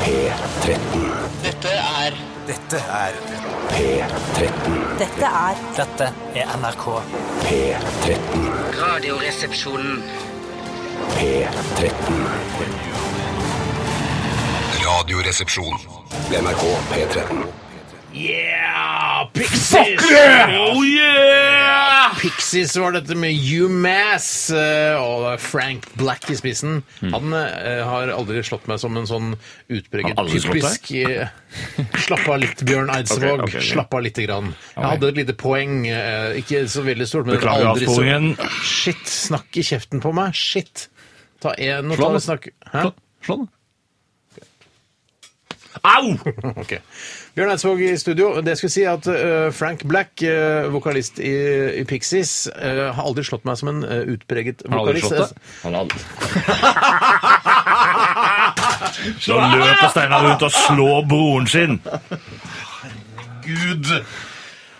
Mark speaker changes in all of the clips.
Speaker 1: P13.
Speaker 2: Dette er
Speaker 3: Dette er
Speaker 1: P13.
Speaker 4: Dette er
Speaker 5: Dette er NRK.
Speaker 1: P13.
Speaker 2: Radioresepsjonen.
Speaker 1: P13.
Speaker 6: Radioresepsjon.
Speaker 1: NRK P13.
Speaker 7: Yeah! Pixies! Oh yeah! Pixies var dette med UMass eh, og Frank Black i spissen.
Speaker 8: Hmm.
Speaker 7: Han eh, har aldri slått meg som en sånn utpreget
Speaker 8: Har aldri slått
Speaker 7: typisk eh, Slapp av litt, Bjørn Eidsvåg.
Speaker 8: Ok, ok, ok.
Speaker 7: Slapp av lite grann. Jeg hadde et lite poeng, eh, ikke så veldig stort, men
Speaker 8: Beklager
Speaker 7: aldri så
Speaker 8: avsporingen.
Speaker 7: Shit, snakk i kjeften på meg. Shit. Ta en og
Speaker 8: Slå
Speaker 7: ta
Speaker 8: den.
Speaker 7: en snakk. Hæ?
Speaker 8: Slå, slå den. Au!
Speaker 7: Ok. Bjørn Eidsvåg i studio. Det skulle si at eh, Frank Black, eh, vokalist i, i Pixies, eh, har aldri slått meg som en eh, utpreget
Speaker 8: Har aldri slått
Speaker 7: vokalist.
Speaker 8: det? Han har aldri. Så løper Steinar ut og slår broren sin.
Speaker 7: Gud!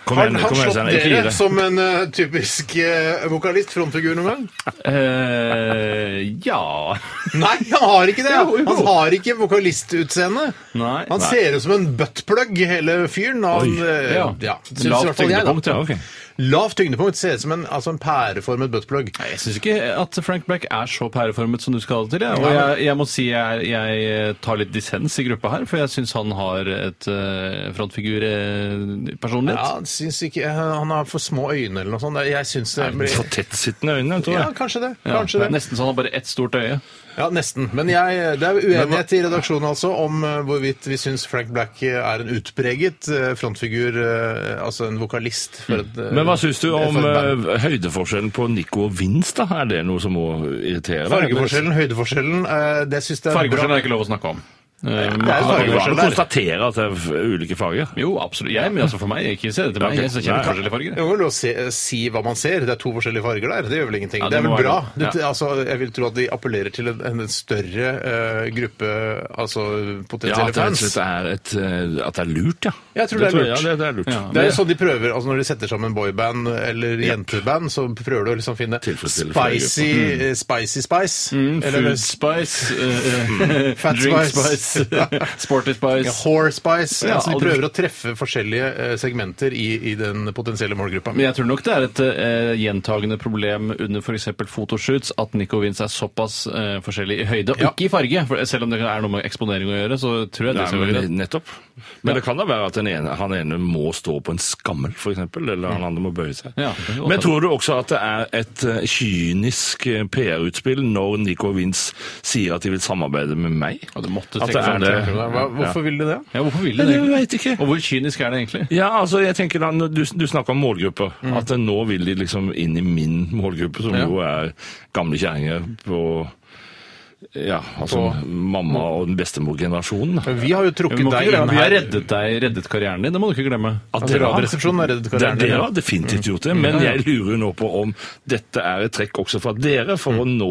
Speaker 8: Kom
Speaker 7: Har
Speaker 8: igjen,
Speaker 7: han
Speaker 8: kom igjen,
Speaker 7: slått
Speaker 8: Steinar. Ikke gi
Speaker 7: dere
Speaker 8: deg.
Speaker 7: som en eh, typisk eh, vokalist, frontfigur, noen gang?
Speaker 8: Eh, ja
Speaker 7: Nei, han har ikke det!
Speaker 8: Jo, jo.
Speaker 7: Han har ikke vokalistutseende.
Speaker 8: Nei,
Speaker 7: Han
Speaker 8: nei.
Speaker 7: ser ut som en buttplug, hele fyren. Han, eh,
Speaker 8: ja.
Speaker 7: ja, synes i hvert
Speaker 8: Lavt
Speaker 7: fall jeg, da.
Speaker 8: tyngdepunkt, ja. ok.
Speaker 7: Lavt tyngdepunkt ser ut som en, altså en pæreformet buttplug.
Speaker 8: Nei, Jeg syns ikke at Frank Black er så pæreformet som du skal ha det til. Jeg. Og jeg, jeg må si jeg, jeg eh, tar litt dissens i gruppa her, for jeg syns han har et eh, uh,
Speaker 7: Ja,
Speaker 8: frontfigur-personlighet.
Speaker 7: han syns ikke, eh, han har for små øyne eller noe sånt. Jeg syns det blir-
Speaker 8: For tettsittende øyne, tror
Speaker 7: Ja,
Speaker 8: jeg.
Speaker 7: kanskje det.
Speaker 8: Ja,
Speaker 7: Kanskje det.
Speaker 8: Nesten så han har bare ett stort øye.
Speaker 7: Ja, nesten. Men jeg, det er uenighet i redaksjonen altså om eh, hvorvidt vi syns Frank Black eh, er en utpreget eh, frontfigur, eh, altså en vokalist. For et, eh,
Speaker 8: Men hva syns du om
Speaker 7: for et band.
Speaker 8: eh, høydeforskjellen på Nico og Vince, da? Er det noe som må irritere deg?
Speaker 7: Fargeforskjellen, høydeforskjellen, eh, det syns jeg er
Speaker 8: Fargeforskjellen
Speaker 7: bra.
Speaker 8: er ikke lov å snakke om. Eh,
Speaker 7: det er
Speaker 8: man kan jo bare
Speaker 7: fargeforskjell der.
Speaker 8: konstatere at det er f- ulike farger.
Speaker 5: Jo, absolutt. Jeg, men altså for meg, ikke se det til meg.
Speaker 8: Ja, ok.
Speaker 5: Jeg ser
Speaker 8: Nei.
Speaker 5: kjempeforskjellige farger.
Speaker 7: Det går vel å si, si hva man ser. Det er to forskjellige farger der. Det gjør vel ingenting.
Speaker 5: Ja,
Speaker 7: det,
Speaker 5: det
Speaker 7: er
Speaker 5: må
Speaker 7: vel bra.
Speaker 5: være
Speaker 7: Du,
Speaker 5: det. Ja.
Speaker 7: altså, jeg vil tro at de appellerer til en, en større eh, gruppe altså
Speaker 8: Ja, at det
Speaker 7: potensielle
Speaker 8: rett og
Speaker 7: fans.
Speaker 8: slett er, et, eh, at det er lurt, ja.
Speaker 7: Jeg tror det er lurt.
Speaker 8: Ja, det, det er lurt.
Speaker 7: Det er jo sånn de prøver, altså Når de setter sammen boyband eller jenteband, så prøver de å liksom finne
Speaker 8: Tilfredsstille Mm.
Speaker 7: spicy, eh, spicy spice. eller
Speaker 8: Food spice, eh, eh,
Speaker 7: Fat
Speaker 8: drink
Speaker 7: spice.
Speaker 8: spice, sporty spice.
Speaker 7: whore spice.
Speaker 8: Ja,
Speaker 7: altså de
Speaker 8: aldri-
Speaker 7: prøver å treffe forskjellige eh, segmenter i, i den potensielle målgruppa.
Speaker 8: Men jeg tror nok det er et eh, gjentagende problem under f.eks. fotoshoots at Nico Vince er såpass eh, forskjellig i høyde, og
Speaker 7: Ja.
Speaker 8: ikke i farge. For selv om det er noe med eksponering å gjøre, så tror jeg det skal være greit.
Speaker 5: nettopp.
Speaker 8: Men
Speaker 5: det kan da være at han ene må stå på en skammel, f.eks., eller han andre må bøye seg.
Speaker 8: Ja, det er jo
Speaker 5: Men
Speaker 8: godt.
Speaker 5: jeg tror
Speaker 8: tror du også at det er et eh, kynisk eh, PR-utspill når Nico og Vince sier at de vil samarbeide med meg? Ja, det måtte
Speaker 5: At det
Speaker 8: tenke
Speaker 5: er det.
Speaker 8: sånn.
Speaker 7: Hva, hvorfor vil de det?
Speaker 8: Ja, hvorfor vil
Speaker 5: Nei,
Speaker 8: de det?
Speaker 5: det
Speaker 8: egentlig?
Speaker 5: vet jeg ikke.
Speaker 8: Og hvor kynisk er det egentlig?
Speaker 5: Ja, altså, jeg tenker da, når du, du snakker om målgrupper. At eh, nå vil de liksom inn i min målgruppe, som jo er gamle kjerringer på ja, altså mamma og den bestemorgenerasjonen. da.
Speaker 7: Men Vi har jo
Speaker 8: Vi,
Speaker 7: trukket
Speaker 8: må
Speaker 7: deg
Speaker 8: ikke glemme,
Speaker 7: inn
Speaker 8: vi har
Speaker 7: her.
Speaker 8: reddet deg, reddet karrieren din, det må du ikke glemme.
Speaker 5: At
Speaker 7: Altså,
Speaker 5: dere har-
Speaker 7: Radioresepsjonen er reddet
Speaker 5: Det er Mm.
Speaker 7: karrieren
Speaker 5: dere
Speaker 7: din.
Speaker 5: har definitivt gjort det, men jeg lurer nå på om dette er et trekk også fra dere for å nå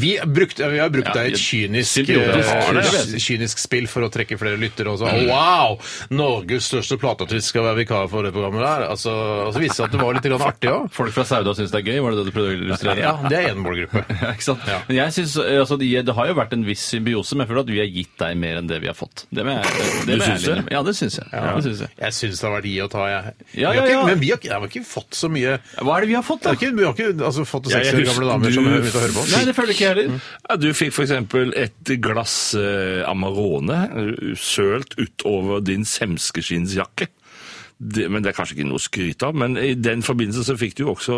Speaker 7: Vi, brukte, vi har brukt deg i et kynisk,
Speaker 8: symbiotisk
Speaker 7: eh,
Speaker 8: har det, jeg
Speaker 7: ky- kynisk spill for å trekke flere lyttere. Og så, «Å, wow! Norges største plateartist skal være vikar for det programmet der. Altså, altså viste det seg at det var litt grann artig òg.
Speaker 8: Folk fra Sauda syns det er gøy, var det det du prøvde å illustrere?
Speaker 7: Ja, det er én målgruppe.
Speaker 8: Ja, ikke sant? Men jeg synes, eh, altså, det, det har jo vært en viss symbiose, men jeg føler at vi har gitt deg mer enn det vi har fått. Det må jeg, det
Speaker 5: Du
Speaker 8: må jeg
Speaker 5: syns
Speaker 8: ærlig
Speaker 5: det?
Speaker 8: innrømme. Ja, det syns jeg. Det syns jeg.
Speaker 7: Jeg syns det har vært gi og ta,
Speaker 8: Ja,
Speaker 7: jeg. vi har
Speaker 8: ja, ja.
Speaker 7: Ikke, men vi har, ikke- jeg har ikke fått så mye
Speaker 8: Hva er det vi har fått,
Speaker 7: Vi
Speaker 8: da?
Speaker 7: har ikke, vi har ikke altså, fått
Speaker 5: Jeg
Speaker 7: 60 år gamle
Speaker 5: husker
Speaker 7: damer som
Speaker 5: du-
Speaker 7: er ute og hører på
Speaker 8: Nei,
Speaker 7: oss.
Speaker 8: det føler ikke jeg heller.
Speaker 5: ja, Du fikk f.eks. et glass eh, Amarone eh, sølt utover din semskeskinnsjakke. Det, men Det er kanskje ikke noe å skryte av, men i den forbindelse så fikk du jo også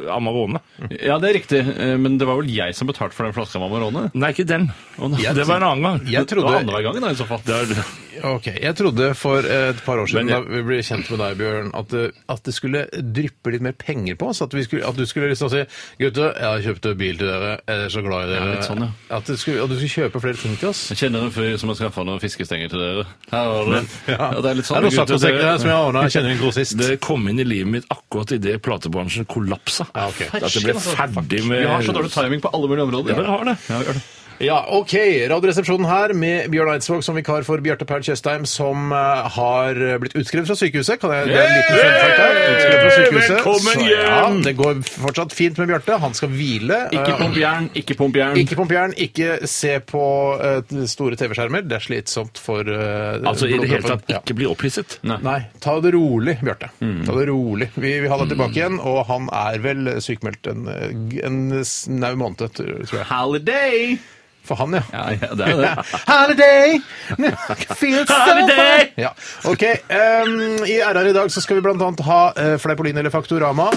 Speaker 5: eh, Amarone.
Speaker 8: Ja, det er riktig, eh, men det var vel jeg som betalte for den flaska med Amarone?
Speaker 5: Nei, ikke den.
Speaker 8: nei.
Speaker 5: det var en annen gang.
Speaker 7: Jeg
Speaker 8: Det var
Speaker 7: trodde,
Speaker 8: annenhver gang, da, i så fall.
Speaker 5: Det er,
Speaker 7: ok, jeg trodde for eh, et par år siden
Speaker 5: Men jeg-
Speaker 7: da vi ble kjent med deg, Bjørn, at, det- at det skulle dryppe litt mer penger på oss. At, vi skulle, at du skulle liksom si 'Gutter, jeg kjøpte bil til dere. Jeg er så glad i dere.'
Speaker 8: Ja, litt sånn,
Speaker 7: at, du skulle, at du skulle kjøpe flere ting til oss.
Speaker 8: Jeg kjenner en fyr som har skaffa noen fiskestenger til dere. Her har dere.
Speaker 7: Ja.
Speaker 8: Ja, det er litt sånn.
Speaker 7: noen
Speaker 8: gutter,
Speaker 7: saccosekker
Speaker 8: dere-
Speaker 7: her som jeg ordna. Jeg kjenner en grossist.
Speaker 5: det kom inn i livet mitt akkurat idet platebransjen kollapsa.
Speaker 7: Ja, ok. altså.
Speaker 5: At det ble ferdig med
Speaker 8: Vi har så dårlig timing på alle mulige områder.
Speaker 5: Ja, dere har det.
Speaker 8: Ja, vi har det.
Speaker 7: Ja, OK. Radioresepsjonen her med Bjørn Eidsvåg som vikar for Bjarte Paul Tjøstheim, som eh, har blitt utskrevet fra sykehuset. Kan jeg, det er en liten fun fact her. Utskrevet fra sykehuset.
Speaker 5: Velkommen
Speaker 7: Så, ja,
Speaker 5: hjem!
Speaker 7: det går fortsatt fint med Bjarte. Han skal hvile.
Speaker 8: Ikke
Speaker 7: Eh,
Speaker 8: pump jern, ikke pump jern.
Speaker 7: Ikke pump jern, ikke se på eh, store TV-skjermer. Det er slitsomt for eh,
Speaker 5: Altså i det hele tatt
Speaker 7: blodproppen. Ja.
Speaker 5: ikke Mm. bli opphisset.
Speaker 7: Nei, ta det rolig, Bjarte. Ta det rolig. Vi vil ha deg
Speaker 5: Mm.
Speaker 7: tilbake igjen, og han er vel sykemeldt en, en snau måned, tror jeg.
Speaker 8: Holiday!
Speaker 7: For han, ja.
Speaker 8: Ja, ja, det er det.
Speaker 7: Holiday! Feels so
Speaker 8: Holiday!
Speaker 7: fun! Ja. Ok, em, I RR i dag så skal vi blant annet ha uh, Fleipolin eller Faktorama.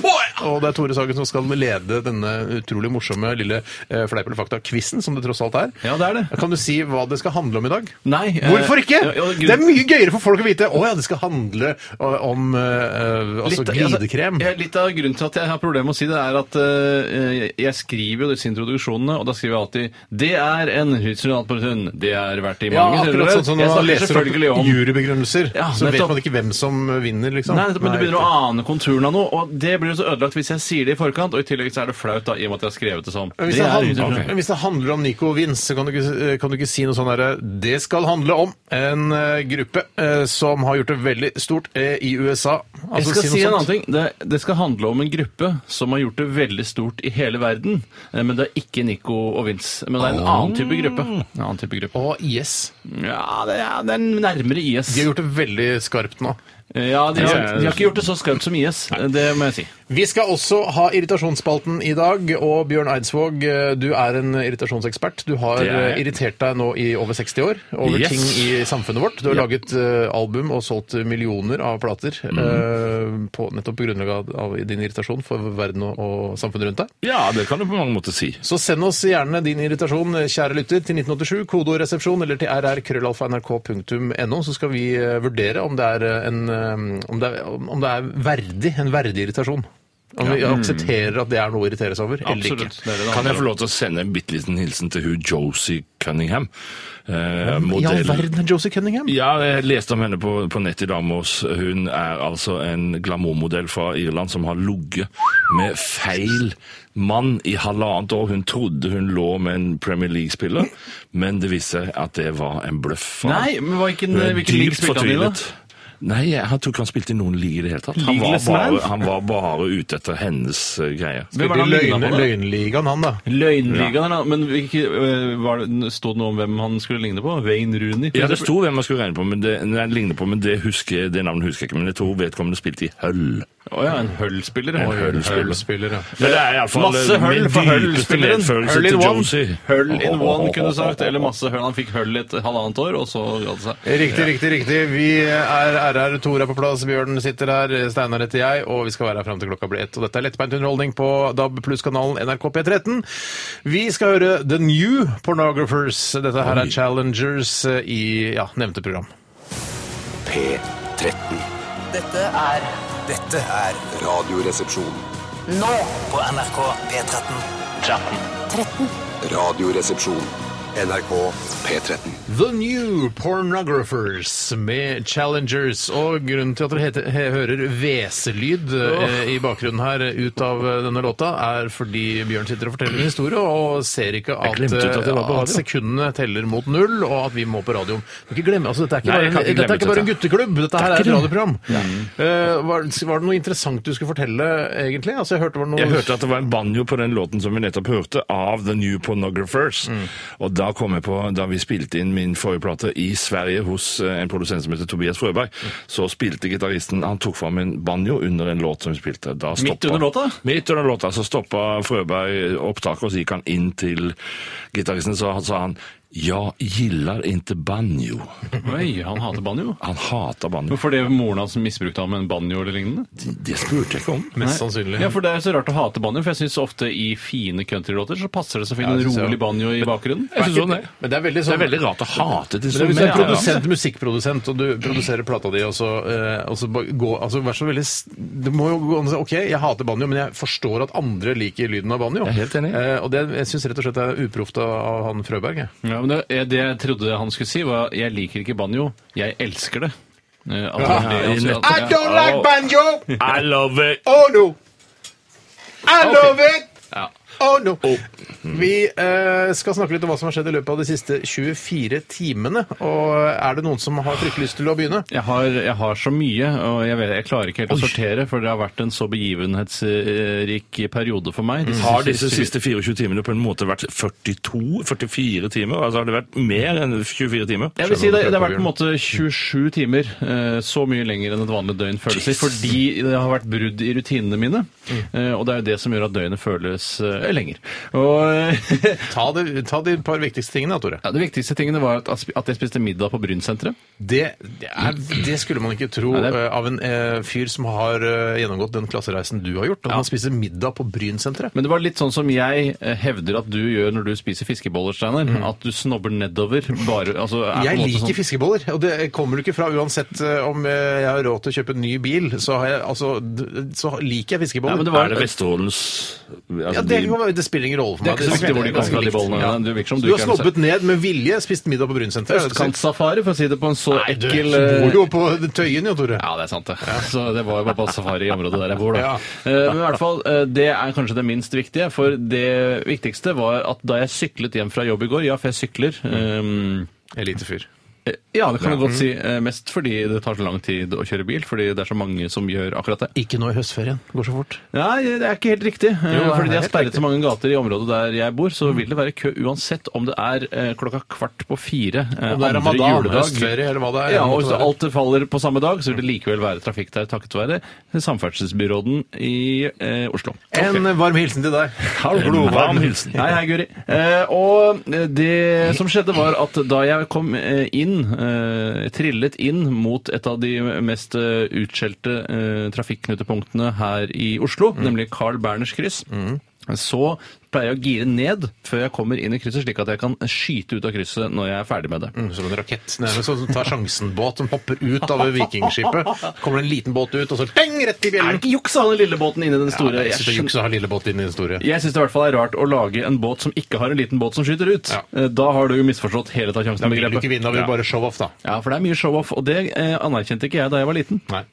Speaker 7: Og det er Tore Sagen som skal lede denne utrolig morsomme lille uh, Fleip eller fakta-quizen, som det tross alt er.
Speaker 8: Ja, det er det.
Speaker 7: Kan du si hva det skal handle om i dag?
Speaker 8: Nei, eh,
Speaker 7: Hvorfor ikke?
Speaker 8: ja, ja, grunn-
Speaker 7: det er mye gøyere for folk å vite. Å ja, det skal handle eh, om eh, altså
Speaker 8: Litt-
Speaker 7: glidekrem.
Speaker 8: Altså, ja, litt av grunnen til at jeg har problemer med å si det, er at eh, jeg skriver jo disse introduksjonene, og da skriver jeg alltid 'Det er en hysterialpåtun'. Det er verdt det i
Speaker 7: Ja,
Speaker 8: mange
Speaker 7: akkurat sånn som når
Speaker 8: Jeg
Speaker 7: man
Speaker 8: snakker
Speaker 7: leser opp
Speaker 8: selvfølgelig om
Speaker 7: jurybegrunnelser,
Speaker 8: Ja,
Speaker 7: så vet
Speaker 8: nettopp.
Speaker 7: man ikke hvem som vinner, liksom.
Speaker 8: Nei, men du
Speaker 7: Nei,
Speaker 8: begynner å ane konturen av noe, og det blir jo så ødelagt hvis jeg sier det i forkant, og i tillegg så er det flaut da, i og med at jeg har skrevet det sånn.
Speaker 7: Men hvis
Speaker 8: Det
Speaker 7: det,
Speaker 8: er
Speaker 7: handler,
Speaker 8: hysterialpåtun.
Speaker 7: men hvis det handler om Nico og Vince, så kan du, ikke, kan du ikke si noe sånn derre Det skal handle om en eh, gruppe eh, som har gjort det veldig stort eh, i USA.
Speaker 8: Jeg
Speaker 7: Altså,
Speaker 8: skal si, en
Speaker 7: noe sånt.
Speaker 8: annen ting. Det, det skal handle om en gruppe som har gjort det veldig stort i hele verden. eh, Men det er ikke Nico og Vince. Men det er en
Speaker 7: Ah.
Speaker 8: annen type gruppe. En annen type gruppe.
Speaker 7: Og IS.
Speaker 8: Ja, det er, det er nærmere IS.
Speaker 7: De har gjort det veldig skarpt nå.
Speaker 8: Ja, de har, de har ikke gjort det så skarpt som IS. Det må jeg si.
Speaker 7: Vi skal også ha irritasjonsspalten i dag, og Bjørn Eidsvåg, eh, du er en irritasjonsekspert. Du har
Speaker 5: Det er jeg.
Speaker 7: eh, irritert deg nå i over 60 år over
Speaker 5: Yes.
Speaker 7: ting i samfunnet vårt. Du har laget eh, album og solgt millioner av plater
Speaker 5: Mhm.
Speaker 7: eh, på, nettopp på grunnlag av, av din irritasjon for verden og, og samfunnet rundt deg.
Speaker 5: Ja, det kan du på mange måter si.
Speaker 7: Så send oss gjerne din irritasjon, kjære lytter, til 1987, kodoresepsjon eller til rrkrøllalfa.nrk.no, så skal vi eh, vurdere om det er eh, en eh, om det er, om det er verdig, en verdig irritasjon. Om vi aksepterer at det er noe å irritere seg over, eller
Speaker 8: Mm. Absolutt.
Speaker 7: ikke.
Speaker 8: Det er det
Speaker 5: Kan
Speaker 8: det
Speaker 5: jeg
Speaker 8: handler
Speaker 5: få
Speaker 8: om.
Speaker 5: lov til å sende en bitte liten hilsen til hun Josie Cunningham? Eh,
Speaker 7: I all
Speaker 5: modellen.
Speaker 7: verden, Josie Cunningham!
Speaker 5: Ja, jeg leste om henne på, på nett i dag morges. Hun er altså en glamourmodell fra Irland som har ligget med feil mann i halvannet år. Hun trodde hun lå med en Premier League-spiller, men det viste seg at det var en bløff.
Speaker 8: Nei, men hva- hvilken-
Speaker 5: Hun er
Speaker 8: hvilken league
Speaker 5: dypt
Speaker 8: spilte han i da?
Speaker 5: fortvilet. Nei, jeg han tror ikke han spilte i noen league i det hele tatt. Han var
Speaker 8: Leagueless man?
Speaker 5: bare, han var bare ute etter hennes eh, greier.
Speaker 8: Hvem er det
Speaker 7: Veldig
Speaker 8: han lignet
Speaker 7: løgne,
Speaker 8: på, da?
Speaker 7: løgnligaen, han, da.
Speaker 8: Løgnligaen, ja. men hvilke, øh, var det, sto det noe om hvem han skulle ligne på? Wayne Rooney?
Speaker 5: Ja, det sto hvem man skulle regne på, men det, nei, ligne på, men det, husker, jeg- det navnet husker jeg ikke. Men jeg tror vedkommende spilte i Hull.
Speaker 8: Å ja, en Hull-spiller.
Speaker 5: En
Speaker 8: Oi,
Speaker 5: Hull-spiller.
Speaker 7: Spiller, ja.
Speaker 5: Men det er iallfall
Speaker 8: Masse høll for høll-spilleren. Høll in one. Høll in one, kunne du sagt. Eller masse høll. Han fikk høll et halvannet år, og så ga det seg.
Speaker 7: Riktig, riktig, riktig. Vi er RR, Tor er på plass, Bjørn sitter her, Steinar heter jeg, og vi skal være her fram til klokka blir ett. Og dette er lettbeint underholdning på DAB pluss-kanalen NRK P13. Vi skal høre The New Pornographers. Dette her er Challengers eh, i ja, nevnte program.
Speaker 1: P13.
Speaker 3: Dette er
Speaker 6: Dette er Radioresepsjon.
Speaker 3: nå på NRK P13.
Speaker 6: Radioresepsjon. NRK P13.
Speaker 7: The New Pornographers med Challengers. Og grunnen til at dere heter, he, hører hveselyd eh, i bakgrunnen her eh, ut av eh, denne låta, er fordi Bjørn sitter og forteller en historie og ser ikke at,
Speaker 5: glemte ut at jeg var på
Speaker 7: eh, at
Speaker 5: radio.
Speaker 7: sekundene teller mot null, og at vi må på radioen. Du kan ikke glemme, altså, dette er ikke,
Speaker 5: Nei, jeg
Speaker 7: bare,
Speaker 5: kan
Speaker 7: en,
Speaker 5: ikke
Speaker 7: dette
Speaker 5: glemme
Speaker 7: er ikke bare en
Speaker 5: dette.
Speaker 7: gutteklubb, dette her er
Speaker 5: ikke
Speaker 7: et
Speaker 5: det.
Speaker 7: radioprogram. Eh, var, var det noe interessant du skulle fortelle, egentlig? Altså, jeg hørte det var noe...
Speaker 5: Jeg hørte at det var en banjo på den låten som vi nettopp hørte, av The New Pornographers. Og da kom jeg på, da vi spilte inn min forrige plate i Sverige hos eh, en produsent som heter Tobias Frøberg, så spilte gitaristen Han tok fram en banjo under en låt som vi spilte. Da stoppa-
Speaker 8: under låta?
Speaker 5: Midt under låta så stoppa Frøberg eh, opptaket, og så gikk han inn til gitaristen, så han- sa han Ja, gillar inte banjo.
Speaker 8: Oi, han hater banjo.
Speaker 5: Han hater banjo.
Speaker 8: Hvorfor det moren hans misbrukte ham med en banjo eller lignende?
Speaker 5: Det spurte jeg ikke om.
Speaker 7: Mest sannsynlig.
Speaker 8: Ja, for Det er så rart å hate banjo, for jeg syns ofte i fine countrylåter så passer det så fint
Speaker 7: Ja,
Speaker 8: en
Speaker 7: jeg synes
Speaker 8: rolig
Speaker 7: jeg-
Speaker 8: banjo i bakgrunnen.
Speaker 5: Jeg synes også det.
Speaker 7: Men det er veldig
Speaker 5: Det
Speaker 7: sånn...
Speaker 5: er veldig rart å hate et
Speaker 7: Men hvis du er
Speaker 5: instrument. ja.
Speaker 7: produsent, musikkprodusent, og du produserer plata di, og så, eh, og så ba- gå, altså, vær så veldig s- Det må jo gå an å si OK, jeg hater banjo, men jeg forstår at andre liker lyden av banjo.
Speaker 5: Jeg er helt enig.
Speaker 7: Eh, og det, jeg syns rett og slett er uproft av, av han Frøberg. Jeg.
Speaker 8: Ja, men det, det jeg trodde han skulle si, var 'jeg liker ikke banjo, jeg elsker det'. Eh, at det er det han sier, at- ja.
Speaker 7: like banjo!
Speaker 5: I love it!
Speaker 7: Oh no! I
Speaker 8: love
Speaker 7: it!
Speaker 8: Ja.
Speaker 7: Oh, no. Vi eh, skal snakke litt om hva som har skjedd i løpet av de siste 24 timene. Og eh, er det noen som har fryktelig lyst til å begynne?
Speaker 8: Jeg har, jeg har så mye, og jeg, vet, jeg klarer ikke helt å sortere, for det har vært en så begivenhetsrik periode for meg. disse
Speaker 5: Har disse siste
Speaker 8: siste-
Speaker 5: 24 timene på en måte vært 42-44 timer? Altså har det vært mer enn 24 timer?
Speaker 8: Jeg vil si det, det har
Speaker 7: prøver,
Speaker 8: vært på en måte 27 timer, eh, så mye lenger enn et vanlig døgn føles i,
Speaker 5: Jesus.
Speaker 8: fordi det har vært brudd i rutinene mine, eh, og det er jo det som gjør at døgnet føles eh, lenger. Og eh,
Speaker 7: Ta, det, ta de par viktigste tingene, da, Tore.
Speaker 8: ja, det viktigste tingene var at, at jeg spiste middag på Brynsenteret.
Speaker 7: Det, det, er, det skulle man ikke tro
Speaker 8: Nei, det-
Speaker 7: eh, av en eh, fyr som har eh, gjennomgått den klassereisen du har gjort. At
Speaker 8: Ja.
Speaker 7: man spiser middag på Brynsenteret.
Speaker 8: Men det var litt sånn som jeg eh, hevder at du gjør når du spiser fiskeboller, Steinar. At du snobber nedover. Bare, altså, er på en
Speaker 7: Jeg
Speaker 8: måte
Speaker 7: liker
Speaker 8: sånn-
Speaker 7: fiskeboller, og det kommer du ikke fra uansett eh, om eh, jeg har råd til å kjøpe en ny bil. Så, har jeg, altså, d- så liker jeg
Speaker 8: Ja,
Speaker 7: fiskeboller.
Speaker 8: men det
Speaker 5: Er
Speaker 8: var,
Speaker 5: det Vesterålens
Speaker 7: Ja,
Speaker 5: altså,
Speaker 7: det,
Speaker 5: de-
Speaker 7: kan være- det spiller ingen rolle for
Speaker 8: Det
Speaker 7: meg.
Speaker 8: er ikke så viktig hvor de
Speaker 7: er ganske
Speaker 8: kommer fra, de
Speaker 7: likt.
Speaker 8: bollene.
Speaker 7: Ja.
Speaker 8: Det virker som
Speaker 7: Så
Speaker 8: du
Speaker 7: du har
Speaker 8: ikke er noe
Speaker 7: snobbet ned med vilje, spist middag på Brunsenteret.
Speaker 8: Østkantsafari, for å si det på en så
Speaker 7: Nei, du
Speaker 8: ekkel eh,
Speaker 7: bor jo på Tøyen, jo, Tore.
Speaker 8: Ja, det er sant, det. Så det var jo bare på safari i området der jeg bor, da.
Speaker 7: Ja.
Speaker 8: Eh, Men i hvert fall, eh, det er kanskje det minst viktige, for det viktigste var at da jeg syklet hjem fra jobb i går Ja, for jeg sykler. ehm,
Speaker 7: Elitefyr.
Speaker 8: eh, ja, det kan jeg godt si. eh, Mest fordi det tar så lang tid å kjøre bil, fordi det er så mange som gjør akkurat det.
Speaker 7: Ikke nå i høstferien. Det går så fort.
Speaker 8: Nei, det er ikke helt riktig. Eh,
Speaker 7: Jo, det er
Speaker 8: fordi de har
Speaker 7: helt
Speaker 8: sperret så
Speaker 7: riktig.
Speaker 8: mange gater i området der jeg bor, så vil det være kø uansett om det er eh, klokka kvart på fire eh,
Speaker 7: Om det er
Speaker 8: andre
Speaker 7: ramadan,
Speaker 8: juledag.
Speaker 7: høstferie, eller hva det er.
Speaker 8: Ja, og
Speaker 7: måtte
Speaker 8: hvis
Speaker 7: være.
Speaker 8: alt det faller på samme dag, så vil det likevel være trafikk der takket være samferdselsbyråden i eh, Oslo.
Speaker 7: En varm hilsen til deg.
Speaker 5: Glovarm hilsen.
Speaker 8: Hei, hei, Guri. Eh, og det som skjedde, var at da jeg kom eh, inn, eh, trillet inn mot et av de mest eh, utskjelte eh, trafikknutepunktene her i Oslo,
Speaker 7: Mm.
Speaker 8: nemlig Carl Berners kryss, så pleier jeg å gire ned før jeg kommer inn i krysset, slik at jeg kan skyte ut av krysset når jeg er ferdig med det.
Speaker 7: Mm, Som en rakett nærmest, sånn som tar sjansen-båt som hopper ut av vikingskipet. Kommer det en liten båt ut, og så deng, rett i
Speaker 8: Er
Speaker 7: bjellen!
Speaker 8: det ikke juks å ha den lille båten inni den store?
Speaker 7: jeg synes det er juks å ha lille båt inn i den store.
Speaker 8: Jeg syns det i hvert fall er rart å lage en båt som ikke har en liten båt som skyter ut.
Speaker 7: Ja.
Speaker 8: Eh, Da har du jo misforstått hele ta
Speaker 7: Da vil du
Speaker 8: sjansen-begrepet.
Speaker 7: ikke vinne, da vil du bare show off, da.
Speaker 8: Ja, for det er mye show-off, og det eh, anerkjente ikke jeg da jeg var liten.
Speaker 7: Nei.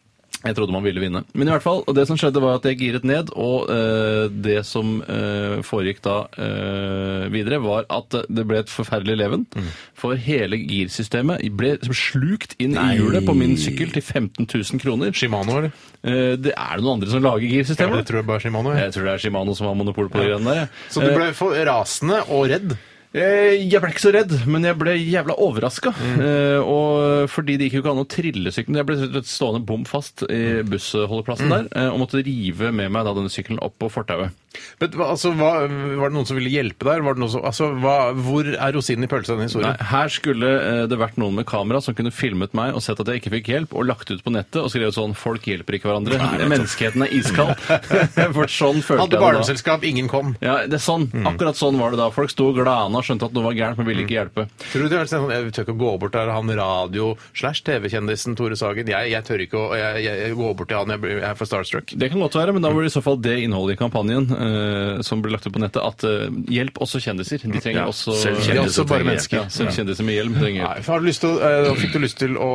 Speaker 8: Jeg trodde man ville vinne. Men i hvert fall, det som skjedde var at jeg giret ned, og eh, det som eh, foregikk da eh, videre, var at det ble et forferdelig leven.
Speaker 7: Mm.
Speaker 8: For hele girsystemet ble slukt inn i hjulet på min sykkel til 15 000 kroner.
Speaker 7: Shimano, eller?
Speaker 8: Eh, det er det noen andre som lager
Speaker 7: Ja,
Speaker 8: girsystemer?
Speaker 7: det tror jeg bare er Shimano. jeg.
Speaker 8: jeg tror det er Shimano som har monopol på de greiene der. jeg.
Speaker 7: Så du ble for rasende og redd?
Speaker 8: Eh, Jeg ble ikke så redd, men jeg ble jævla overraska. Eh, og fordi det gikk jo ikke an å trille sykkelen. Jeg ble rett og slett stående bom fast i bussholdeplassen der eh, og måtte rive med meg da denne sykkelen opp på fortauet.
Speaker 7: Men, hva- altså, hva, var det noen som ville hjelpe der? Var det noen som, altså, hva, hvor er rosinen i pølsa i denne
Speaker 8: Nei,
Speaker 7: historien?
Speaker 8: her skulle eh, det vært noen med kamera som kunne filmet meg og sett at jeg ikke fikk hjelp, og lagt ut på nettet og skrevet sånn 'Folk hjelper ikke hverandre'. Menneskeheten er iskald. For sånn følte
Speaker 7: Hadde
Speaker 8: jeg det da.
Speaker 7: barndomsselskap, ingen kom.
Speaker 8: Ja, det er sånn. Akkurat sånn var det da. Folk sto og glana og skjønte at noe var gærent, men ville ikke hjelpe.
Speaker 7: Tror du det er sånn, Jeg tør ikke å gå bort til han radio-slash-TV-kjendisen Tore Sagen. Jeg, jeg tør ikke å jeg, jeg, jeg går bort til han, jeg, blir- jeg er for starstruck.
Speaker 8: Det kan godt være, men da var det i så fall det innholdet i kampanjen eh, som ble lagt ut på nettet, at eh, hjelp også kjendiser. De trenger
Speaker 5: Ja,
Speaker 8: også
Speaker 5: selv
Speaker 7: De er
Speaker 5: kjendiser
Speaker 7: også bare
Speaker 5: trenger-
Speaker 7: mennesker.
Speaker 8: Ja, selv kjendiser med hjelm trenger
Speaker 7: Nei,
Speaker 8: hjelp.
Speaker 7: for har du lyst til, å- eh, da fikk du lyst til å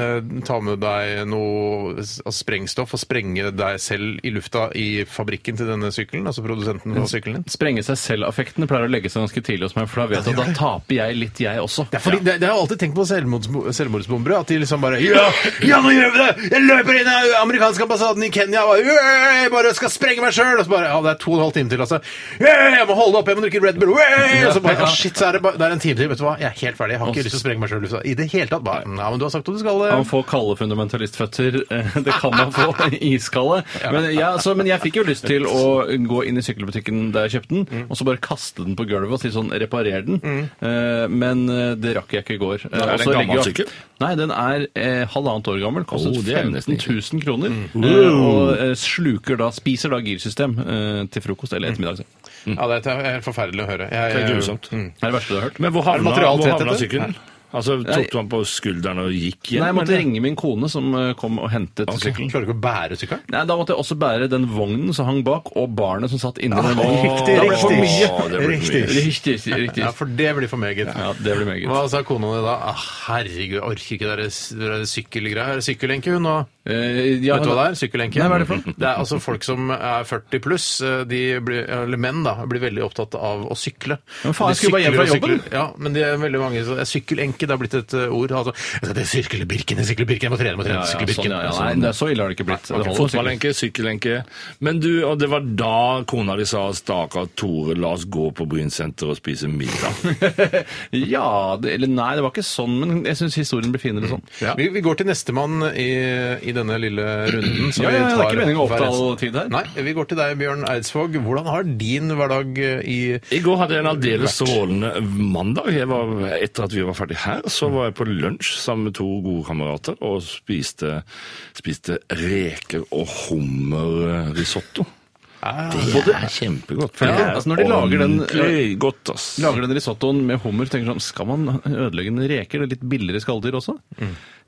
Speaker 7: eh, ta med deg noe s- altså sprengstoff og sprenge deg selv i lufta i fabrikken til denne sykkelen? Altså produsenten av sykkelen din?
Speaker 8: Sprenge seg selv-affekten pleier å legge seg ganske tidlig hos meg, for da vet jeg at da taper jeg litt, jeg også.
Speaker 7: Det, er fordi, det, det har jeg alltid tenkt på selvmords, selvmordsbombere. At de liksom bare Ja, ja nå gjør vi det! Jeg løper inn i den amerikanske ambassaden i Kenya og bare, «Øy, jeg bare skal sprenge meg sjøl! Og så bare Ja, det er to og en halv time til, altså. «Øy, Jeg må holde opp, jeg må drikke Red Bull! Øy!» Og så bare «Å, Shit, så er det, bare, det er en time til. Vet du hva, jeg er helt ferdig. Jeg har ikke lyst til å sprenge meg sjøl i det hele tatt. Bare, ja, men du har sagt at du skal eh,
Speaker 8: Man får kalde fundamentalistføtter. eh, Det kan man få. Iskalde. Men, ja, så, men jeg fikk jo lyst til å gå inn i sykkelbutikken der jeg kjøpte den, og så bare kaste den på gulvet og si sånn reparer den. Eh, Men eh, det rakk jeg ikke i går. Eh,
Speaker 5: er
Speaker 8: og
Speaker 5: det
Speaker 8: så
Speaker 5: en gammel
Speaker 8: legger jeg-
Speaker 5: sykkel?
Speaker 8: Nei, den er eh, halvannet år gammel. Kostet
Speaker 5: Oh, det er
Speaker 8: 15
Speaker 5: nesten Mm.
Speaker 8: 000 kroner. eh, Og eh, sluker da, spiser da girsystem eh, til frokost eller ettermiddag. Det
Speaker 7: Ja, det er helt forferdelig å høre. Jeg,
Speaker 5: Mm. Det er grusomt.
Speaker 8: er det verste du har hørt.
Speaker 5: Mm. Men hvor havna,
Speaker 7: materialtett,
Speaker 5: hvor havna
Speaker 7: dette?
Speaker 5: sykkelen? Altså, Tok du han på skulderen og gikk hjem?
Speaker 8: Nei, jeg måtte
Speaker 5: eller?
Speaker 8: ringe min kone, som eh, kom og hentet sykkelen.
Speaker 7: Klarer du ikke å bære sykkelen?
Speaker 8: Nei, Da måtte jeg også bære den vognen som hang bak, og barnet som satt inni den vognen.
Speaker 7: Ah, riktig,
Speaker 8: da ble det for
Speaker 7: riktig.
Speaker 8: mye.
Speaker 5: Å, det ble for mye.
Speaker 8: Riktig, riktig.
Speaker 7: Ja, for det blir for meget.
Speaker 8: Ja, det blir meget.
Speaker 7: Hva sa kona di da? Ah, herregud, jeg orker ikke det der- det der sykkelgreier. Sykkellenke, hun, og
Speaker 8: Eh, ja,
Speaker 7: Vet du hva det er? Sykkellenke?
Speaker 8: Nei, hva er det for noe?
Speaker 7: Det er altså folk som er 40 pluss, eh, de blir, eller menn da, blir veldig opptatt av å sykle.
Speaker 8: Men faen,
Speaker 7: De
Speaker 8: jeg skulle bare hjem
Speaker 7: sykler
Speaker 8: fra
Speaker 7: og sykler.
Speaker 8: jobben.
Speaker 7: Ja, men det er veldig mange, så sykkelenke, det har blitt et eh, ord. Altså, jeg skal til sykle Birken, jeg sykler Birken, jeg må trene, jeg må
Speaker 8: Ja,
Speaker 7: trene,
Speaker 8: ja,
Speaker 7: sykle
Speaker 8: sånn,
Speaker 7: Birken.
Speaker 8: ja, ja. Nei, det er så ille har det ikke blitt. Det holder sikkert.
Speaker 5: Fotballenke, sykkelenke. Men du, og det var da kona di sa 'stakkar Tore, la oss gå på Bryn senter og spise middag'.
Speaker 8: Ja, det, eller nei, det var ikke sånn, men jeg syns historien blir finere sånn.
Speaker 7: Mm, Ja. Vi, vi går til nestemann i, i denne lille runden. som
Speaker 8: Ja,
Speaker 7: vi
Speaker 8: ja, det er
Speaker 7: tar
Speaker 8: ikke meningen å
Speaker 7: hver
Speaker 8: oppta
Speaker 7: eneste-
Speaker 8: all tid her.
Speaker 7: Nei, Vi går til deg, Bjørn Eidsvåg. Hvordan har din hverdag eh, i
Speaker 5: I går hadde jeg en aldeles strålende mandag. Jeg var, etter at vi var ferdig her, så var jeg på lunsj sammen med to gode kamerater og spiste, spiste reker og hummerrisotto. Det er kjempegodt. for
Speaker 8: Ja,
Speaker 5: det er
Speaker 8: altså når de lager den- eh,
Speaker 5: ordentlig godt, ass.
Speaker 8: Lager den risottoen med hummer, tenker sånn, skal man ødelegge en reker? Det er litt billigere skalldyr også?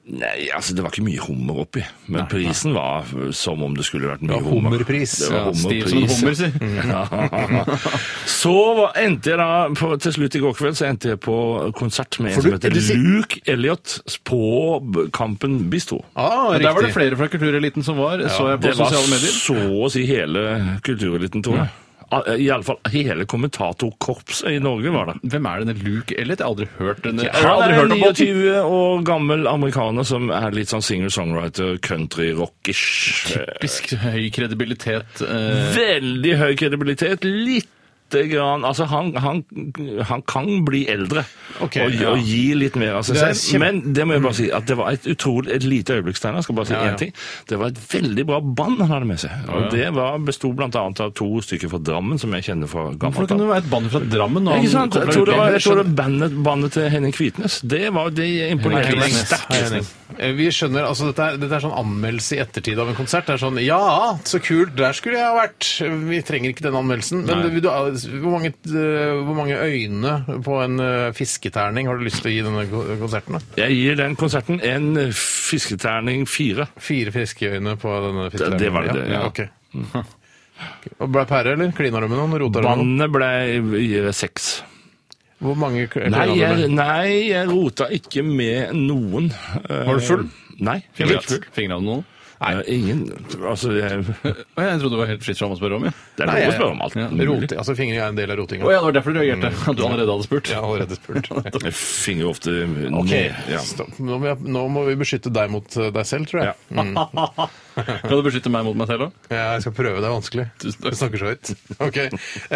Speaker 5: Nei, altså det var ikke mye hummer oppi, men prisen var som om det skulle vært mye
Speaker 7: var
Speaker 5: hummer.
Speaker 7: hummerpris.
Speaker 5: Det var
Speaker 8: Ja, stiv som en hummer,
Speaker 5: hummerpris.
Speaker 8: si.
Speaker 7: Mm.
Speaker 5: Ja. Så var- endte jeg da, på, til slutt i går kveld, så endte jeg på konsert med en
Speaker 7: For
Speaker 5: som
Speaker 7: du-
Speaker 5: heter
Speaker 7: du sier-
Speaker 5: Luke Elliot på B- Kampen Bistro.
Speaker 8: Men
Speaker 7: Ah, riktig.
Speaker 8: der var det flere fra kultureliten som var, så jeg på
Speaker 5: Det var
Speaker 8: sosiale medier.
Speaker 5: så å si hele kultureliten, tror jeg. Al- I alle fall hele kommentatorkorpset i Norge var det.
Speaker 8: Hvem er denne Luke Elliot? Jeg har aldri hørt denne. Jeg har
Speaker 5: Han
Speaker 8: aldri
Speaker 5: er en
Speaker 8: hørt om båten.
Speaker 5: 29 år gammel amerikaner som er litt sånn singer-songwriter, country-rockish.
Speaker 8: Typisk høy kredibilitet. eh,
Speaker 5: Veldig høy kredibilitet. Litt Grann. Altså, han, han, han kan bli eldre
Speaker 7: Ok,
Speaker 5: og,
Speaker 7: ja.
Speaker 5: og gi litt mer av seg
Speaker 7: Det er
Speaker 5: selv.
Speaker 7: kjempe-
Speaker 5: Men det må jeg bare si at det var et utrolig et lite øyeblikk, Steinar. jeg Skal bare si
Speaker 7: Ja, ja.
Speaker 5: én ting. Det var et veldig bra band han hadde med seg. Og Det var- besto bl.a. av to stykker fra Drammen, som jeg kjenner fra
Speaker 8: Hvorfor
Speaker 5: gammelt
Speaker 8: kunne
Speaker 5: av.
Speaker 8: det være et band fra Drammen? når
Speaker 5: Ja, Ikke
Speaker 8: han
Speaker 5: sant?
Speaker 8: kom fra
Speaker 5: Jeg tror det var, jeg tror det
Speaker 8: utlandet?
Speaker 5: var bandet, bandet til Henning Kvitnes. Det var det imponerte
Speaker 8: Henning
Speaker 5: meg
Speaker 8: Kvitnes.
Speaker 5: sterkt.
Speaker 7: Hei, Henning. Eh, Vi skjønner, altså dette er, dette er sånn anmeldelse i ettertid av en konsert. Det er sånn Ja, så kult, der skulle jeg ha vært. Vi trenger ikke den anmeldelsen. Men vil du, hvor, mange, eh, hvor mange øyne på en eh, fisketerning har du lyst til å gi denne ko- konserten? da?
Speaker 5: Jeg gir den konserten en fisketerning fire.
Speaker 7: Fire fiskeøyne på denne fisketerningen?
Speaker 5: det var det, det, ja.
Speaker 7: ok. Og Ble det pære, eller? Klina du med noen? Rota du med noen?
Speaker 5: Bandet ble gir jeg seks.
Speaker 7: Hvor mange kl- klina
Speaker 5: Nei
Speaker 7: du
Speaker 5: jeg,
Speaker 7: med?
Speaker 5: nei, jeg rota ikke med noen. Var
Speaker 8: du full?
Speaker 5: Nei. jeg var
Speaker 8: Fingret.
Speaker 5: ikke full.
Speaker 8: Fingret av noen?
Speaker 5: Eh, Ingen Altså, jeg, det
Speaker 8: Å, Jeg trodde det var helt fritt fram å spørre om. ja.
Speaker 5: er
Speaker 7: Nei,
Speaker 5: lov å
Speaker 7: jeg-
Speaker 5: spørre om alt. mulig.
Speaker 7: Rote, altså fingre er en del av rotinga.
Speaker 8: Å ja, det var derfor du reagerte. Mm. At du allerede hadde spurt.
Speaker 7: Jeg har allerede spurt.
Speaker 5: Jeg fingrer ofte ned. Ja.
Speaker 7: Stopp. Nå, må jeg, nå må vi beskytte deg mot eh, deg selv, tror jeg. Ja.
Speaker 8: Kan du beskytte meg mot meg selv òg?
Speaker 7: Jeg skal prøve, det er vanskelig.
Speaker 8: Tusen takk.
Speaker 7: Du snakker så høyt. Ok.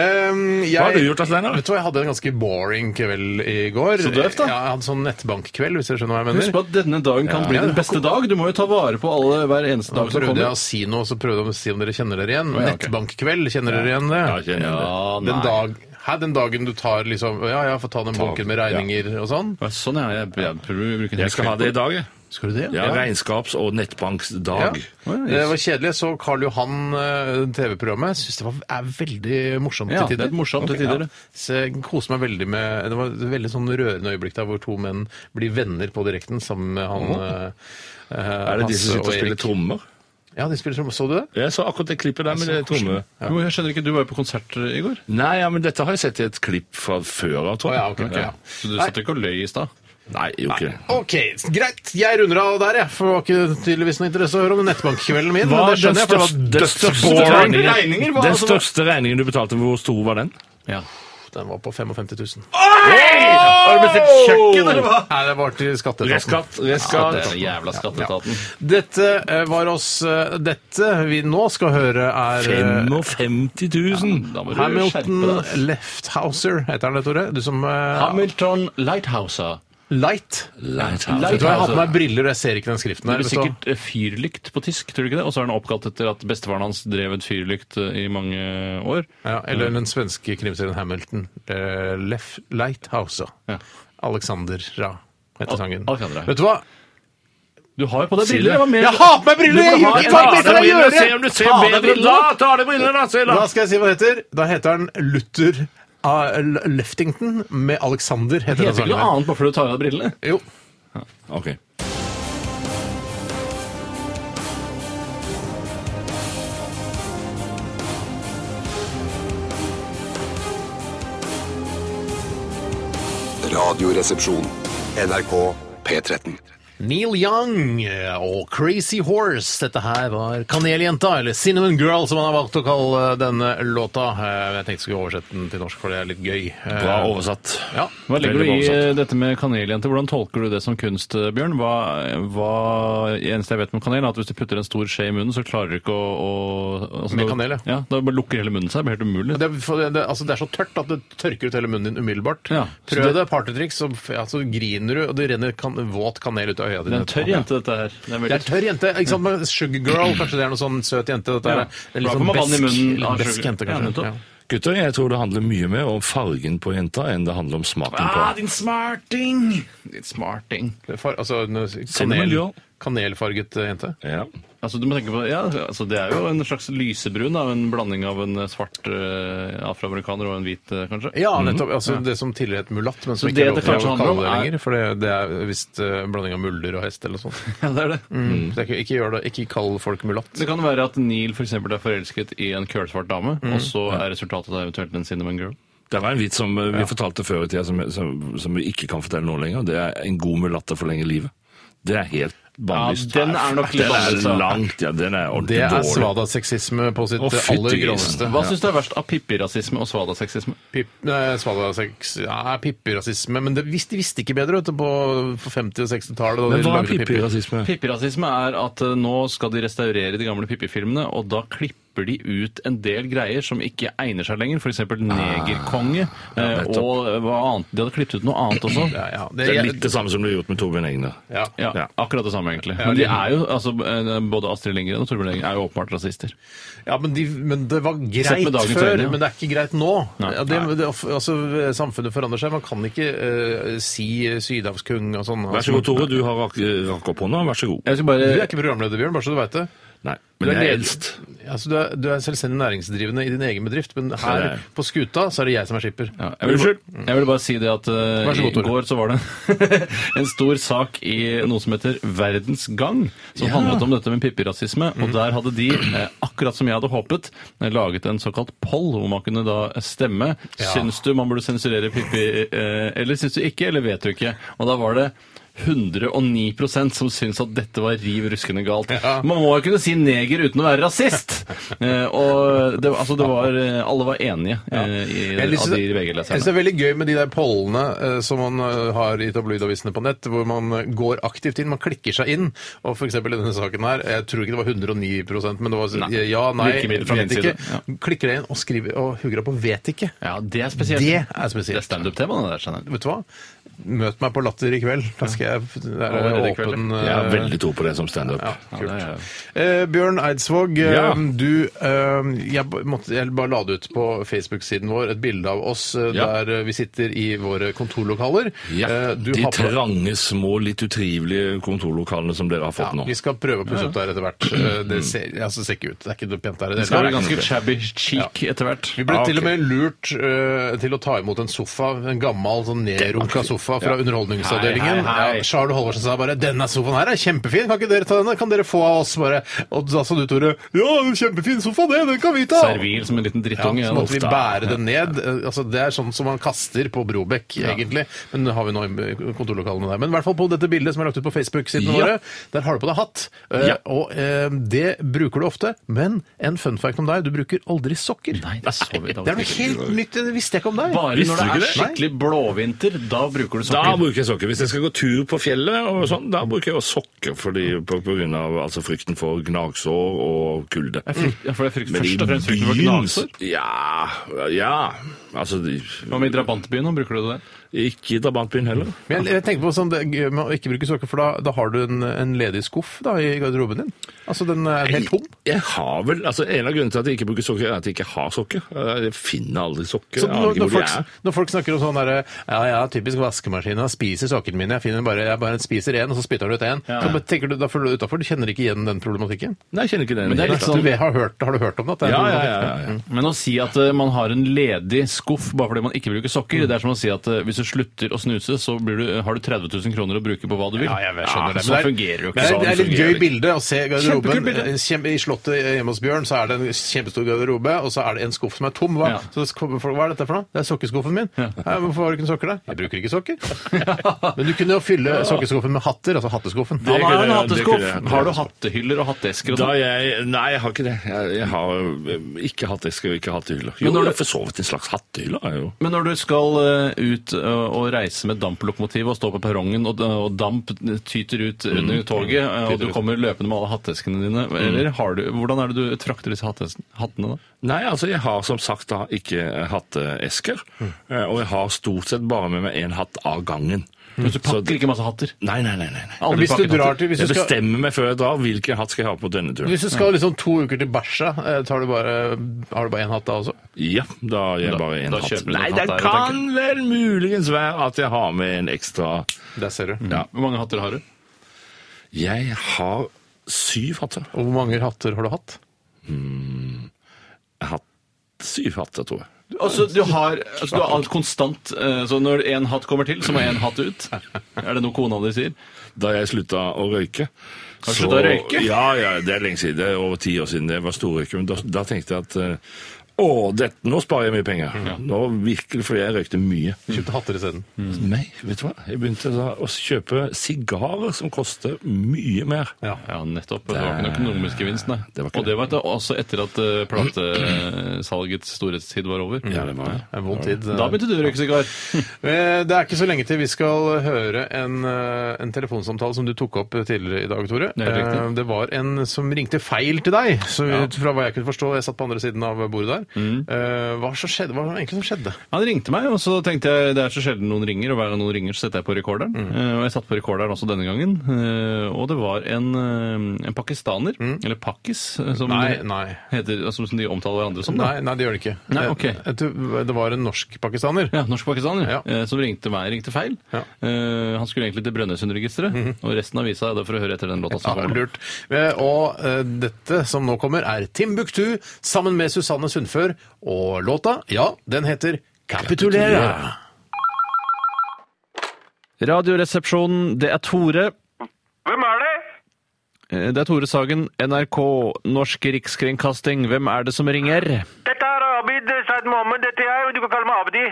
Speaker 7: Ehm, jeg,
Speaker 5: har du gjort da, Steinar?
Speaker 7: Vet du hva, jeg hadde en ganske boring kveld i går.
Speaker 8: Så døvt, da.
Speaker 7: Ja, jeg hadde sånn nettbankkveld, hvis dere skjønner hva jeg mener.
Speaker 8: Husk på at denne dagen kan bli den beste dag. Du må jo ta vare på alle hver eneste
Speaker 7: Da
Speaker 8: dag som
Speaker 7: prøvde jeg
Speaker 8: kommer.
Speaker 7: å si noe, så prøvde jeg å si om dere kjenner dere igjen.
Speaker 8: ja, ok.
Speaker 7: Nettbankkveld, kjenner dere igjen det?
Speaker 5: Ja, jeg kjenner det.
Speaker 8: Ah,
Speaker 7: den, dag, hæ, den dagen du tar liksom Ja, ja, får ta den bunken med regninger og sånn.
Speaker 8: Å, Sånn, ja. Jeg, jeg prøver å bruke en
Speaker 5: Jeg skal ha det i dag, jeg.
Speaker 7: Skal du det?
Speaker 5: Ja, regnskaps- og nettbanksdag.
Speaker 8: Å, ja,
Speaker 7: Det var kjedelig. Jeg så Karl Johan, eh, TV-programmet. Syns det var, er veldig morsomt
Speaker 8: Ja,
Speaker 7: til tider.
Speaker 8: det er morsomt til
Speaker 7: Ok,
Speaker 8: tider, det.
Speaker 7: Ja. Så jeg koser meg veldig med Det var et veldig sånn rørende øyeblikk der hvor to menn blir venner på direkten sammen med han eh,
Speaker 5: Er det de som sitter og spiller trommer?
Speaker 7: Ja, de spiller trommer. Så du det?
Speaker 5: Jeg så akkurat det klippet der med det tromme.
Speaker 8: Jo, jeg skjønner ikke, du var jo på konsert eh, i går.
Speaker 5: Nei, ja, men dette har jeg sett i et klipp fra før av,
Speaker 7: Å,
Speaker 5: tror
Speaker 7: ja,
Speaker 5: jeg.
Speaker 7: ok, ok, ja.
Speaker 8: Så du satt ikke og løy i stad?
Speaker 5: Nei, jo ikke.
Speaker 7: OK, greit. Jeg runder av der, jeg. For det var ikke tydeligvis noe interesse å høre om nettbankkvelden min. men
Speaker 5: Hva er
Speaker 7: det
Speaker 5: den
Speaker 7: skjønner jeg, for det var
Speaker 5: største-
Speaker 7: dødsboring.
Speaker 5: regningen-
Speaker 8: regninger var
Speaker 5: Den
Speaker 8: altså-
Speaker 5: største regningen du betalte, hvor stor var den?
Speaker 8: Ja.
Speaker 7: Den var på 55 000.
Speaker 8: Har du bestilt kjøkken, eller hva?
Speaker 7: Nei, det var til skatteetaten.
Speaker 5: Reskatt, reskatt.
Speaker 8: den jævla skatteetaten.
Speaker 7: Dette eh, var oss eh, Dette vi nå skal høre, er eh,
Speaker 5: 55 000!
Speaker 8: Da må du skjerpe
Speaker 7: Hamilton
Speaker 8: deg.
Speaker 7: Lefthouser heter han det, Tore? Du som eh,
Speaker 8: Hamilton Lighthouser.
Speaker 7: Light.
Speaker 5: Lighthouse.
Speaker 7: Vet du hva, jeg har på meg briller, og jeg ser ikke den skriften
Speaker 8: Det
Speaker 7: her.
Speaker 8: er
Speaker 7: så-
Speaker 8: sikkert eh, fyrlykt på tysk, tror du ikke det? Og så er den oppkalt etter at bestefaren hans drev et fyrlykt eh, i mange år.
Speaker 7: Ja, eller den svenske krimserien Hamilton. Eh, Lef Lighthouser.
Speaker 8: Ja.
Speaker 7: Alexander Ra heter
Speaker 8: Al-
Speaker 7: sangen.
Speaker 8: Alexandra.
Speaker 7: Vet du hva?
Speaker 8: Du har jo på deg
Speaker 5: Sier
Speaker 8: briller!
Speaker 5: du?
Speaker 8: det var mer-
Speaker 7: Jeg har på meg briller!
Speaker 8: Du burde
Speaker 7: Jeg
Speaker 8: ha-
Speaker 7: gikk- Hva er det
Speaker 5: Ta av deg
Speaker 7: jeg gjør?
Speaker 5: brillene, se om du ser
Speaker 8: Ta av deg
Speaker 5: bedre ut!
Speaker 8: brillene.
Speaker 5: Da tar du brillene, da! Se,
Speaker 7: Da
Speaker 5: da!
Speaker 7: skal jeg si hva den heter. Da heter den Luther ah, L- Leftington med Alexander.
Speaker 8: Det
Speaker 7: heter den
Speaker 8: heter ikke
Speaker 7: sangen.
Speaker 8: noe
Speaker 7: der.
Speaker 8: annet bare fordi du tar av deg brillene.
Speaker 7: Jo.
Speaker 5: Ok.
Speaker 6: Radioresepsjon. NRK P13.
Speaker 7: Neil Young og Crazy Horse. Dette her var Kaneljenta, eller Cinnamon Girl, som han har valgt å kalle denne låta. Eh, Jeg tenkte jeg skulle oversette den til norsk, for det er litt gøy. Eh,
Speaker 5: Bra oversatt.
Speaker 7: Ja.
Speaker 8: Hva legger du
Speaker 5: Veldig
Speaker 8: i
Speaker 5: bra
Speaker 8: eh, dette med kaneljenter? Hvordan tolker du det som kunst, eh, Bjørn? Hva, hva eneste jeg vet med kanel, er at hvis du putter en stor skje i munnen, så klarer du ikke å, å altså,
Speaker 7: Med
Speaker 8: da-
Speaker 7: kanel, ja.
Speaker 8: ja. Da bare lukker hele munnen seg. Det blir helt umulig.
Speaker 7: Det, er- for det, det, altså det er så tørt at det tørker ut hele munnen din umiddelbart.
Speaker 8: Ja.
Speaker 7: Prøv
Speaker 8: Så
Speaker 7: det,
Speaker 8: det-
Speaker 7: partytriks, så, f- ja, så griner du, og det renner kan, våt kanel ut av øya
Speaker 8: Det
Speaker 7: dine.
Speaker 8: er en tørr jente, dette her. Det er
Speaker 7: Det
Speaker 8: veldig...
Speaker 7: er tørr jente. ikke sant? Men Sugar girl, kanskje det er noe sånn søt jente. Dette
Speaker 8: Ja.
Speaker 7: er en litt
Speaker 8: Da
Speaker 7: sånn
Speaker 8: kommer vann i
Speaker 7: besk,
Speaker 8: munnen av
Speaker 7: litt besk
Speaker 8: sugar.
Speaker 7: jente,
Speaker 8: Ja, nettopp.
Speaker 7: kanskje. Ja.
Speaker 5: Gutter, jeg tror det handler mye mer om fargen på jenta enn det handler om smaken på
Speaker 8: Ah, din smarting! Din smarting.
Speaker 7: Det er Far, altså en
Speaker 8: Sånn
Speaker 5: Cinnamon
Speaker 7: kanel,
Speaker 5: girl.
Speaker 7: kanelfarget eh, jente.
Speaker 5: Ja.
Speaker 8: Altså, du må tenke på, ja, altså, det er jo en slags lysebrun, da, en blanding av en eh, svart eh, afroamerikaner og en hvit, eh, kanskje?
Speaker 7: Ja, nettopp. altså Det som tidligere het mulatt, men som
Speaker 8: Så
Speaker 7: ikke er
Speaker 8: det det
Speaker 7: lov til
Speaker 8: kanskje
Speaker 7: å
Speaker 8: handler om
Speaker 7: kalle det
Speaker 8: er-
Speaker 7: lenger. For det, det er visst eh, en blanding av mulder og hest eller noe sånt.
Speaker 8: Ja, det er det.
Speaker 7: Så det er ikke, ikke gjør det. Ikke kall folk mulatt.
Speaker 8: Mm. Det kan være at Neil for eksempel, er forelsket i en kølsvart dame, og så er resultatet da eventuelt en cinnamon girl.
Speaker 5: Det var en vits som eh, vi fortalte før i tida, som, som, som vi ikke kan fortelle nå lenger. Det er en god mulatte forlenger livet. Det er helt bannlyst.
Speaker 8: Ja, den er nok litt
Speaker 5: Den er
Speaker 8: bannlyst, ja.
Speaker 5: langt, ja. Den er ordentlig
Speaker 7: Det er
Speaker 5: dårlig.
Speaker 7: svada-sexisme på sitt
Speaker 5: Å, fytti
Speaker 7: aller
Speaker 5: grisen.
Speaker 7: groveste.
Speaker 8: Hva syns du er verst av pippirasisme og svadasexisme?
Speaker 7: Pip, nei, svada-sex ja, pipperasisme. Men det, vis- de visste ikke bedre vet du, på på 50- og 60-tallet. da de
Speaker 5: Men hva
Speaker 7: lagde
Speaker 5: er
Speaker 7: pippi.
Speaker 5: pippi-rasisme?
Speaker 8: Pippirasisme er at eh, nå skal de restaurere de gamle pippifilmene, og da klipper de ut en del greier som ikke egner seg lenger, f.eks. negerkonge, eh,
Speaker 5: nettopp.
Speaker 8: og hva annet. De hadde klippet ut noe annet også.
Speaker 7: Ja, ja.
Speaker 5: Det er litt det samme som ble gjort med Torbjørn Egner.
Speaker 7: ja.
Speaker 8: Ja,
Speaker 5: Ja.
Speaker 8: akkurat det samme, egentlig. Men de er jo, altså, eh, både Astrid Lindgren og Torbjørn Eggen er jo åpenbart rasister.
Speaker 7: Ja, men, de, men det var greit
Speaker 8: med dagens
Speaker 7: før,
Speaker 8: øyne, ja.
Speaker 7: men det er ikke greit nå.
Speaker 8: Nei.
Speaker 7: Ja, det, det, altså, samfunnet forandrer seg. Man kan ikke eh, si eh, sydhavskung og sånn.
Speaker 5: Vær så god, Tore. Du har rak- rakk opp hånda. Vær så god.
Speaker 8: Jeg skal
Speaker 7: Du
Speaker 8: bare...
Speaker 7: er ikke programleder, Bjørn, bare så du veit det.
Speaker 5: Nei,
Speaker 7: Du
Speaker 5: men
Speaker 7: er
Speaker 5: jeg er
Speaker 7: leder-
Speaker 5: eldst.
Speaker 7: Altså, du, er, du er selvstendig næringsdrivende i din egen bedrift, men her
Speaker 5: det er jeg.
Speaker 7: på skuta så er det jeg som er skipper.
Speaker 8: Ja, jeg vil,
Speaker 5: Unnskyld.
Speaker 8: ba- Jeg vil bare si det at eh,
Speaker 7: Vær så god,
Speaker 8: i
Speaker 7: Tore.
Speaker 8: går så var det en stor sak i noe som heter Verdens Gang, som handlet om dette med pippirasisme.
Speaker 7: Mm.
Speaker 8: Og der hadde de, eh, akkurat som jeg hadde håpet, eh, laget en såkalt poll hvor man kunne da stemme. Syns du man burde sensurere pippi, eh, eller syns du ikke, eller vet du ikke? Og da var det 109 som syns at dette var riv ruskende galt. Man må jo kunne si neger uten å være rasist! Eh, og det, altså, det var, eh, alle var enige eh, i
Speaker 7: Jeg
Speaker 8: av de
Speaker 7: synes det- jeg synes det
Speaker 8: VG-leserne.
Speaker 7: er veldig gøy med de der pollene eh, som man eh, har i tabloidavisene på nett, hvor man eh, går aktivt inn, man klikker seg inn. Og for eksempel i denne saken her, jeg tror ikke det var 109 men det var
Speaker 8: Nei.
Speaker 7: eh, ja, nei,
Speaker 8: Virkemiddel fra min
Speaker 7: vet ikke.
Speaker 8: side, ja.
Speaker 7: Klikker deg inn og skriver og hugger deg på 'vet ikke'.
Speaker 8: Ja, det er spesielt.
Speaker 7: Det er
Speaker 8: Det er
Speaker 7: spesielt.
Speaker 8: standup-temaet, det der. skjønner jeg.
Speaker 7: Vet du hva? Møt meg på Latter i kveld. Da skal jeg det er
Speaker 8: Allerede i kveld,
Speaker 7: åpen
Speaker 5: Jeg har
Speaker 7: eh,
Speaker 5: veldig tro på det som standup.
Speaker 7: ja,
Speaker 8: Ja,
Speaker 7: kult.
Speaker 8: det er-
Speaker 7: Eh, Bjørn Eidsvåg, eh,
Speaker 5: Ja.
Speaker 7: du eh, jeg, b- måtte, jeg bare la det ut på Facebook-siden vår et bilde av oss eh,
Speaker 8: Ja.
Speaker 7: der eh, vi sitter i våre kontorlokaler.
Speaker 5: Ja,
Speaker 7: Eh, du
Speaker 5: de
Speaker 7: har på-
Speaker 5: trange, små, litt utrivelige kontorlokalene som dere har fått
Speaker 7: ja,
Speaker 5: nå.
Speaker 7: vi skal prøve å pusse opp der etter hvert. Eh, Det ser, altså, det ser ikke ut. Det er ikke noe pent der. i Det,
Speaker 8: Det
Speaker 7: hele
Speaker 8: blir
Speaker 7: tatt.
Speaker 8: ganske shabby chic etter hvert.
Speaker 7: vi ble
Speaker 5: Ja, ok.
Speaker 7: til og med lurt eh, til å ta imot en sofa, en gammel sånn nedrunka sofa fra Underholdningsavdelingen.
Speaker 8: Hei, hei, hei.
Speaker 7: Ja, Charlo Halvorsen sa bare 'Denne sofaen her er kjempefin, kan ikke dere ta denne? Kan dere få av oss?' bare Og da sa du, Tore, 'Ja, kjempefin sofa, det. Den kan vi ta.'
Speaker 8: Servil som en liten drittunge.
Speaker 7: Ja, så måtte vi
Speaker 8: ofte.
Speaker 7: bære det ned. Eh, Altså, det er sånn som man kaster på Brobekk, egentlig. Men det har vi nå i kontorlokalene der. Men i hvert fall på dette bildet som er lagt ut på Facebook-sidene
Speaker 8: Ja.
Speaker 7: våre, der har du på deg hatt. Eh,
Speaker 8: Ja.
Speaker 7: Og eh, det bruker du ofte. Men en fun fact om deg, du bruker aldri sokker.
Speaker 8: Nei, det, er så vidt
Speaker 7: Det er noe helt nytt, det visste jeg ikke om deg.
Speaker 8: Bare
Speaker 5: Visste
Speaker 8: når det
Speaker 5: du ikke
Speaker 8: er
Speaker 5: det?
Speaker 8: skikkelig blåvinter, da bruker du
Speaker 5: Da
Speaker 8: sokker.
Speaker 5: bruker jeg sokker. Hvis jeg skal gå tur på fjellet, og sånn, da bruker jeg jo sokker fordi, på, på grunn av altså, frykten for gnagsår og kulde.
Speaker 8: Jeg frykt- ja, for jeg frykter
Speaker 5: Men i
Speaker 8: først og fremst frykten for
Speaker 5: byen-
Speaker 8: gnagsår.
Speaker 5: Ja, ja. Altså, de-
Speaker 8: Hva med i drabantbyen? nå? Bruker du det?
Speaker 5: ikke i drabantbyen heller.
Speaker 7: Men jeg, jeg tenker på sånn, det er gøy med å ikke bruke sokker, for da, da har du en, en ledig skuff da, i garderoben din. Altså, den er helt tom.
Speaker 5: Jeg har vel, altså En av grunnene til at jeg ikke bruker sokker, er at jeg ikke har sokker. Jeg finner aldri sokker.
Speaker 7: Så
Speaker 5: Jeg aner
Speaker 7: når,
Speaker 5: ikke hvor
Speaker 7: når,
Speaker 5: de
Speaker 7: folk,
Speaker 5: er.
Speaker 7: når folk snakker om sånn derre Ja, ja, typisk vaskemaskinen. Jeg spiser sokkene mine. Jeg finner bare, jeg bare spiser én, og så spytter han ut én. Så bare tenker du, Da føler du deg utafor. Du kjenner ikke igjen den problematikken?
Speaker 5: Nei, jeg kjenner ikke det. i
Speaker 8: Men det er
Speaker 5: hele
Speaker 8: litt
Speaker 5: tatt.
Speaker 8: sånn-
Speaker 7: Du vet- har, hørt, har du hørt om det? at det er
Speaker 5: ja,
Speaker 7: en
Speaker 5: ja,
Speaker 7: problematikk?
Speaker 5: ja, ja, ja.
Speaker 8: Men å si at eh, man har en ledig skuff bare fordi man ikke bruker sokker, det er som å si at eh, hvis du du slutter å snuse, så blir du, har du 30 000 kroner å bruke på hva du vil.
Speaker 7: Ja, jeg vet, skjønner det.
Speaker 8: Så
Speaker 7: Men
Speaker 8: sånn fungerer jo
Speaker 7: men
Speaker 8: ikke
Speaker 7: det er- Det er litt gøy
Speaker 8: fungerer ikke.
Speaker 7: bilde å se garderoben.
Speaker 8: Kjempekult bilde.
Speaker 7: Eh, kjem- I slottet hjemme hos Bjørn så er det en kjempestor garderobe, og så er det en skuff som er tom. Hva,
Speaker 8: Ja.
Speaker 7: så kommer folk, hva er dette for noe? Det er sokkeskuffen min. «Hæ, Hvorfor har du ikke noen sokker der? Jeg bruker ikke sokker. Men du kunne jo fylle sokkeskuffen med hatter, altså hatteskuffen.
Speaker 8: Han har jo
Speaker 5: kunne jeg-
Speaker 8: en
Speaker 5: det kunne
Speaker 8: hatteskuff!
Speaker 5: jeg-
Speaker 8: Har du hattehyller og hatteesker og
Speaker 5: Da
Speaker 8: sånn?
Speaker 5: jeg Nei, jeg har ikke det. Jeg, jeg har eh, ikke hatt eske og ikke hattehyller. Jo,
Speaker 8: Men når
Speaker 5: jeg har
Speaker 8: du-
Speaker 5: for så vidt en slags hattehylle. er jeg jo.
Speaker 8: Men når du skal eh, ut eh, og reise med damplokomotiv og stå på perrongen, og, eh, og damp tyter ut under toget, eh, og
Speaker 5: tyter
Speaker 8: du
Speaker 5: ut.
Speaker 8: kommer løpende med alle hatteskene dine, eller har du, hvordan er det du trakter disse hattes- hattene da?
Speaker 5: Nei, altså jeg har som sagt da ikke eh, hatteesker,
Speaker 8: Mm.
Speaker 5: eh, og jeg har stort sett bare med meg én hatt av gangen.
Speaker 8: Men du
Speaker 5: Så-
Speaker 8: pakker ikke masse hatter.
Speaker 5: Nei, nei, nei. nei. nei.
Speaker 8: Aldri
Speaker 7: Hvis du
Speaker 8: pakket
Speaker 7: drar
Speaker 8: hatter.
Speaker 7: til hvis du
Speaker 5: Jeg
Speaker 7: skal,
Speaker 5: bestemmer meg før jeg drar hvilken hatt skal jeg ha på denne turen.
Speaker 7: hvis du skal liksom to uker til Bæsja, eh, tar du bare, har du bare én hatt da også?
Speaker 5: Ja, da har jeg
Speaker 8: Da-
Speaker 5: bare én
Speaker 8: da
Speaker 5: hatt.
Speaker 8: kjøper du den
Speaker 5: Nei,
Speaker 8: hatten
Speaker 5: det
Speaker 8: der,
Speaker 5: kan vel muligens være at jeg har med en ekstra
Speaker 7: Der ser du.
Speaker 5: Ja.
Speaker 8: Hvor mange hatter har du?
Speaker 5: Jeg har syv hatter.
Speaker 7: Og hvor mange hatter har du hatt?
Speaker 5: Jeg har hatt syv hatter, tror jeg.
Speaker 8: Altså, du har, altså, du har alt konstant, eh, så når en hatt kommer til, så må en hatt ut. Er det noe kona di sier?
Speaker 5: Da jeg slutta å røyke
Speaker 8: Har du
Speaker 5: så-
Speaker 8: sluttet å røyke?
Speaker 5: Ja, ja, det er lenge siden. Det er over ti år siden jeg var storrøyker. Men da, da tenkte jeg at eh, å, dette, nå sparer jeg mye penger. Nå virkelig, For jeg røykte mye.
Speaker 7: Kjøpte hatter isteden.
Speaker 5: Nei, vet du hva? Jeg begynte da å kjøpe sigarer som koster mye mer.
Speaker 8: Ja, nettopp. Det var ikke noen økonomisk gevinst, nei.
Speaker 5: Det var ikke
Speaker 8: Og det var et- også etter at eh, platesalgets storhetstid var over.
Speaker 5: Ja, det var det.
Speaker 7: En vond tid.
Speaker 8: Da begynte du å røyke sigar.
Speaker 7: Eh, Det er ikke så lenge til vi skal høre en, eh, en telefonsamtale som du tok opp tidligere i dag, Tore.
Speaker 8: Det er helt riktig.
Speaker 7: Eh, Det var en som ringte feil til deg, så ut fra hva jeg kunne forstå. Jeg satt på andre siden av bordet der.
Speaker 8: Mm.
Speaker 7: Eh, Hva, så skjedde? hva var det egentlig som skjedde?
Speaker 8: Han ringte meg, og så tenkte jeg det er så sjelden noen ringer, og hver gang noen ringer, så setter jeg på rekorderen. Eh, og jeg satt på rekorderen også denne gangen. eh, og det var en, eh, en pakistaner, eller pakkis, eh, som,
Speaker 7: Nei,
Speaker 8: det
Speaker 7: nei.
Speaker 8: Heter, altså, som de omtaler hverandre som. Da.
Speaker 7: Nei, nei, det gjør det ikke.
Speaker 8: Nei, ok.
Speaker 7: Eh, du- Det var en norsk-pakistaner.
Speaker 8: Ja, Norsk-pakistaner,
Speaker 7: Ja.
Speaker 8: eh, som ringte meg, ringte feil.
Speaker 7: Ja.
Speaker 8: Eh, han skulle egentlig til Brønnøysundregisteret, og resten av visa er der for å høre etter den låta som
Speaker 7: Ja,
Speaker 8: kommer. nå.
Speaker 7: lurt. Eh, Og eh, dette som nå kommer, er Timbuktu sammen med Susanne Sundfør. Og låta, ja, den heter Kapitulera.
Speaker 8: Radioresepsjonen, det er Tore.
Speaker 4: Hvem er det?
Speaker 8: Eh, Det er Tore Sagen, NRK, Norsk Rikskringkasting. Hvem er det som ringer?
Speaker 4: Dette er Abid Said Mohammed. Dette er jeg, og du kan kalle meg Abdi.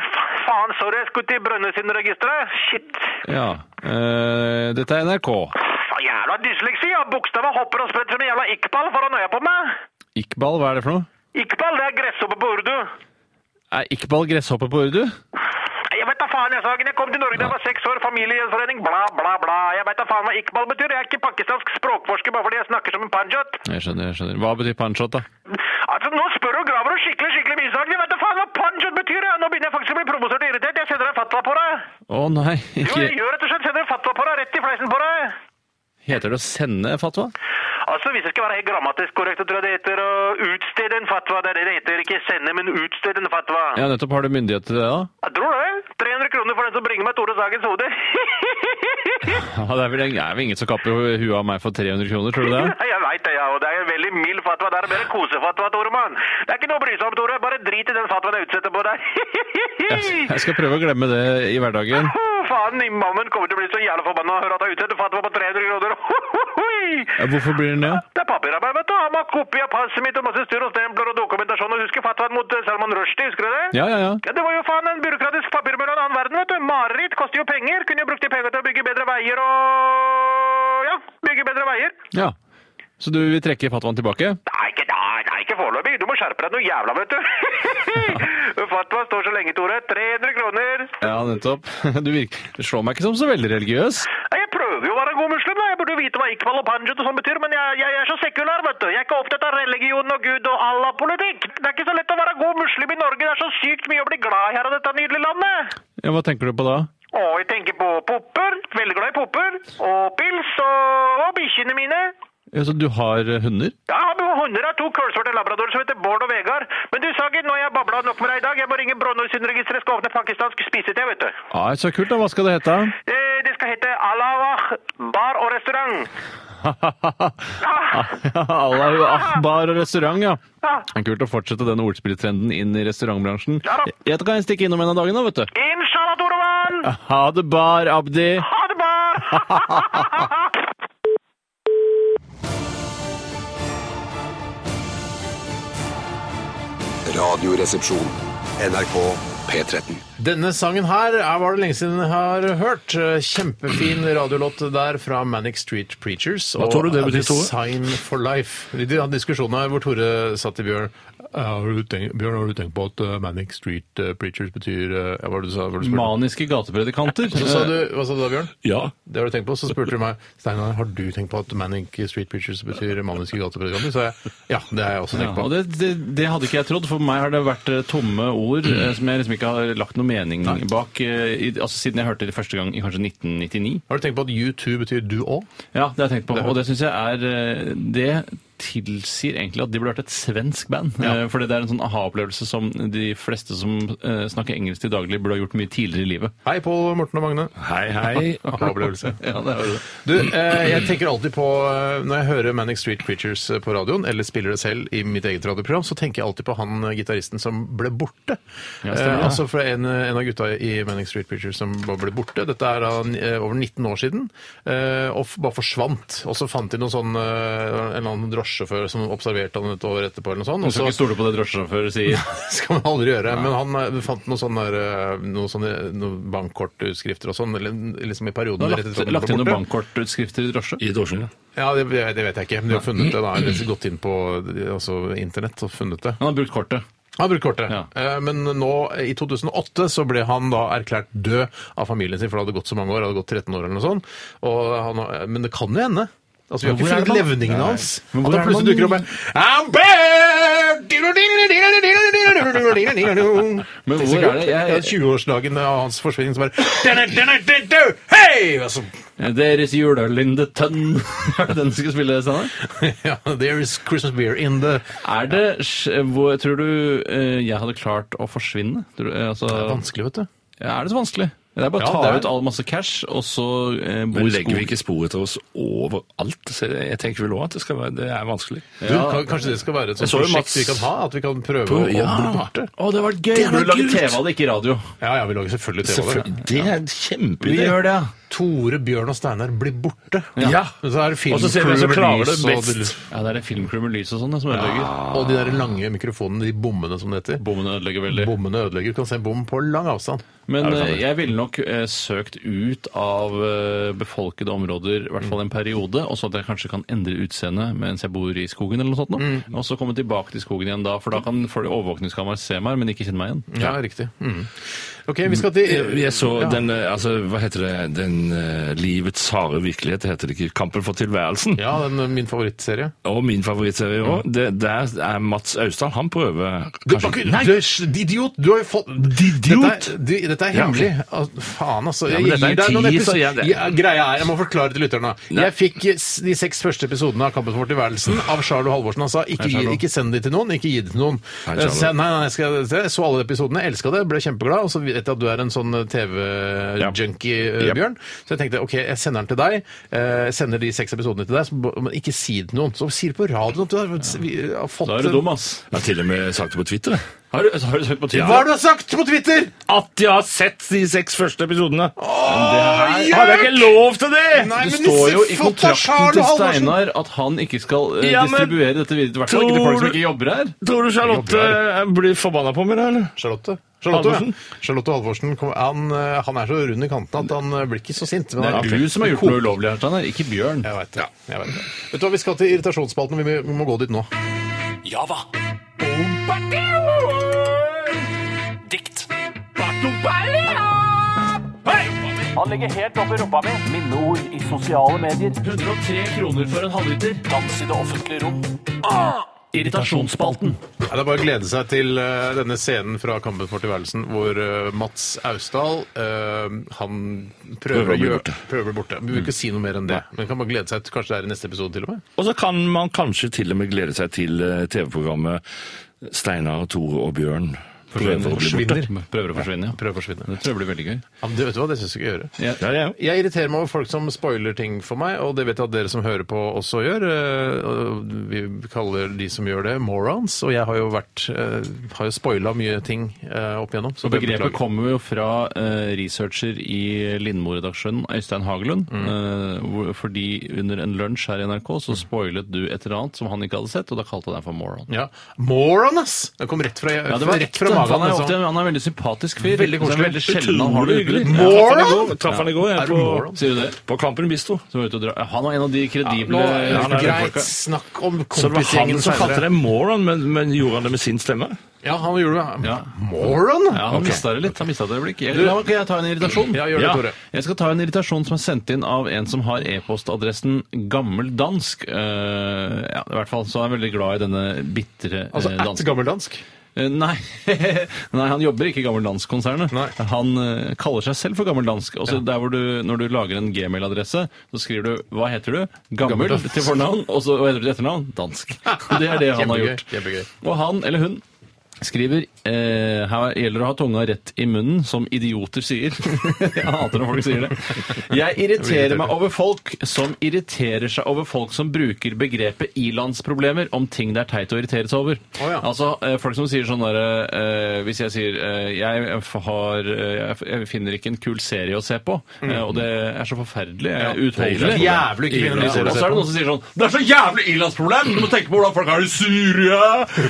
Speaker 4: Faen, sorry, jeg skulle til Brønnøysundregisteret. Shit.
Speaker 8: Ja, eh, dette er NRK.
Speaker 4: Faen, jævla dysleksi. Jeg bokstaver hopper og spretter som en jævla ikbal for å nøye på meg.
Speaker 8: Iqbal, hva er det for noe?
Speaker 4: Ikbal, det er gresshoppe på urdu.
Speaker 8: Er Iqbal gresshoppe på urdu?
Speaker 4: Jeg vet da faen, jeg Sagen. Jeg kom til Norge da jeg var seks år, familiegjenforening, bla, bla, bla. Jeg vet da faen hva ikbal betyr. Jeg er ikke pakistansk språkforsker bare fordi jeg snakker som en panjat.
Speaker 8: Jeg skjønner, jeg skjønner. Hva betyr panchot, da?
Speaker 4: Altså, nå spør og graver du skikkelig, skikkelig mye, Sagen. Jeg vet da faen hva panjat betyr. jeg. Nå begynner jeg faktisk å bli provosert og irritert. Jeg sender en fatwa på deg.
Speaker 8: Å nei,
Speaker 4: Jo, jeg
Speaker 8: ikke
Speaker 4: gjør rett og slett sender en fatwa på deg, rett i fleisen på deg.
Speaker 8: Heter det å sende fatwa?
Speaker 4: Altså, Hvis det skal være helt grammatisk korrekt, så tror jeg det heter å utstede en fatwa. Det er det det heter. Ikke sende, men utstede en fatwa.
Speaker 8: Ja, nettopp. Har du myndighet til det, da?
Speaker 4: Jeg tror det. 300 kroner for den som bringer meg Tore Sagens hode.
Speaker 8: Ja, Det er vel, det er vel ingen som kapper huet av meg for 300 kroner, tror du det?
Speaker 4: Nei, Jeg veit det, ja. Og det er en veldig mild fatwa. Det er mer en kosefatwa, Tore mann. Det er ikke noe å bry seg om, Tore. Bare drit i den fatwaen jeg utsetter på deg.
Speaker 8: Jeg skal prøve å glemme det i hverdagen.
Speaker 4: Åh, Faen, imammen kommer til å bli så jævla forbanna og høre at jeg utsetter fatwa på 300 kroner.
Speaker 8: Ja, Hvorfor blir den det? da?
Speaker 4: Det er papirarbeid, vet du. Han må kopi av passet mitt og masse styr og stempler og dokumentasjon. Og husker fatwaen mot eh, Salman Rushdie, husker du det?
Speaker 8: Ja, ja, ja.
Speaker 4: Ja, det var jo faen en byråkratisk papirbyrå i en annen verden, vet du. Mareritt koster jo penger. Kunne jo brukt de pengene til å bygge bedre veier og Ja, bygge bedre veier.
Speaker 8: ja. Så du vil trekke fatwaen tilbake?
Speaker 4: Nei, ikke, nei, nei, ikke foreløpig. Du må skjerpe deg noe jævla, vet du. Fatwa står så lenge, Tore. 300 kroner.
Speaker 8: Ja, nettopp. Du virker, det slår meg ikke som så veldig religiøs.
Speaker 4: Nei, Jeg prøver jo å være en god muslim. da. Jeg burde jo vite hva ikbal og panjat og sånn betyr, men jeg, jeg, jeg er så sekulær, vet du. Jeg er ikke opptatt av religion og Gud og Allah-politikk. Det er ikke så lett å være god muslim i Norge. Det er så sykt mye å bli glad i her i dette nydelige landet.
Speaker 8: Ja, Hva tenker du på da?
Speaker 4: Å, jeg tenker på popper. Veldig glad i popper. Og pils og, og bikkjene mine.
Speaker 8: Ja, så du har eh, hunder?
Speaker 4: Ja, Jeg har med hunder av to kullsvarte labradorer som heter Bård og Vegard. Men du, Sagen, nå har jeg babla nok med deg i dag. Jeg må ringe Brønnøysundregisteret. Skal åpne pakistansk spisete, vet du.
Speaker 8: Ja, så kult da. Hva skal det hete?
Speaker 4: Eh, Det skal hete Alawah bar og restaurant.
Speaker 8: Allahu Akbar og restaurant, ja.
Speaker 4: Ja.
Speaker 8: Det er Kult å fortsette den ordspilltrenden inn i restaurantbransjen.
Speaker 4: Ja da.
Speaker 8: Jeg jeg kan stikke innom en av dagene, vet du.
Speaker 4: Inshallah, Toroman!
Speaker 8: Ha det bar, Abdi.
Speaker 4: Ha det bra!
Speaker 6: Radioresepsjon. NRK P13.
Speaker 7: Denne sangen her er- var det lenge siden jeg har hørt. Eh, Kjempefin radiolåt der fra Manic Street Preachers. Hva
Speaker 5: tror du det betyr, Tore?
Speaker 7: Design for life. Vi hadde diskusjoner her hvor Tore sa til Bjørn Eh, har du tenkt, Bjørn, har du tenkt på at eh, Manic Street eh, Preachers betyr eh, ja, Hva var det du sa? Hva var det du spurte om?
Speaker 8: Maniske gatepredikanter.
Speaker 7: Så sa du, hva sa du da, Bjørn?
Speaker 5: Ja.
Speaker 7: Det har du tenkt på? Så spurte du meg Steinar, har du tenkt på at Manic Street Preachers betyr maniske gatepredikanter? Så jeg ja, det har jeg også
Speaker 8: Ja,
Speaker 7: tenkt
Speaker 8: og
Speaker 7: på.
Speaker 8: det, det, det hadde ikke jeg trodd. For meg har det vært eh, tomme ord eh, som jeg liksom ikke har lagt noe mening bak. eh, I, altså Siden jeg hørte det første gang i kanskje 1999.
Speaker 7: Har du tenkt på at U2 betyr du òg?
Speaker 8: Ja, det har jeg tenkt på. Og det syns jeg er eh, Det tilsier egentlig at de burde vært et svensk band.
Speaker 7: Ja.
Speaker 8: Eh, For det er en sånn aha-opplevelse som de fleste som eh, snakker engelsk til daglig, burde ha gjort mye tidligere i livet.
Speaker 7: Hei, Pål Morten og Magne.
Speaker 5: Hei, hei.
Speaker 7: Aha-opplevelse.
Speaker 8: Ja, det er jo det.
Speaker 7: Du, eh, jeg tenker alltid på eh, Når jeg hører Manic Street Preachers eh, på radioen, eller spiller det selv i mitt eget radioprogram, så tenker jeg alltid på han eh, gitaristen som ble borte.
Speaker 8: Ja,
Speaker 7: eh,
Speaker 8: stemmer det.
Speaker 7: altså fra en, eh, en av gutta i Manic Street Preachers som bare ble borte. Dette er da eh, over 19 år siden, eh, og f bare forsvant. Og så fant de noen sånn, eh, en eller annen drosjesjåfør som observerte han et år etterpå, eller noe sånt.
Speaker 8: Du
Speaker 7: og så-
Speaker 8: skal ikke stole på det drosjesjåfører sier.
Speaker 7: skal man aldri gjøre. Men han eh, fant noen sånne, der, eh, noen sånne noen bankkortutskrifter og sånn, eller liksom i
Speaker 8: Du
Speaker 7: perioden
Speaker 8: har
Speaker 7: rett etter
Speaker 8: lagt,
Speaker 7: at han ble
Speaker 8: lagt inn noen
Speaker 7: borte.
Speaker 8: bankkortutskrifter i drosje.
Speaker 5: I drosjen, ja.
Speaker 7: Ja, det, det det vet jeg ikke. Men de har funnet det, da. Eller gått inn på eh, altså, internett og funnet det.
Speaker 8: Han har brukt kortet.
Speaker 7: Han har brukt kortet.
Speaker 8: Ja.
Speaker 7: Eh, Men nå, eh, i 2008, så ble han da erklært død av familien sin, for det hadde gått så mange år. Det hadde gått 13 år eller noe sånt. Og han, har- men det kan jo hende. Altså, Vi
Speaker 8: Men
Speaker 7: har
Speaker 8: hvor er
Speaker 7: ikke funnet
Speaker 8: det man-
Speaker 7: levningene
Speaker 8: Nei.
Speaker 7: hans.
Speaker 8: Men
Speaker 7: At
Speaker 8: hvor er
Speaker 7: han
Speaker 8: det
Speaker 7: plutselig dukker opp
Speaker 8: man-
Speaker 7: med I'm back!
Speaker 8: Men hvor er det? Jeg-
Speaker 7: Ja, 20-årsdagen av hans forsvinning, så bare Hei! Og så
Speaker 8: Deres juleøl in the tun. Er det den du skal spille, Steinar?
Speaker 7: ja, There is Christmas beer in the
Speaker 8: Er det sj- hvor, Tror du eh, jeg hadde klart å forsvinne? Tror du, eh, altså,
Speaker 7: Det er vanskelig, vet du.
Speaker 8: ja, er det så vanskelig? Det er bare å
Speaker 7: Ja,
Speaker 8: ta
Speaker 7: det er-
Speaker 8: ut all masse cash, og så eh, bo
Speaker 5: Men
Speaker 8: i
Speaker 5: legger vi
Speaker 8: skogen.
Speaker 5: ikke spor etter oss overalt? Så jeg tenker vel òg at det, skal være, det er vanskelig.
Speaker 7: Du, kan- Kanskje det skal være et sånt
Speaker 5: Jeg så jo
Speaker 7: prosjekt
Speaker 5: Mats-
Speaker 7: vi kan ha? At vi kan prøve å- å bli borte?
Speaker 8: Å, det var gøy! Det
Speaker 5: var
Speaker 8: var
Speaker 5: kult!
Speaker 8: TV av det, ikke radio.
Speaker 7: Ja, ja, vi lager selvfølgelig TV av det.
Speaker 5: Selvfølgelig. Det er en
Speaker 8: Vi
Speaker 5: kjempeidé.
Speaker 8: gjør det, ja.
Speaker 7: Tore, Bjørn og Steinar blir borte.
Speaker 5: Ja.
Speaker 7: Men Så er det
Speaker 5: Og så ser vi hvem som
Speaker 7: filmcrew,
Speaker 5: klarer det
Speaker 7: lys og-
Speaker 5: best.
Speaker 8: Ja, Det er det filmklubb med lys og sånn det, som ødelegger.
Speaker 7: Og de der lange mikrofonene, de bommene som det heter.
Speaker 8: Bommene ødelegger veldig.
Speaker 7: Bommene ødelegger. Du kan se en bom på lang avstand.
Speaker 8: Men eh, jeg ville nok eh, søkt ut av eh, befolkede områder, i hvert fall en periode, og så at jeg kanskje kan endre utseende mens jeg bor i skogen eller noe sånt. nå. Og så komme tilbake til skogen igjen da, for da kan folk i overvåkningskameraet se meg, men ikke kjenne meg igjen.
Speaker 7: Ja, riktig. Mm. OK, vi skal til
Speaker 5: Jeg jeg så den, eh, altså, hva heter det, den eh, livets harde virkelighet, det heter det ikke, Kampen for tilværelsen.
Speaker 7: Ja, den er min favorittserie.
Speaker 5: Og min favorittserie òg. Der er Mats Austdal. Han prøver
Speaker 7: Du,
Speaker 5: kanskje
Speaker 7: du, du, idiot! Du har jo fått Dette,
Speaker 5: Idiot!
Speaker 7: er- du, dette er
Speaker 5: Ja.
Speaker 7: hemmelig. Al- faen, altså.
Speaker 5: Ja, men dette er
Speaker 7: gir deg noen
Speaker 5: teaser,
Speaker 7: epis-
Speaker 5: jeg- det-
Speaker 7: ja, greia er, jeg må forklare til lytterne. Jeg fikk s- de seks første episodene av Kampen for tilværelsen av Charlo Halvorsen. Han sa ikke, gi,
Speaker 8: Charlo.
Speaker 7: ikke send de til noen, ikke gi de til noen.
Speaker 5: Hei,
Speaker 7: Eh,
Speaker 5: Charlo.
Speaker 7: så jeg, nei, nei, jeg, skal, jeg så alle episodene, elska det, ble kjempeglad. Og så vet jeg at du er en sånn TV-junkie, eh,
Speaker 5: Ja.
Speaker 7: Bjørn. Så jeg tenkte OK, jeg sender den til deg. eh, Jeg sender de seks episodene til deg, så, b- men ikke si det til noen. Så si det på radioen at du har, vi har fått
Speaker 8: Da er du dum, ass.
Speaker 5: Jeg har til og med sagt det på Twitter. jeg.
Speaker 8: Har du, har du søkt på
Speaker 7: Hva
Speaker 8: Twitter?
Speaker 7: har du sagt på Twitter?!
Speaker 5: At jeg har sett de seks første episodene!
Speaker 7: Åh,
Speaker 5: Har jeg ikke lov til det?!
Speaker 7: Nei,
Speaker 8: Det
Speaker 7: men
Speaker 8: står jo i
Speaker 7: disse fotta
Speaker 8: kontrakten
Speaker 7: Charlo
Speaker 8: til
Speaker 7: Halvorsen!
Speaker 8: Steinar at han ikke skal eh,
Speaker 5: Ja, men-
Speaker 8: distribuere dette videre til hvert fall ikke til
Speaker 5: Tror
Speaker 8: folk som
Speaker 5: du-
Speaker 8: ikke jobber her.
Speaker 5: Tror du Charlotte eh, blir forbanna på meg da, eller?
Speaker 7: Charlotte. Charlotte,
Speaker 5: Halvorsen.
Speaker 7: Ja. Charlotte Halvorsen kom, han, eh, han er så rund i kanten at han eh, blir ikke så sint. Men
Speaker 8: Det
Speaker 7: han
Speaker 8: er du som har gjort noe ulovlig her, Steinar, ikke Bjørn.
Speaker 7: Jeg vet det. Jeg vet, det. vet du hva, Vi skal til irritasjonsspalten. Vi må- vi må gå dit nå.
Speaker 3: Java. Dikt. Han ligger helt oppi rumpa mi. Minneord i sosiale medier.
Speaker 8: 103 kroner for en halvliter. Ah!
Speaker 3: Dans i det offentlige rom.
Speaker 8: Irritasjonsspalten.
Speaker 7: Ja, det er bare å glede seg til eh, denne scenen fra Kampen for tilværelsen hvor eh, Mats Austdal eh, han prøver,
Speaker 5: Prøver å bli
Speaker 7: gjøre-
Speaker 5: borte.
Speaker 7: prøver å bli borte. Vi vil
Speaker 8: Mm.
Speaker 7: ikke si noe mer enn det. Men kan bare glede seg til kanskje det er i neste episode til og med.
Speaker 5: Og så kan man kanskje til og med glede seg til eh, TV-programmet Steinar, Tore og Bjørn Prøver å bli borte.
Speaker 7: forsvinner.
Speaker 8: Prøver å forsvinne, ja.
Speaker 7: Prøver å forsvinne.
Speaker 8: Det tror jeg blir veldig gøy.
Speaker 7: Ja, men det, vet du hva, det syns jeg ikke jeg gjøre.
Speaker 5: Ja, ja.
Speaker 7: Jeg irriterer meg over folk som spoiler ting for meg, og det vet jeg at dere som hører på også gjør. Eh, og Vi kaller de som gjør det, morons, og jeg har jo vært eh, har jo spoila mye ting eh, opp igjennom.
Speaker 8: Så Begrepet kommer jo fra eh, researcher i Lindmo-redaksjonen, Øystein Hagelund.
Speaker 7: Mm.
Speaker 8: eh, hvor- fordi under en lunsj her i NRK så spoilet du et eller annet som han ikke hadde sett, og da kalte han deg for moron.
Speaker 7: Ja. Moron, ass! Det kom rett fra,
Speaker 8: Ja, det var
Speaker 7: rett
Speaker 8: riktig.
Speaker 7: fra magen.
Speaker 8: Han er,
Speaker 7: altså.
Speaker 8: ofte, han er en veldig sympatisk fyr.
Speaker 7: Veldig
Speaker 8: Så det er
Speaker 7: koselig.
Speaker 8: veldig sjelden han har det
Speaker 5: Utrolig
Speaker 8: hyggelig.
Speaker 5: hyggelig.
Speaker 7: Moron?
Speaker 5: Traff han i går- Traff han i går, jeg,
Speaker 7: Er du moron?
Speaker 5: på,
Speaker 8: Sier du det?
Speaker 5: på Campen Bisto.
Speaker 8: Som var ute og dra. Han er en av de kredible
Speaker 7: Nå,
Speaker 5: Ja, han er det
Speaker 7: greit,
Speaker 5: folka.
Speaker 7: snakk
Speaker 5: Så
Speaker 7: om
Speaker 5: det var han
Speaker 7: kompisgjengen
Speaker 5: som kalte
Speaker 7: senere.
Speaker 5: deg moron, men, men gjorde han det med sin stemme?
Speaker 7: Ja, han gjorde det.
Speaker 8: Ja.
Speaker 7: Moron?
Speaker 8: Ja, han
Speaker 5: Ok.
Speaker 8: mistet det litt. Han mistet det et øyeblikk. Jeg-
Speaker 7: Du-
Speaker 8: La meg kan jeg ta en irritasjon.
Speaker 7: Ja, gjør det,
Speaker 5: Ja.
Speaker 7: Tore.
Speaker 8: Jeg skal ta en irritasjon som er sendt inn av en som har e-postadressen gammeldansk. Eh, ja, i hvert fall så er jeg veldig glad i denne bitre
Speaker 7: Altså
Speaker 8: eh,
Speaker 7: at
Speaker 8: dansken.
Speaker 7: gammeldansk.
Speaker 8: Eh, Nei. Nei, han jobber ikke i Gammeldansk-konsernet.
Speaker 7: Nei.
Speaker 8: Han eh, kaller seg selv for Gammeldansk. Og så der hvor du, Når du lager en gmail-adresse, så skriver du hva heter du? Gammel
Speaker 7: Gammeldansk.
Speaker 8: til fornavn, og så hva heter du til etternavn? Dansk. Det er det han har
Speaker 7: Kjempegøy,
Speaker 8: gjort.
Speaker 7: kjempegøy.
Speaker 8: Og han, eller hun, skriver eh, her gjelder det å ha tunga rett i munnen, som idioter sier. Jeg hater når folk sier det. Jeg irriterer meg over folk som irriterer seg over folk som bruker begrepet ilandsproblemer om ting det er teit å irritere seg over.
Speaker 7: Å ja.
Speaker 8: Altså, eh, folk som sier sånn derre eh, Hvis jeg sier eh, jeg, f- har, eh, jeg f- jeg finner ikke en kul serie å se på, eh, og det er så forferdelig eh, utholdelig.
Speaker 7: Mm. Det er jævlig ikke finne en ny serie å
Speaker 8: Og
Speaker 7: se
Speaker 8: så er det
Speaker 7: på.
Speaker 8: noen som sier sånn Det er så jævlig ilandsproblem! Du må tenke på hvordan folk har det i Syria!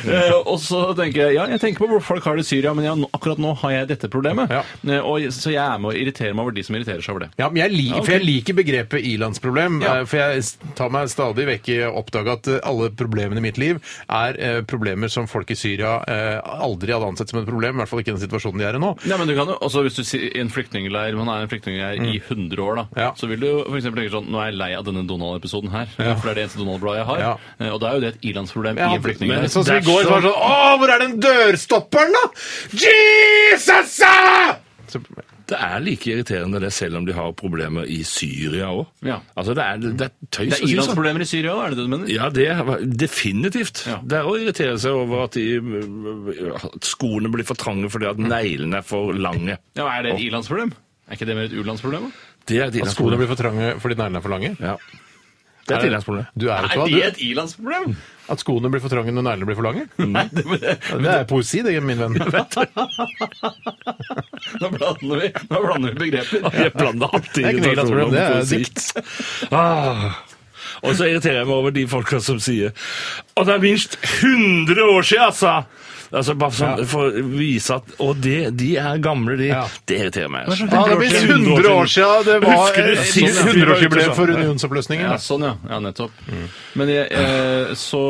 Speaker 8: Eh, og så tenker jeg ja, jeg tenker på hvordan folk har det i Syria, men ja, nå- akkurat nå har jeg dette problemet.
Speaker 7: Ja.
Speaker 8: Eh, og, så jeg er med og irriterer meg over de som irriterer seg over det.
Speaker 7: Ja, men jeg liker,
Speaker 8: Ja, ok.
Speaker 7: For jeg liker begrepet i-landsproblem.
Speaker 8: Ja.
Speaker 7: eh, For jeg s- tar meg stadig vekk i å oppdage at eh, alle problemene i mitt liv er eh, problemer som folk i Syria eh, aldri hadde ansett som et problem. I hvert fall ikke i den situasjonen de er i nå.
Speaker 8: Ja, men du kan jo, også Hvis du sier i en flyktningleir man er i en flyktningleir i 100 år, da,
Speaker 7: Mm. Ja.
Speaker 8: så vil du jo for eksempel tenke sånn Nå er jeg lei av denne Donald-episoden her, for det er det eneste Donald-bladet jeg har.
Speaker 7: Ja.
Speaker 8: Eh, Og da er jo det et ilandsproblem i en
Speaker 7: men
Speaker 8: flyktningleir.
Speaker 7: sånn som
Speaker 5: Dersom-
Speaker 7: i går, så var det sånn Å, hvor er den dørstopperen, da?! Jesus! ah!» Så,
Speaker 5: Det er like irriterende det, selv om de har problemer i Syria òg.
Speaker 8: Ja.
Speaker 5: Altså, det er, det er tøys å
Speaker 8: Det er
Speaker 5: si sånn.
Speaker 8: ilandsproblemer i Syria òg, er det det du mener?
Speaker 5: Ja, det er definitivt.
Speaker 8: Ja.
Speaker 5: Det er å irritere seg over at, de, at skoene blir for trange fordi at neglene er for lange.
Speaker 8: Ja, men Er det et i-landsproblem? Er ikke det mer et u-landsproblem? da?
Speaker 5: Det er et
Speaker 7: At skoene
Speaker 5: ilandsproblem.
Speaker 7: blir for trange fordi neglene er for lange?
Speaker 5: Ja. Det er et ilandsproblem.
Speaker 7: Du
Speaker 8: Er
Speaker 7: er, vet du Mm.
Speaker 8: det
Speaker 7: hva?
Speaker 8: et i-landsproblem?
Speaker 7: Du, at skoene blir for trange når neglene blir for lange?
Speaker 8: Nei, det, men det,
Speaker 7: Det er poesi, det, min venn.
Speaker 8: nå, blander vi, nå blander vi begreper.
Speaker 5: Jeg blander alltid
Speaker 7: Det er ikke noe ilandsproblem, det er
Speaker 5: poesi. Ah. Og så irriterer jeg meg over de folka som sier Og det er minst 100 år siden, altså! Altså Bare sånn, for å vise at Og det, de er gamle, de.
Speaker 7: Ja.
Speaker 5: Det irriterer meg. altså.
Speaker 7: Ja, det er blitt 100 år siden det var eh,
Speaker 5: Husker du
Speaker 7: et
Speaker 5: sist vi var ute,
Speaker 7: 100-årsjubileum
Speaker 5: sånn?
Speaker 7: for unionsoppløsningen.
Speaker 8: Ja,
Speaker 7: altså.
Speaker 8: sånn, ja. ja nettopp.
Speaker 7: Mm.
Speaker 8: Men jeg, eh, så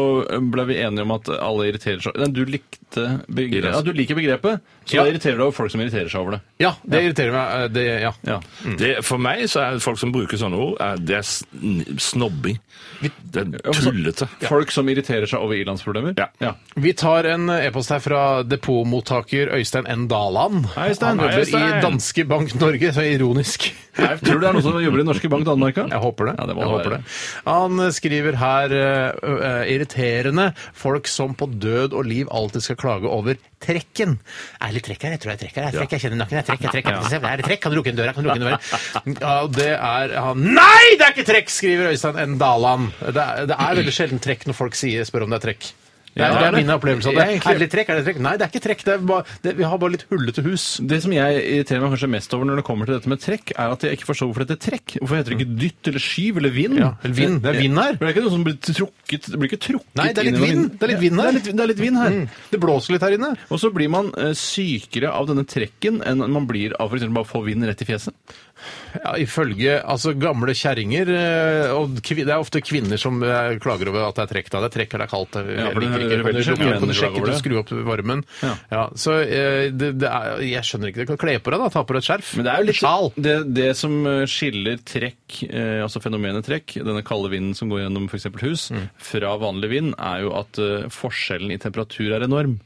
Speaker 8: ble vi enige om at alle irriterer seg Nei, Du likte begrepet. Ja, du liker begrepet, så
Speaker 7: Ja.
Speaker 8: da irriterer du deg over folk som irriterer seg over det.
Speaker 7: Ja, det irriterer meg. eh, Det, ja.
Speaker 8: Ja.
Speaker 5: Det, for meg så er folk som bruker sånne ord, er, det er sn- snobbing. Det er
Speaker 8: altså-
Speaker 5: tullete.
Speaker 8: Folk som irriterer seg over ilandsproblemer?
Speaker 5: Ja.
Speaker 7: Vi tar en eh, e-post her fra depotmottaker Øystein N. Daland.
Speaker 8: Hei, Øystein.
Speaker 7: Han
Speaker 8: Hei,
Speaker 7: jobber
Speaker 8: Øystein.
Speaker 7: i Danske Bank Norge, så ironisk.
Speaker 8: Jeg tror det er noen som jobber i Norske Bank Danmark?
Speaker 7: Jeg håper det.
Speaker 8: Ja, det må
Speaker 7: jeg
Speaker 8: det
Speaker 7: håper
Speaker 8: være.
Speaker 7: det. Han eh, skriver her eh, eh, irriterende folk som på død og liv alltid skal klage over trekken. Er det litt trekk her? Jeg tror jeg er trekk her. Jeg, er trekk, jeg kjenner nakken. Jeg er trekk, jeg er trekk. Jeg ser, Er det trekk? Kan du lukke en dør? her? Kan du lukke en dør? her? Ja, det er han. Nei, det er ikke trekk! skriver Øystein N. Daland. Det er, det er veldig sjelden trekk når folk sier, spør om det er trekk. Det er,
Speaker 8: Ja,
Speaker 7: det
Speaker 8: det er
Speaker 7: er min
Speaker 8: det.
Speaker 7: opplevelse av det.
Speaker 8: Jeg er egentlig-
Speaker 7: Er det litt trekk? Er det trekk? Nei, det er ikke trekk. Det er bare, det, vi har bare litt hullete hus.
Speaker 8: Det som jeg irriterer meg kanskje mest over når det kommer til dette med trekk, er at jeg ikke forstår hvorfor det heter trekk. Hvorfor heter det ikke dytt eller skyv eller vind?
Speaker 7: Ja, eller vind. Det er vind her.
Speaker 8: Men Det er ikke noe som blir trukket, det blir ikke trukket
Speaker 7: Nei, det er
Speaker 8: inn
Speaker 7: litt
Speaker 8: i noen
Speaker 7: vind. Det er litt vind
Speaker 8: Det
Speaker 7: her.
Speaker 8: er litt, det er litt vind her.
Speaker 7: Mm. Det blåser litt her inne.
Speaker 8: Og så blir man eh, sykere av denne trekken enn man blir av for eksempel bare å få vind rett i fjeset.
Speaker 7: Ja, ifølge altså, gamle kjerringer eh, Og kvin- det er ofte kvinner som eh, klager over at det er trekk. Da. Det er trekk her, det er kaldt. Jeg
Speaker 8: Ja, for det
Speaker 7: liker
Speaker 8: hører
Speaker 7: ikke. Kan
Speaker 8: veldig
Speaker 7: du-
Speaker 8: sjelden
Speaker 7: ja, Kan
Speaker 8: kvinner
Speaker 7: du
Speaker 8: klage
Speaker 7: sjekke
Speaker 8: over
Speaker 7: ut og
Speaker 8: det?
Speaker 7: skru opp varmen?
Speaker 8: Ja.
Speaker 7: Ja, så eh, det, det er, jeg skjønner ikke det. Kan Kle på deg, da. Ta på deg et skjerf.
Speaker 8: Men det er jo litt
Speaker 7: Sjal.
Speaker 8: det, det som eh, skiller trekk, eh, altså fenomenet trekk, denne kalde vinden som går Mm. gjennom f.eks. hus, fra vanlig vind, er jo at eh, forskjellen i temperatur er enorm.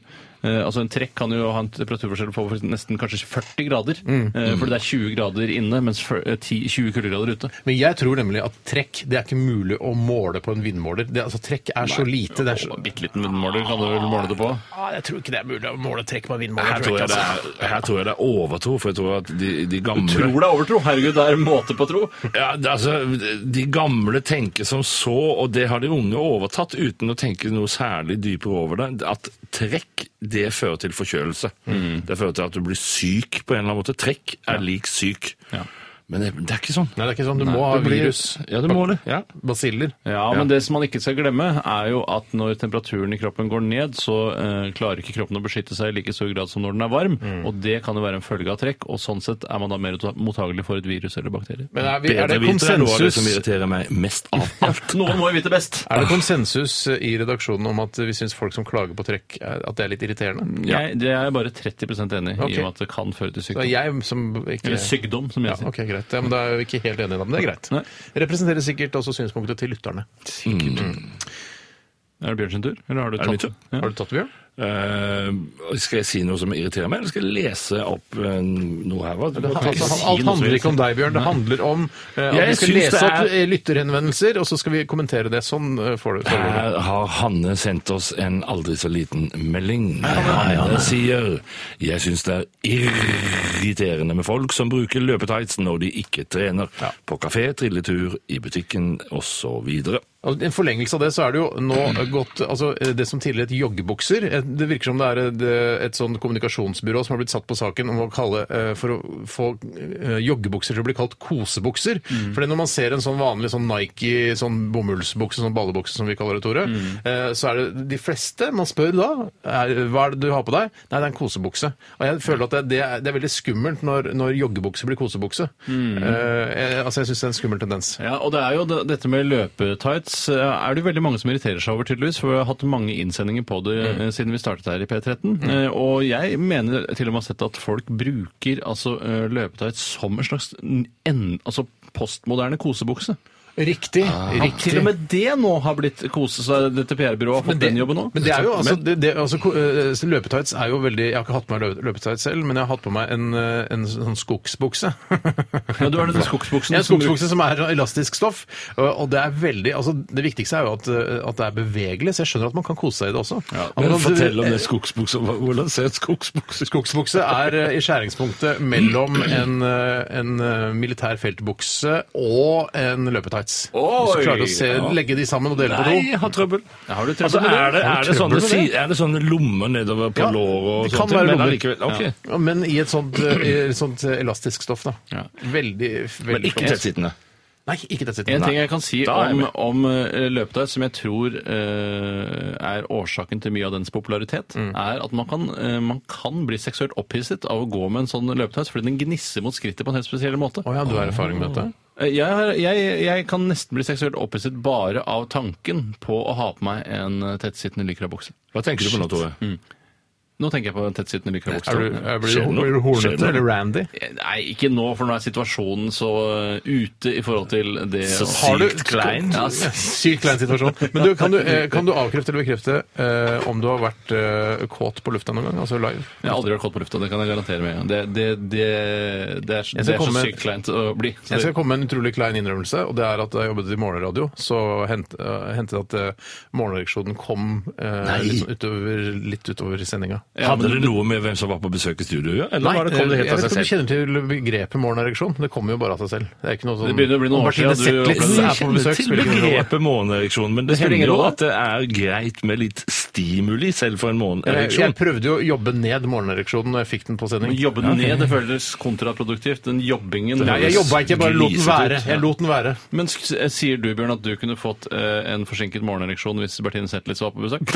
Speaker 8: eh, altså En trekk kan jo ha en temperaturforskjell på for eksempel nesten kanskje 40 grader. eh, fordi det er 20 grader inne, mens fyr- eh, 10, 20 kuldegrader ute.
Speaker 7: Men jeg tror nemlig at trekk det er ikke mulig å måle på en vindmåler. Det, altså, trekk er så lite. Det er så...
Speaker 8: Og en bitte liten vindmåler kan du vel måle det på?
Speaker 7: Ah, jeg tror ikke det er mulig å måle trekk på en vindmåler.
Speaker 5: Her tror jeg det er, her tror jeg det er overtro, for jeg tror at de, de gamle
Speaker 8: Tror det er overtro! Herregud, det er måte på tro!
Speaker 5: Ja, det, altså, De gamle tenker som så, og det har de unge overtatt uten å tenke noe særlig dypere over det, at trekk det fører til forkjølelse.
Speaker 7: Mm.
Speaker 5: Det fører til at du blir syk på en eller annen måte. Trekk er lik syk. Men det, det er ikke sånn.
Speaker 7: Nei, det er ikke sånn. Du må ha
Speaker 5: Det blir-
Speaker 7: virus.
Speaker 5: Ja, det må det. Ja.
Speaker 7: Basiller.
Speaker 8: Ja, men det som man ikke skal glemme, er jo at når temperaturen i kroppen går ned, så eh, klarer ikke kroppen å beskytte seg i like stor grad som når den er varm. Og det kan jo være en følge av trekk, og sånn sett er man da mer mottagelig for et virus eller bakterier.
Speaker 7: Men er, vi,
Speaker 5: Bedre
Speaker 7: er det
Speaker 5: vite er liksom noe av det som
Speaker 7: konsensus?
Speaker 5: irriterer meg mest av alt.
Speaker 8: Noen må jo vite best!
Speaker 7: Er det konsensus eh, i redaksjonen om at vi syns folk som klager på trekk, er- at det er litt
Speaker 5: Mm.
Speaker 7: irriterende?
Speaker 8: Jeg, det er jeg bare 30 enig i,
Speaker 7: Ok.
Speaker 8: i og med at det kan føre til
Speaker 7: Det
Speaker 8: sykdom.
Speaker 7: er jeg som ikke
Speaker 8: Eller sykdom, som jeg
Speaker 7: Ja,
Speaker 8: sier.
Speaker 7: ok, greit. Ja, men Da er vi ikke helt enige, da. Men det er greit.
Speaker 8: Nei.
Speaker 7: Representerer sikkert også synspunktet til lytterne.
Speaker 8: Er det Bjørn sin tur? Eller har du
Speaker 5: Er det min
Speaker 8: tatt
Speaker 5: tur?
Speaker 8: Ja.
Speaker 7: Har du tatt det, Bjørn?
Speaker 5: Eh, skal jeg si noe som irriterer meg, eller skal jeg lese opp eh, noe her? hva? Du må
Speaker 7: Altså,
Speaker 5: ikke
Speaker 7: han-
Speaker 5: si
Speaker 7: alt
Speaker 5: noe som
Speaker 7: handler ikke om deg, Bjørn. Det handler om eh, at
Speaker 5: Jeg
Speaker 7: vi skal
Speaker 5: syns
Speaker 7: lese
Speaker 5: det
Speaker 7: opp
Speaker 5: er-
Speaker 7: eh, lytterhenvendelser, og så skal vi kommentere det. Sånn eh, får du får du det.
Speaker 5: Her har Hanne sendt oss en aldri så liten melding. Hanne sier Jeg syns det er irriterende med folk som bruker løpetights når de ikke trener. På kafé, trilletur, i butikken osv.
Speaker 7: Og Altså, I en forlengelse av det, så er det jo nå gått altså, eh, Det som tidligere het joggebukser eh, Det virker som det er et, eh, et sånn kommunikasjonsbyrå som har blitt satt på saken om å kalle eh, for å få eh, joggebukser til å bli kalt kosebukser. Fordi når man ser en sånn vanlig sånn Nike, sånn bomullsbukse, sånn ballebukse som vi kaller det, Tore, eh, så er det de fleste man spør da er, Hva er det du har på deg? Nei, det er en kosebukse. Og jeg føler at det, det, er, det er veldig skummelt når, når joggebukse blir kosebukse. Eh, jeg- altså, jeg syns det er en skummel tendens.
Speaker 8: Ja, og det er jo det- dette med løpetights eh, er det jo veldig mange som irriterer seg over, tydeligvis. For vi har hatt mange innsendinger på det
Speaker 7: Mm.
Speaker 8: eh, siden vi startet her i P13. Eh, Og jeg mener til og med å ha sett at folk bruker altså, eh, løpetights som en slags n- en, altså postmoderne kosebukse.
Speaker 7: Riktig.
Speaker 8: At til og med det nå har blitt kose, så dette PR-byrået har fått den jobben nå.
Speaker 7: Men det er jo, altså, det, det, altså ko- eh, så løpetights er jo veldig Jeg har ikke hatt på meg løp- løpetights selv, men jeg har hatt på meg en, eh, en sånn skogsbukse.
Speaker 8: Ja, du har den skogsbuksen
Speaker 7: Ja, en
Speaker 8: som du-
Speaker 7: skogsbukse som er sånn elastisk stoff. Og og det er veldig altså, Det viktigste er jo at, eh, at det er bevegelig, så jeg skjønner at man kan kose seg i det også. At man
Speaker 5: Men altså, eh,
Speaker 7: kan-
Speaker 5: fortell om det skogsbuksa. Hva- Hvordan ser et skogsbukse ut?
Speaker 7: Skogsbukse er eh, i skjæringspunktet mellom en, eh, en eh, militær feltbukse og en løpetights. Hvis du klarer å se, legge de sammen og dele på
Speaker 5: Nei,
Speaker 7: to.
Speaker 5: jeg har trøbbel.
Speaker 8: Har du
Speaker 5: Altså,
Speaker 8: trøbbel med
Speaker 5: er, det,
Speaker 7: Har
Speaker 5: er,
Speaker 7: du
Speaker 5: det
Speaker 7: trøbbel
Speaker 5: sånne,
Speaker 7: med
Speaker 5: si-
Speaker 7: det?
Speaker 5: er det sånne lommer nedover på
Speaker 7: Ja,
Speaker 5: låret og
Speaker 7: det kan
Speaker 5: sånt? Men
Speaker 7: være lommer.
Speaker 5: allikevel- ok.
Speaker 7: Ja, men i et sånt, eh, i et sånt eh, elastisk stoff, da.
Speaker 8: Ja.
Speaker 7: Veldig, veldig
Speaker 5: Men ikke
Speaker 7: flott.
Speaker 5: tettsittende.
Speaker 7: Nei, ikke tettsittende.
Speaker 8: En ting
Speaker 7: Nei.
Speaker 8: jeg kan si
Speaker 5: Da er jeg
Speaker 8: om,
Speaker 5: med.
Speaker 8: om eh, løpetøy som jeg tror eh, er årsaken til mye av dens popularitet, er at man kan, eh, man kan bli seksuelt opphisset av å gå med en sånn løpetøy, fordi den gnisser mot skrittet på en helt spesiell måte.
Speaker 7: Å ja, du har erfaring med dette?
Speaker 8: Eh, Jeg, har, jeg, jeg kan nesten bli seksuelt opphisset bare av tanken på å ha på meg en eh, tettsittende lykrabukse.
Speaker 5: Hva tenker du på nå, Tore?
Speaker 8: Nå tenker jeg på en tettsittende lykrabukse.
Speaker 7: Er du, er, blir,
Speaker 5: Skjer det
Speaker 7: du-
Speaker 5: noe?
Speaker 7: blir du
Speaker 5: Skjer det noe?
Speaker 7: hornete eller randy?
Speaker 8: Nei, ikke nå, for nå er situasjonen så eh, ute i forhold til det
Speaker 5: Så
Speaker 8: å-
Speaker 7: Har du-
Speaker 5: sykt klein.
Speaker 8: Ja,
Speaker 7: Sykt klein situasjon. Men du, kan, du, eh, kan du avkrefte eller bekrefte eh, om du har vært eh, kåt på lufta noen gang? Altså live?
Speaker 8: Jeg har aldri vært kåt på lufta, det kan jeg garantere med en gang. Det, det, det, det er, det er så
Speaker 7: komme med-
Speaker 8: sykt kleint å bli. Så
Speaker 7: Jeg
Speaker 8: det,
Speaker 7: skal komme med en utrolig klein innrømmelse, og det er at da jeg jobbet i morgenradio, så hent- eh, hendte det at uh, morgenreaksjonen kom eh, litt, sånn utover, litt utover i sendinga.
Speaker 5: Hadde det noe med hvem som var på besøk i studio å gjøre? Eller var det, kom det
Speaker 7: eh,
Speaker 5: helt
Speaker 7: jeg
Speaker 5: av
Speaker 7: vet
Speaker 5: seg selv?
Speaker 7: ikke om du kjenner til begrepet morgenereksjon. Det kommer jo bare av seg selv. Det, er ikke noe sånn,
Speaker 8: Det begynner å bli noen
Speaker 7: Om
Speaker 8: år siden
Speaker 7: Bertine
Speaker 8: du
Speaker 7: Zetlitz
Speaker 8: opplevde
Speaker 7: er på besøk,
Speaker 5: til
Speaker 7: spiller ikke noen rolle.
Speaker 5: begrepet måneereksjon, men det
Speaker 8: spiller
Speaker 5: hender
Speaker 8: ingen
Speaker 5: jo
Speaker 8: rolle.
Speaker 5: at det er greit med litt stimuli selv for en
Speaker 7: Jeg, jeg
Speaker 5: måneereksjon.
Speaker 7: prøvde jo å jobbe ned morgenereksjonen når jeg fikk den på sending.
Speaker 8: å jobbe den ned, det føles kontraproduktivt. Den jobbingen
Speaker 7: Nei, jeg jobba ikke, jeg bare lot den
Speaker 5: Grisete ut,
Speaker 7: være.
Speaker 5: ja.
Speaker 7: Jeg lot den være.
Speaker 8: Men s- sier du, Bjørn, at du kunne fått eh, en forsinket morgenereksjon hvis Bertine Zetlitz var på besøk?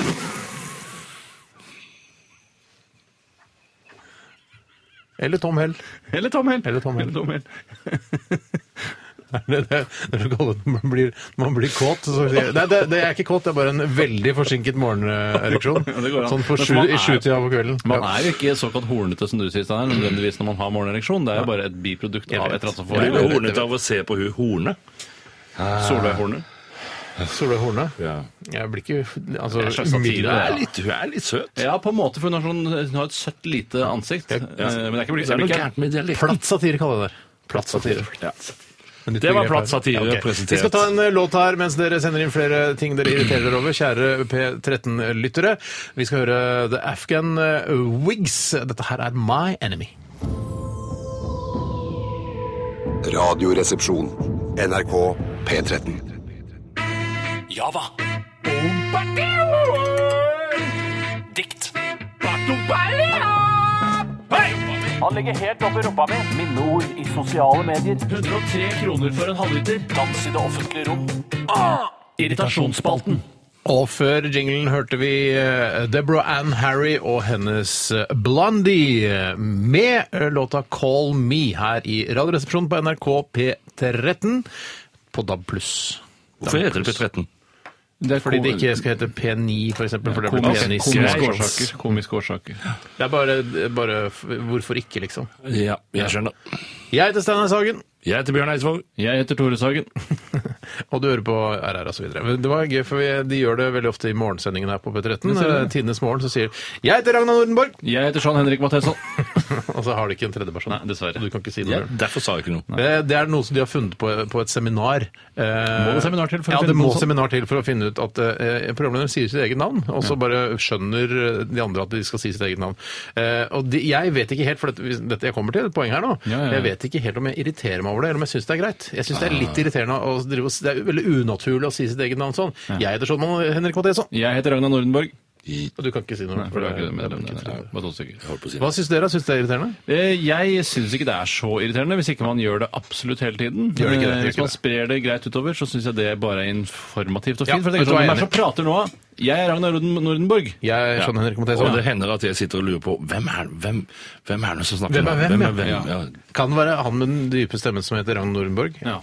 Speaker 7: Eller Tom Hell.
Speaker 8: Eller Tom Hell.
Speaker 7: Eller Tom Hell.
Speaker 8: Hell.
Speaker 7: Det er det- det er så kallet når man blir, man blir kåt. Så, sier jeg- nei, det, det er ikke kåt, det er bare en veldig forsinket morgenereksjon.
Speaker 8: Ja, det går an.
Speaker 7: Sånn på
Speaker 8: Men
Speaker 7: sju,
Speaker 8: man
Speaker 7: i
Speaker 8: er-
Speaker 7: sjutida på kvelden.
Speaker 8: Man
Speaker 7: Ja.
Speaker 8: er jo ikke såkalt hornete som du sier, Steinar, nødvendigvis når man har morgenereksjon. Det er jo bare et biprodukt av et eller annet som
Speaker 5: Blir
Speaker 8: får Ah.
Speaker 5: du hornet av å se på hun horne?
Speaker 8: Solveig Horne.
Speaker 7: Solveig Horne.
Speaker 5: Ja.
Speaker 7: Jeg blir ikke altså,
Speaker 8: Det er en slags satire,
Speaker 5: Hun er
Speaker 7: umiddelbart-
Speaker 5: litt, hun er litt søt.
Speaker 8: Ja, på en måte, for hun har, sånn, hun har et søtt lite ansikt. Eh, Men det er ikke
Speaker 5: Det er noe gærent med dialekten.
Speaker 7: Platt satire kaller jeg det. Platt satire.
Speaker 5: Det var platt satire
Speaker 7: Ja, ok.
Speaker 5: presentert.
Speaker 7: Vi skal ta en eh, låt her mens dere sender inn flere ting dere irriterer dere over, kjære P13-lyttere. Vi skal høre The Afghan eh, Wigs. Dette her er My Enemy.
Speaker 6: Radioresepsjon. NRK P13.
Speaker 3: Java. Dikt. Han ligger helt oppi rumpa mi. Minneord i sosiale medier. 103 kroner for en halvliter. Dans i det offentlige rom. Irritasjonsspalten.
Speaker 7: Og før jinglen hørte vi eh, Deborah Ann Harry og hennes eh, Blondie eh, med eh, låta Call Me her i Radioresepsjonen på NRK P13 på DAB+.
Speaker 5: Hvorfor heter det P13?
Speaker 8: Det er
Speaker 7: Fordi det ikke skal hete P9, for eksempel. For det blir
Speaker 8: komisk-
Speaker 7: penis.
Speaker 8: komiske årsaker. Komiske årsaker.
Speaker 7: Det er bare, bare f- Hvorfor ikke, liksom?
Speaker 5: Ja, jeg skjønner.
Speaker 7: Jeg heter Steinar Sagen,
Speaker 5: Jeg heter Bjørn Eidsvåg.
Speaker 8: Jeg heter Tore Sagen.
Speaker 7: og du hører på RR osv. Det var gøy, for vi- de gjør det veldig ofte i morgensendingen her på P13. Eh, Tidenes morgen så sier Jeg heter Ragnar Nordenborg!
Speaker 8: Jeg heter Jean Henrik Mathesson.
Speaker 7: Og så har de ikke en tredjeperson.
Speaker 8: Nei, dessverre.
Speaker 7: Du kan ikke si det.
Speaker 5: Ja,
Speaker 7: Bjørn.
Speaker 5: derfor sa jeg ikke noe.
Speaker 7: Eh, Det, det er noe som de har funnet på, på et seminar. Eh,
Speaker 8: Må det seminar til for å
Speaker 7: ja,
Speaker 8: finne
Speaker 7: det
Speaker 8: på
Speaker 7: må
Speaker 8: noe sånt?
Speaker 7: seminar til for å finne ut at eh, programlederen sier sitt eget navn, og så bare skjønner eh, de andre at de skal si sitt eget navn. Eh, og de, jeg vet ikke helt, for dette, hvis- dette jeg kommer til et poeng her nå,
Speaker 8: Ja, ja, ja.
Speaker 7: jeg vet ikke helt om jeg irriterer meg over det, eller om jeg syns det er greit. Jeg syns det er
Speaker 8: Ah.
Speaker 7: litt irriterende å drive og s- Det er veldig unaturlig å si sitt eget navn sånn. Jeg heter Sånn Henrik Mathesson.
Speaker 8: Jeg heter Ragnar Nordenborg.
Speaker 7: Og du kan ikke si noe.
Speaker 8: Nei,
Speaker 7: for
Speaker 8: for det var
Speaker 7: det er-
Speaker 8: ikke det, men
Speaker 7: det er
Speaker 8: det-
Speaker 7: ikke
Speaker 8: det- det var to stykker.
Speaker 7: Hva syns dere? Syns det er irriterende?
Speaker 8: Eh, Jeg syns ikke det er så irriterende hvis ikke man gjør det absolutt hele tiden.
Speaker 7: Gjør det ikke det,
Speaker 8: Eh,
Speaker 7: gjør
Speaker 8: Hvis
Speaker 7: ikke
Speaker 8: man
Speaker 7: det.
Speaker 8: sprer det greit utover, så syns jeg det bare er informativt og
Speaker 7: Ja,
Speaker 8: fint. for jeg
Speaker 7: vet du
Speaker 8: tenker sånn,
Speaker 7: hva jeg
Speaker 8: Hvem
Speaker 7: er
Speaker 8: er det som prater nå? da? Jeg er Ragnar Norden- Nordenborg.
Speaker 7: Jeg skjønner Henrik
Speaker 5: Og
Speaker 7: Mathesson.
Speaker 5: det hender at jeg sitter og lurer på hvem er, hvem, hvem er det som snakker
Speaker 7: Hvem er
Speaker 5: nå?
Speaker 7: hvem, ja?
Speaker 5: Ja.
Speaker 7: Kan det være han med den dype stemmen som heter Ragnar Nordenborg?
Speaker 8: Ja.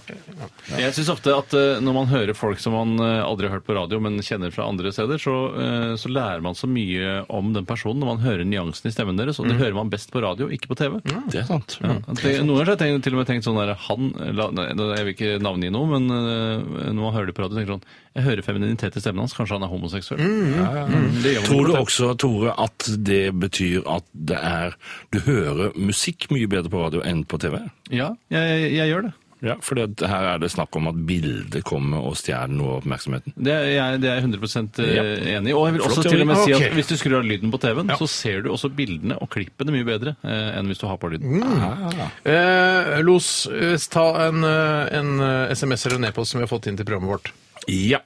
Speaker 8: Jeg syns ofte at eh, når man hører folk som man eh, aldri har hørt på radio, men kjenner fra andre steder, så, eh, så lærer man så mye om den personen når man hører nyansene i stemmen deres, og det hører man best på radio, ikke på TV.
Speaker 5: Det er sant.
Speaker 8: Mm. Ja. at det- Noen ganger så har jeg tenkt, til og med tenkt sånn der han, la, nei, Jeg vil ikke navngi noe, men eh, når man hører det på radio, tenker jeg sånn Jeg hører femininitet i stemmen hans, kanskje han er homoseksuell. Mm, det gjør
Speaker 5: Tror
Speaker 8: man ikke
Speaker 5: du
Speaker 8: på TV.
Speaker 5: også, Tore, at det betyr at det er Du hører musikk mye bedre på radio enn på TV?
Speaker 8: Ja, jeg, jeg gjør det.
Speaker 5: Ja, for her er det snakk om at bildet kommer og stjeler noe av oppmerksomheten.
Speaker 8: Det er jeg, det er jeg 100
Speaker 5: Ja.
Speaker 8: enig i. Og jeg vil
Speaker 5: Flott
Speaker 8: også til og med si
Speaker 7: Ok.
Speaker 8: at hvis du skrur av lyden på TV-en, så ser du også bildene og klippene mye bedre eh, enn hvis du har på lyden.
Speaker 7: Eh, Los, eh, ta en, eh, en eh, SMS eller en e-post som vi har fått inn til programmet vårt.
Speaker 5: Ja.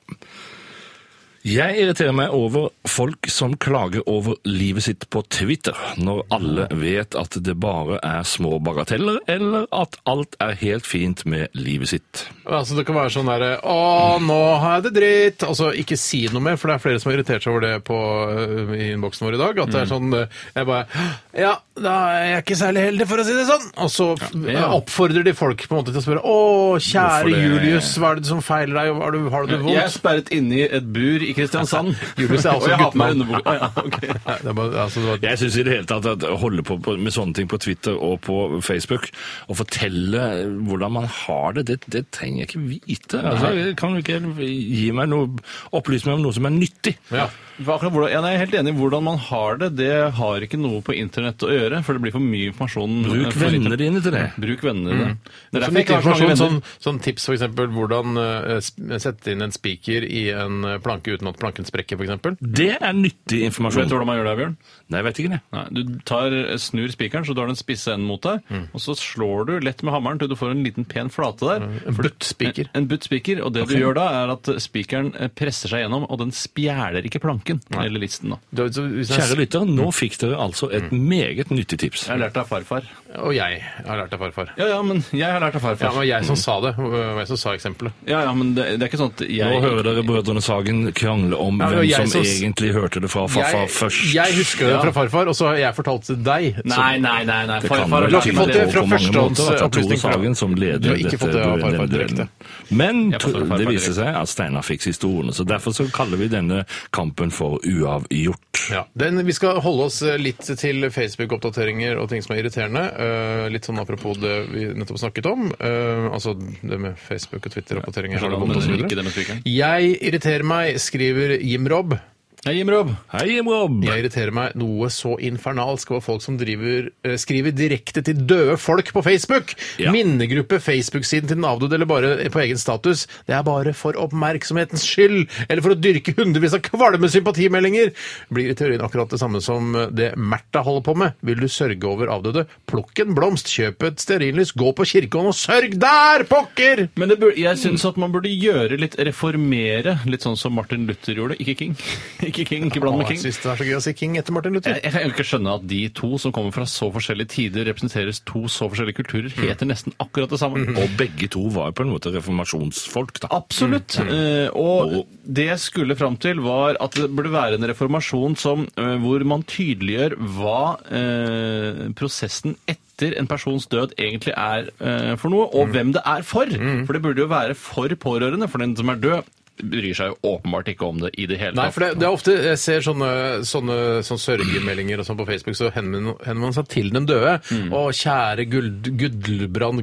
Speaker 5: Jeg irriterer meg over folk som klager over livet sitt på Twitter, når alle vet at det bare er små bagateller, eller at alt er helt fint med livet sitt.
Speaker 7: Altså, det kan være sånn derre Å, nå har jeg det dritt! Altså, ikke si noe mer, for det er flere som har irritert seg over det på, eh, i innboksen vår i dag. At det er sånn eh, Jeg bare Ja, da er jeg ikke særlig heldig, for å si det sånn! Og så f-
Speaker 8: Ja.
Speaker 7: oppfordrer de folk på en måte til å spørre Å, kjære
Speaker 5: Hvorfor det-
Speaker 7: Julius, hva er det som feiler deg? Har du, har du det
Speaker 8: Jeg er
Speaker 7: vondt?
Speaker 8: sperret inne i et bur i Kristiansand.
Speaker 7: Julius er også
Speaker 8: og jeg har på meg
Speaker 7: guttemann.
Speaker 8: underbukse. Å, ja, ok.
Speaker 7: Nei, det er bare, altså, det var,
Speaker 5: Jeg syns i det hele tatt at å holde på på- med sånne ting på Twitter og på Facebook, og fortelle hvordan man har det, det, det trenger jeg ikke vite. Altså, jeg kan du ikke gi meg noe, opplyse meg om noe som er nyttig?
Speaker 7: ja.
Speaker 8: For akkurat hvordan, ja, nei, jeg er helt enig. Hvordan man har det, det har ikke noe på internett å gjøre. For det blir for mye informasjon. eh,
Speaker 5: Bruk vennene dine til det.
Speaker 8: Bruk vennene dine. Det er
Speaker 7: Så
Speaker 8: derfor jeg
Speaker 7: nyttig
Speaker 8: ikke har så mange
Speaker 7: informasjon,
Speaker 8: venner.
Speaker 7: sånn, sånn tips for eksempel hvordan eh, sp- sette inn en spiker i en eh, planke uten at planken sprekker, for eksempel.
Speaker 5: Det er nyttig
Speaker 8: Vet du
Speaker 5: informasjon.
Speaker 8: hvordan man gjør det, Bjørn?
Speaker 5: Nei, jeg vet ikke det.
Speaker 8: Nei, du tar, eh, snur spikeren, så du har den spisse enden mot deg, og så slår du lett med hammeren til du får en liten pen flate der.
Speaker 7: En buttspiker.
Speaker 8: En butt spiker, og det du gjør da, er at spikeren eh, presser seg gjennom, og den spjæler ikke planken, eller listen da.
Speaker 7: Du- så hvis jeg-
Speaker 5: Kjære lytter, nå fikk dere altså et
Speaker 7: Mm.
Speaker 5: meget nyttig tips.
Speaker 8: Jeg har lært av farfar.
Speaker 7: Og jeg har lært av farfar.
Speaker 8: Ja, ja, men jeg har lært av
Speaker 7: Ja, det
Speaker 8: farfar.
Speaker 7: var jeg som sa det. Det var jeg som sa eksempelet.
Speaker 8: Ja, ja, men det, det er ikke sånn at jeg...
Speaker 5: Nå hører dere Brødrene Sagen krangle om
Speaker 7: Ja, det var
Speaker 5: hvem
Speaker 7: jeg
Speaker 5: som
Speaker 7: som s-
Speaker 5: egentlig hørte det fra farfar først.
Speaker 7: jeg husker det
Speaker 8: Ja.
Speaker 7: fra farfar, og så har jeg fortalt til deg.
Speaker 8: Nei, nei, nei, nei.
Speaker 5: Det kan
Speaker 8: Farfar
Speaker 5: vel
Speaker 8: har lært
Speaker 7: ikke
Speaker 5: tyde
Speaker 8: meg
Speaker 7: fått det
Speaker 5: på
Speaker 7: fra
Speaker 5: mange
Speaker 7: førstehånds
Speaker 5: måter at det er Tore
Speaker 7: opplysning fra-
Speaker 5: Sagen som leder
Speaker 7: Du har ikke
Speaker 5: dette
Speaker 7: fått det av
Speaker 5: duell-
Speaker 7: farfar
Speaker 5: denne
Speaker 7: direkte.
Speaker 5: duellen. Men
Speaker 8: Jeg får
Speaker 5: Tor-
Speaker 8: farfar
Speaker 5: det
Speaker 8: direkte.
Speaker 5: viser seg at Steinar fikk siste ordene, så derfor så kaller vi denne kampen for uavgjort.
Speaker 7: Ja. Den, vi skal holde oss litt eh, til oppdateringer og ting som er irriterende. Eh, litt sånn apropos det vi nettopp snakket om. eh, altså det med Facebook og Twitter-oppdateringer. har det kommet og så videre. Jeg irriterer meg, skriver Jim Robb.
Speaker 8: Hei, Jim Robb.
Speaker 5: Hei, Jim Robb!
Speaker 7: Jeg irriterer meg noe så infernalsk over folk som driver, eh, skriver direkte til døde folk på Facebook.
Speaker 5: Ja.
Speaker 7: Minnegruppe, Facebook-siden til den avdøde, eller bare på egen status. Det er bare for oppmerksomhetens skyld, eller for å dyrke hundrevis av kvalme sympatimeldinger. Blir i teorien akkurat det samme som det Märtha holder på med. Vil du sørge over avdøde? Plukk en blomst, kjøp et stearinlys, gå på kirkegården og sørg der, pokker!
Speaker 8: Men det bur- jeg syns at man burde gjøre litt reformere, litt sånn som Martin Luther gjorde. Ikke King. Ikke King, ikke bland med
Speaker 7: Å, jeg
Speaker 8: King.
Speaker 7: synes det er så gøy å si King etter Martin Luther.
Speaker 8: Jeg jeg kan jo ikke skjønne at de to som kommer fra så forskjellige tider, representeres to så forskjellige kulturer, heter nesten akkurat det samme.
Speaker 5: Og begge to var på en måte reformasjonsfolk, da.
Speaker 8: Absolutt.
Speaker 7: Mm.
Speaker 8: Eh, og det jeg skulle fram til, var at det burde være en reformasjon som, eh, hvor man tydeliggjør hva eh, prosessen etter en persons død egentlig er eh, for noe,
Speaker 7: Mm.
Speaker 8: og hvem det er for. For det burde jo være for pårørende, for den som er død, bryr seg jo åpenbart ikke om det i det hele
Speaker 7: Nei,
Speaker 8: tatt.
Speaker 7: for det, det er ofte Jeg ser sånne, sånne, sånn sørgemeldinger og sånn på Facebook, så henvender henvender man seg til den døde. Å, kjære Guld, Gudlebrand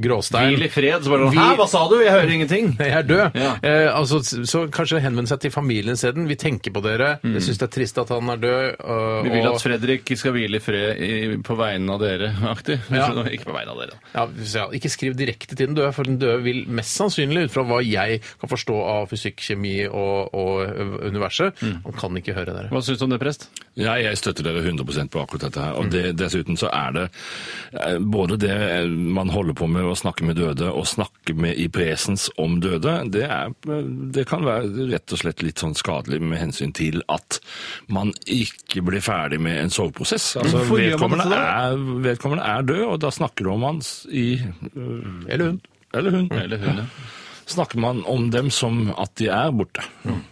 Speaker 8: Mm.
Speaker 7: Gråstein.
Speaker 8: Hvil i fred, så bare sånn
Speaker 7: Vi-
Speaker 8: Hæ, hva sa du? Jeg hører ingenting.
Speaker 7: Jeg er død.
Speaker 8: Ja.
Speaker 7: Eh, altså, så kanskje henvende seg til familien isteden. Vi tenker på dere. Jeg syns det er trist at han er død. og-
Speaker 8: Mm. Vi vil
Speaker 7: og-
Speaker 8: at Fredrik skal hvile i fred i, på vegne av dere, aktig.
Speaker 7: Ja.
Speaker 8: Ikke på vegne av dere.
Speaker 7: ja, så ja, Ikke skriv direkte til den døde, for den døde vil mest sannsynlig, ut fra hva jeg kan forstå av fysikk, kjemi og, og universet,
Speaker 8: Mm.
Speaker 7: han kan ikke høre dere.
Speaker 8: Hva syns du om det, prest?
Speaker 5: Ja, jeg støtter dere 100 på akkurat dette her. Og det, dessuten så er det eh, både det eh, man holder på med å snakke med døde, og snakke med i presens om døde, det, er, eh, det kan være rett og slett litt sånn skadelig med hensyn til at man ikke blir ferdig med en soveprosess. Altså,
Speaker 8: Hvorfor gjør man
Speaker 5: vedkommende,
Speaker 8: ikke
Speaker 5: er, vedkommende er død, og da snakker du om hans i eh,
Speaker 7: Eller hun.
Speaker 5: Eller hun.
Speaker 8: Eller hun, ja.
Speaker 5: Snakker man om dem som at de er borte.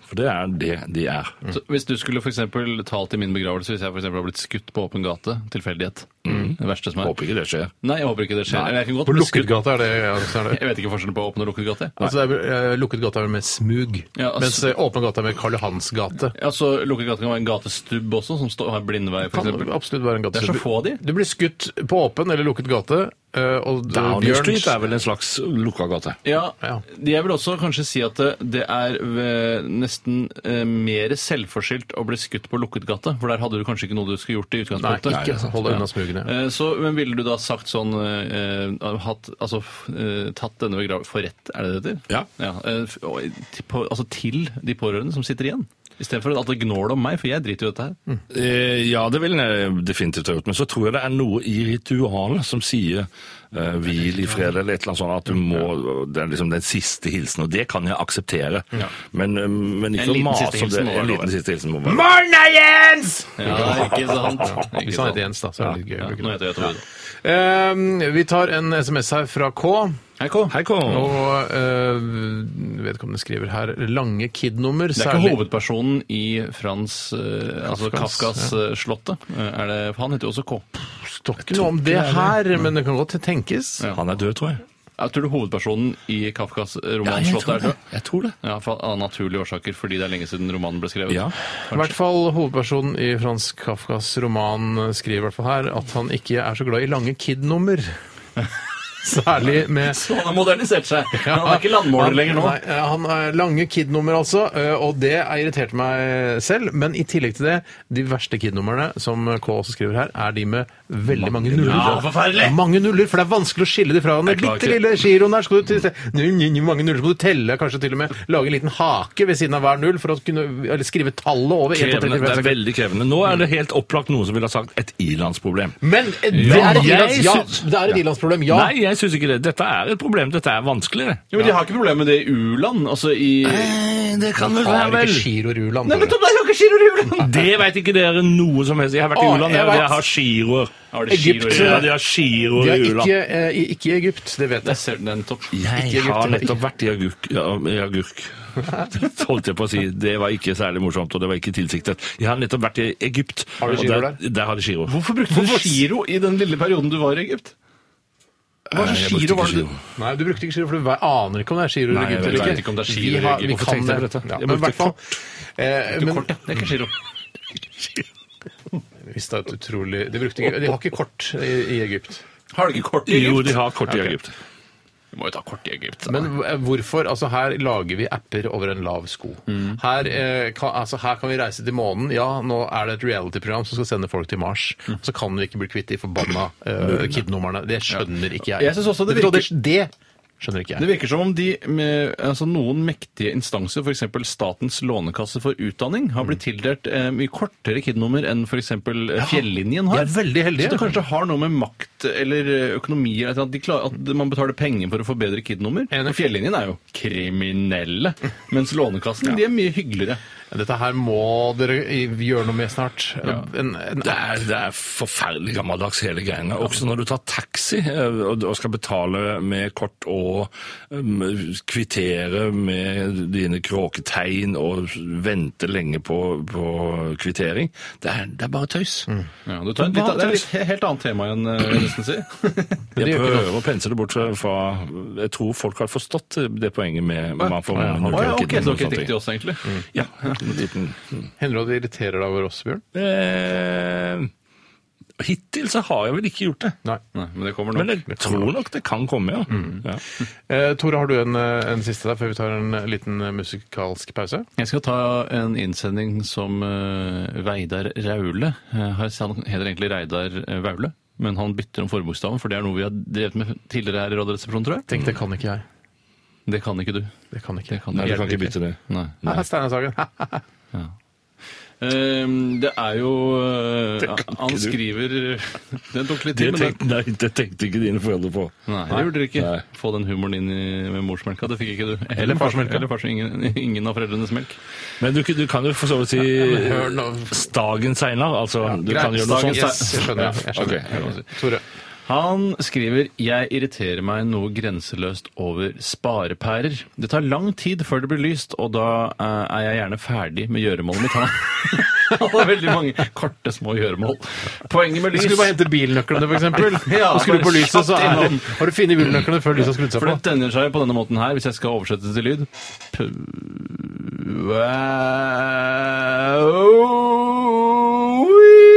Speaker 5: For det er det de er.
Speaker 8: Så hvis du skulle for eksempel talt i min begravelse hvis jeg for eksempel har blitt skutt på åpen gate, tilfeldighet
Speaker 7: Mm.
Speaker 8: mm, Det verste som er.
Speaker 5: Håper ikke det skjer.
Speaker 8: Nei, jeg håper ikke det skjer.
Speaker 5: Nei.
Speaker 8: Eller Jeg, kan godt
Speaker 7: På
Speaker 8: bli
Speaker 7: lukket
Speaker 8: skutt.
Speaker 7: gate er det. Ja, så er det.
Speaker 8: jeg vet ikke forskjellen på åpen og lukket gate.
Speaker 7: Altså, det er, vel, eh, lukket gate er vel med smug,
Speaker 8: Ja, altså-
Speaker 7: mens eh, åpen gate er med Karl Johans gate.
Speaker 8: Altså, Lukket gate kan være en gatestubb også, som står, har blindvei, for
Speaker 7: Kan
Speaker 8: eksempel.
Speaker 7: absolutt være en gate.
Speaker 8: Det er så få av de.
Speaker 7: Du blir skutt på åpen eller lukket gate, eh, og d-
Speaker 5: Downing
Speaker 7: bjørn
Speaker 5: Street er vel en slags lukka gate.
Speaker 8: Ja,
Speaker 7: Ja.
Speaker 8: Jeg vil også kanskje si at det, det er eh, nesten eh, mer selvforskyldt å bli skutt på lukket gate, for der hadde du kanskje ikke noe du skulle gjort i
Speaker 7: Nei,
Speaker 8: utgangspunktet.
Speaker 7: ikke hold deg unna smugene.
Speaker 8: Eh, Så, men ville du da sagt sånn eh, eh, hatt, altså, f- eh, Tatt denne begravelsen for rett, er det det heter?
Speaker 5: Ja.
Speaker 8: eh, f- og, til- på, altså til de pårørende som sitter igjen? Istedenfor at det gnåler om meg, for jeg driter jo i dette her.
Speaker 7: Mm.
Speaker 5: Eh, ja, det ville jeg definitivt ha gjort. Men så tror jeg det er noe i ritualet som sier eh, 'hvil i fred' eller et eller annet sånt. At du må, det er liksom den siste hilsen. Og det kan jeg akseptere. Men, eh, men
Speaker 8: En
Speaker 5: ikke å
Speaker 8: liten siste
Speaker 5: mase om det.
Speaker 8: hilsen må være
Speaker 5: En
Speaker 8: lov.
Speaker 5: liten siste hilsen må være lov.
Speaker 7: Morna, Jens!
Speaker 8: Ja, ikke sant?
Speaker 7: Hvis han heter Jens, da, så er det litt gøy. å
Speaker 8: Ja,
Speaker 7: bruke
Speaker 8: nå
Speaker 7: det.
Speaker 8: heter jeg Tore. da.
Speaker 7: Eh, vi tar en SMS her fra K.
Speaker 8: Hei, K.
Speaker 5: Hei, Kåre.
Speaker 7: Og eh, vedkommende skriver her lange KID-nummer.
Speaker 8: Det er ikke
Speaker 7: særlig-
Speaker 8: hovedpersonen i Frans eh, altså
Speaker 7: Kafkas,
Speaker 8: Kafkas eh, slottet. Eh, Er det, for han heter jo også K.
Speaker 7: Står ikke noe om det her, men det kan godt tenkes.
Speaker 5: Han er død, tror jeg.
Speaker 8: Jeg tror du hovedpersonen i Kafkas roman
Speaker 5: jeg
Speaker 8: 'Slottet'
Speaker 5: tror
Speaker 8: er død?
Speaker 5: det. Jeg tror det.
Speaker 8: Ja, for, av naturlige årsaker, fordi det er lenge siden romanen ble skrevet.
Speaker 5: Ja.
Speaker 7: I hvert fall hovedpersonen i Frans Kafkas roman eh, skriver i hvert fall her at han ikke er så glad i lange KID-nummer. Særlig med
Speaker 8: Så han har modernisert seg. Han er ikke landmåler lenger nå.
Speaker 7: Nei, eh, han er lange KID-nummer, altså, eh, og det har irritert meg selv. Men i tillegg til det, de verste KID-numrene, som K også skriver her, er de med veldig mange nuller.
Speaker 8: Ja, forferdelig!
Speaker 7: Mange nuller, for det er vanskelig å skille de fra hverandre.
Speaker 8: Jeg klarer
Speaker 7: Bitte
Speaker 8: ikke.
Speaker 7: lille giroen der skal du til, nu, nu, nu, mange nuller, så må du telle, kanskje til og med lage en liten hake ved siden av hver null for å kunne eller skrive tallet over 1
Speaker 5: Krevende. Det er Mm. veldig krevende. Nå er det helt opplagt noen som ville ha sagt et ilandsproblem.
Speaker 7: Men eh, det er et
Speaker 5: jeg
Speaker 7: ilands- ja,
Speaker 5: syns-
Speaker 7: det er et ilandsproblem, ja.
Speaker 5: Nei, jeg syns ikke det. Dette er et problem. Dette er vanskelig. det.
Speaker 8: Jo, men De har ikke problemer med det i u-land. Altså i
Speaker 5: Det kan vel
Speaker 7: Har ikke Giro Ruland. Tore.
Speaker 5: Det veit ikke dere noe som helst. Jeg har vært i
Speaker 7: Å,
Speaker 5: u-land,
Speaker 7: jeg
Speaker 5: jeg,
Speaker 7: vet.
Speaker 5: jeg har giroer.
Speaker 8: Har de giroer i
Speaker 5: Egypt,
Speaker 8: u-land?
Speaker 5: Ja, de har giroer
Speaker 7: De
Speaker 5: i
Speaker 7: er
Speaker 5: u-land.
Speaker 7: ikke, eh, i- ikke i Egypt, det vet jeg.
Speaker 8: Der ser du den topp.
Speaker 5: Jeg
Speaker 7: ikke
Speaker 5: har
Speaker 7: Egypt.
Speaker 5: nettopp vært i agurk. Ja, i agurk. Det holdt jeg på å si. Det var ikke særlig morsomt, og det var ikke tilsiktet. Jeg har nettopp vært i Egypt.
Speaker 7: Har du
Speaker 5: og
Speaker 7: giroer
Speaker 5: der? Der har de giroer.
Speaker 8: Hvorfor brukte du giro i den lille perioden du var i Egypt? Hva
Speaker 5: Nei,
Speaker 8: slags
Speaker 5: jeg brukte
Speaker 8: giro
Speaker 5: ikke
Speaker 8: var det?
Speaker 5: giro.
Speaker 8: du-
Speaker 7: Nei, du brukte ikke giro, for du aner ikke om det er giro
Speaker 5: Nei,
Speaker 7: eller
Speaker 5: jeg
Speaker 7: Egypt
Speaker 5: vet
Speaker 7: eller
Speaker 8: ikke om det er giro
Speaker 7: Vi
Speaker 8: eller
Speaker 7: har-
Speaker 8: Egypt.
Speaker 7: vi
Speaker 5: Hvorfor
Speaker 7: kan
Speaker 5: tenkte jeg på
Speaker 7: det.
Speaker 5: dette?
Speaker 7: Ja,
Speaker 5: Jeg
Speaker 7: Eh, men i
Speaker 5: brukte
Speaker 7: hvert fall
Speaker 8: Kort, ja. Det er ikke giro.
Speaker 7: eh, mista et utrolig De, brukte, ikke- de har ikke kort i, i Egypt.
Speaker 8: Har de ikke kort i
Speaker 5: Jo,
Speaker 8: Egypt?
Speaker 5: de har kort i
Speaker 8: Ok.
Speaker 5: Egypt.
Speaker 8: Vi må jo ta kort i Egypt.
Speaker 7: Men hv- hvorfor? Altså, her lager vi apper over en lav sko.
Speaker 8: Mm.
Speaker 7: Her, eh, kan, altså, her kan vi reise til månen. Ja, nå er det et reality-program som skal sende folk til Mars.
Speaker 8: Mm.
Speaker 7: Så kan vi ikke bli kvitt de forbanna eh, kidnumrene. Det skjønner ikke jeg.
Speaker 8: Jeg synes også det
Speaker 7: Vet du hva,
Speaker 8: virker-
Speaker 7: Det skjønner ikke
Speaker 8: Det
Speaker 7: jeg.
Speaker 8: virker som om de, med, altså noen mektige instanser, f.eks. Statens lånekasse for utdanning, har blitt tildelt eh, mye kortere KID-nummer enn f.eks. Fjellinjen har.
Speaker 7: de er veldig heldige.
Speaker 8: Så det kanskje har noe med makt eller eh, økonomi eller et eller annet, de klarer, at man betaler penger for å få bedre KID-nummer.
Speaker 7: Enig.
Speaker 8: Og Fjellinjen er jo kriminelle, mens Lånekassen de er mye hyggeligere.
Speaker 7: Dette her må dere i- gjøre noe med snart. En, en,
Speaker 5: Det er, det er forferdelig gammeldags hele greiene. Også når du tar taxi eh, og og skal betale med kort og um, kvittere med dine kråketegn og vente lenge på, på kvittering, det er, det er bare tøys.
Speaker 8: Ja, du tar,
Speaker 5: Men hva-
Speaker 8: litt, det er et he- helt annet tema enn eh, vil jeg nesten si.
Speaker 5: Jeg prøver å pense det bort fra, fra- Jeg tror folk har forstått det poenget med man får
Speaker 8: Å,
Speaker 5: man
Speaker 8: ja, ok,
Speaker 5: kidnapper
Speaker 8: så
Speaker 5: og
Speaker 8: dere
Speaker 5: sånne
Speaker 8: riktig
Speaker 5: ting.
Speaker 8: også, egentlig.
Speaker 5: Ja, en liten
Speaker 7: Hender det at det irriterer deg over oss, Bjørn?
Speaker 5: eh, Hittil så har jeg vel ikke gjort det.
Speaker 7: Nei.
Speaker 8: Nei, men det kommer nok.
Speaker 5: Men jeg tror nok Mm. det kan komme, ja. ja.
Speaker 7: Eh, Tore, har du en, eh, en siste der før vi tar en eh, liten eh, musikalsk pause?
Speaker 8: Jeg skal ta en innsending som eh, Veidar Raule eh, har- Han heter egentlig Reidar eh, Vaule, men han bytter om forbokstaven, for det er noe vi har drevet med tidligere her i Radioresepsjonen, tror jeg.
Speaker 7: Tenk, det kan ikke jeg.
Speaker 8: Det kan ikke du.
Speaker 7: Det kan ikke jeg.
Speaker 8: kan
Speaker 5: Nei, du kan ikke bytte det.
Speaker 8: Nei.
Speaker 7: Nei, Steinar Sagen.
Speaker 8: Ehm, det er jo eh,
Speaker 5: Det kan ikke
Speaker 8: Han
Speaker 5: du.
Speaker 8: skriver Den tok litt
Speaker 5: Det
Speaker 8: tid, men det,
Speaker 5: tenkte, nei, det tenkte ikke dine foreldre på.
Speaker 8: Nei, det gjorde dere ikke.
Speaker 5: Nei.
Speaker 8: Få den humoren inn i, med morsmelka, det fikk ikke du. Eller farsmelka. Eller fars, ingen, ingen av foreldrenes melk.
Speaker 5: Men du, du kan jo for så vidt si
Speaker 7: hør nå.
Speaker 5: Stagen seiler. Altså, du
Speaker 7: greit,
Speaker 5: kan gjøre noe
Speaker 7: Stagen
Speaker 5: sånt.
Speaker 7: Yes, jeg skjønner, jeg skjønner.
Speaker 5: Ok, ja.
Speaker 7: Tore.
Speaker 8: Han skriver Jeg irriterer meg noe grenseløst over sparepærer. Det tar lang tid før det blir lyst, og da eh, er jeg gjerne ferdig med gjøremålet mitt. Han har- Han har veldig mange korte, små gjøremål. Poenget med lys
Speaker 7: Skulle du bare hente bilnøklene, f.eks.? Ja, og skru
Speaker 8: bare
Speaker 7: på lyset, så
Speaker 8: kjapt
Speaker 7: er det
Speaker 8: innom.
Speaker 7: Har du funnet bilnøklene før lyset har skrudd seg
Speaker 8: For
Speaker 7: på?
Speaker 8: det tenner seg på denne måten her, hvis jeg skal oversette det til lyd.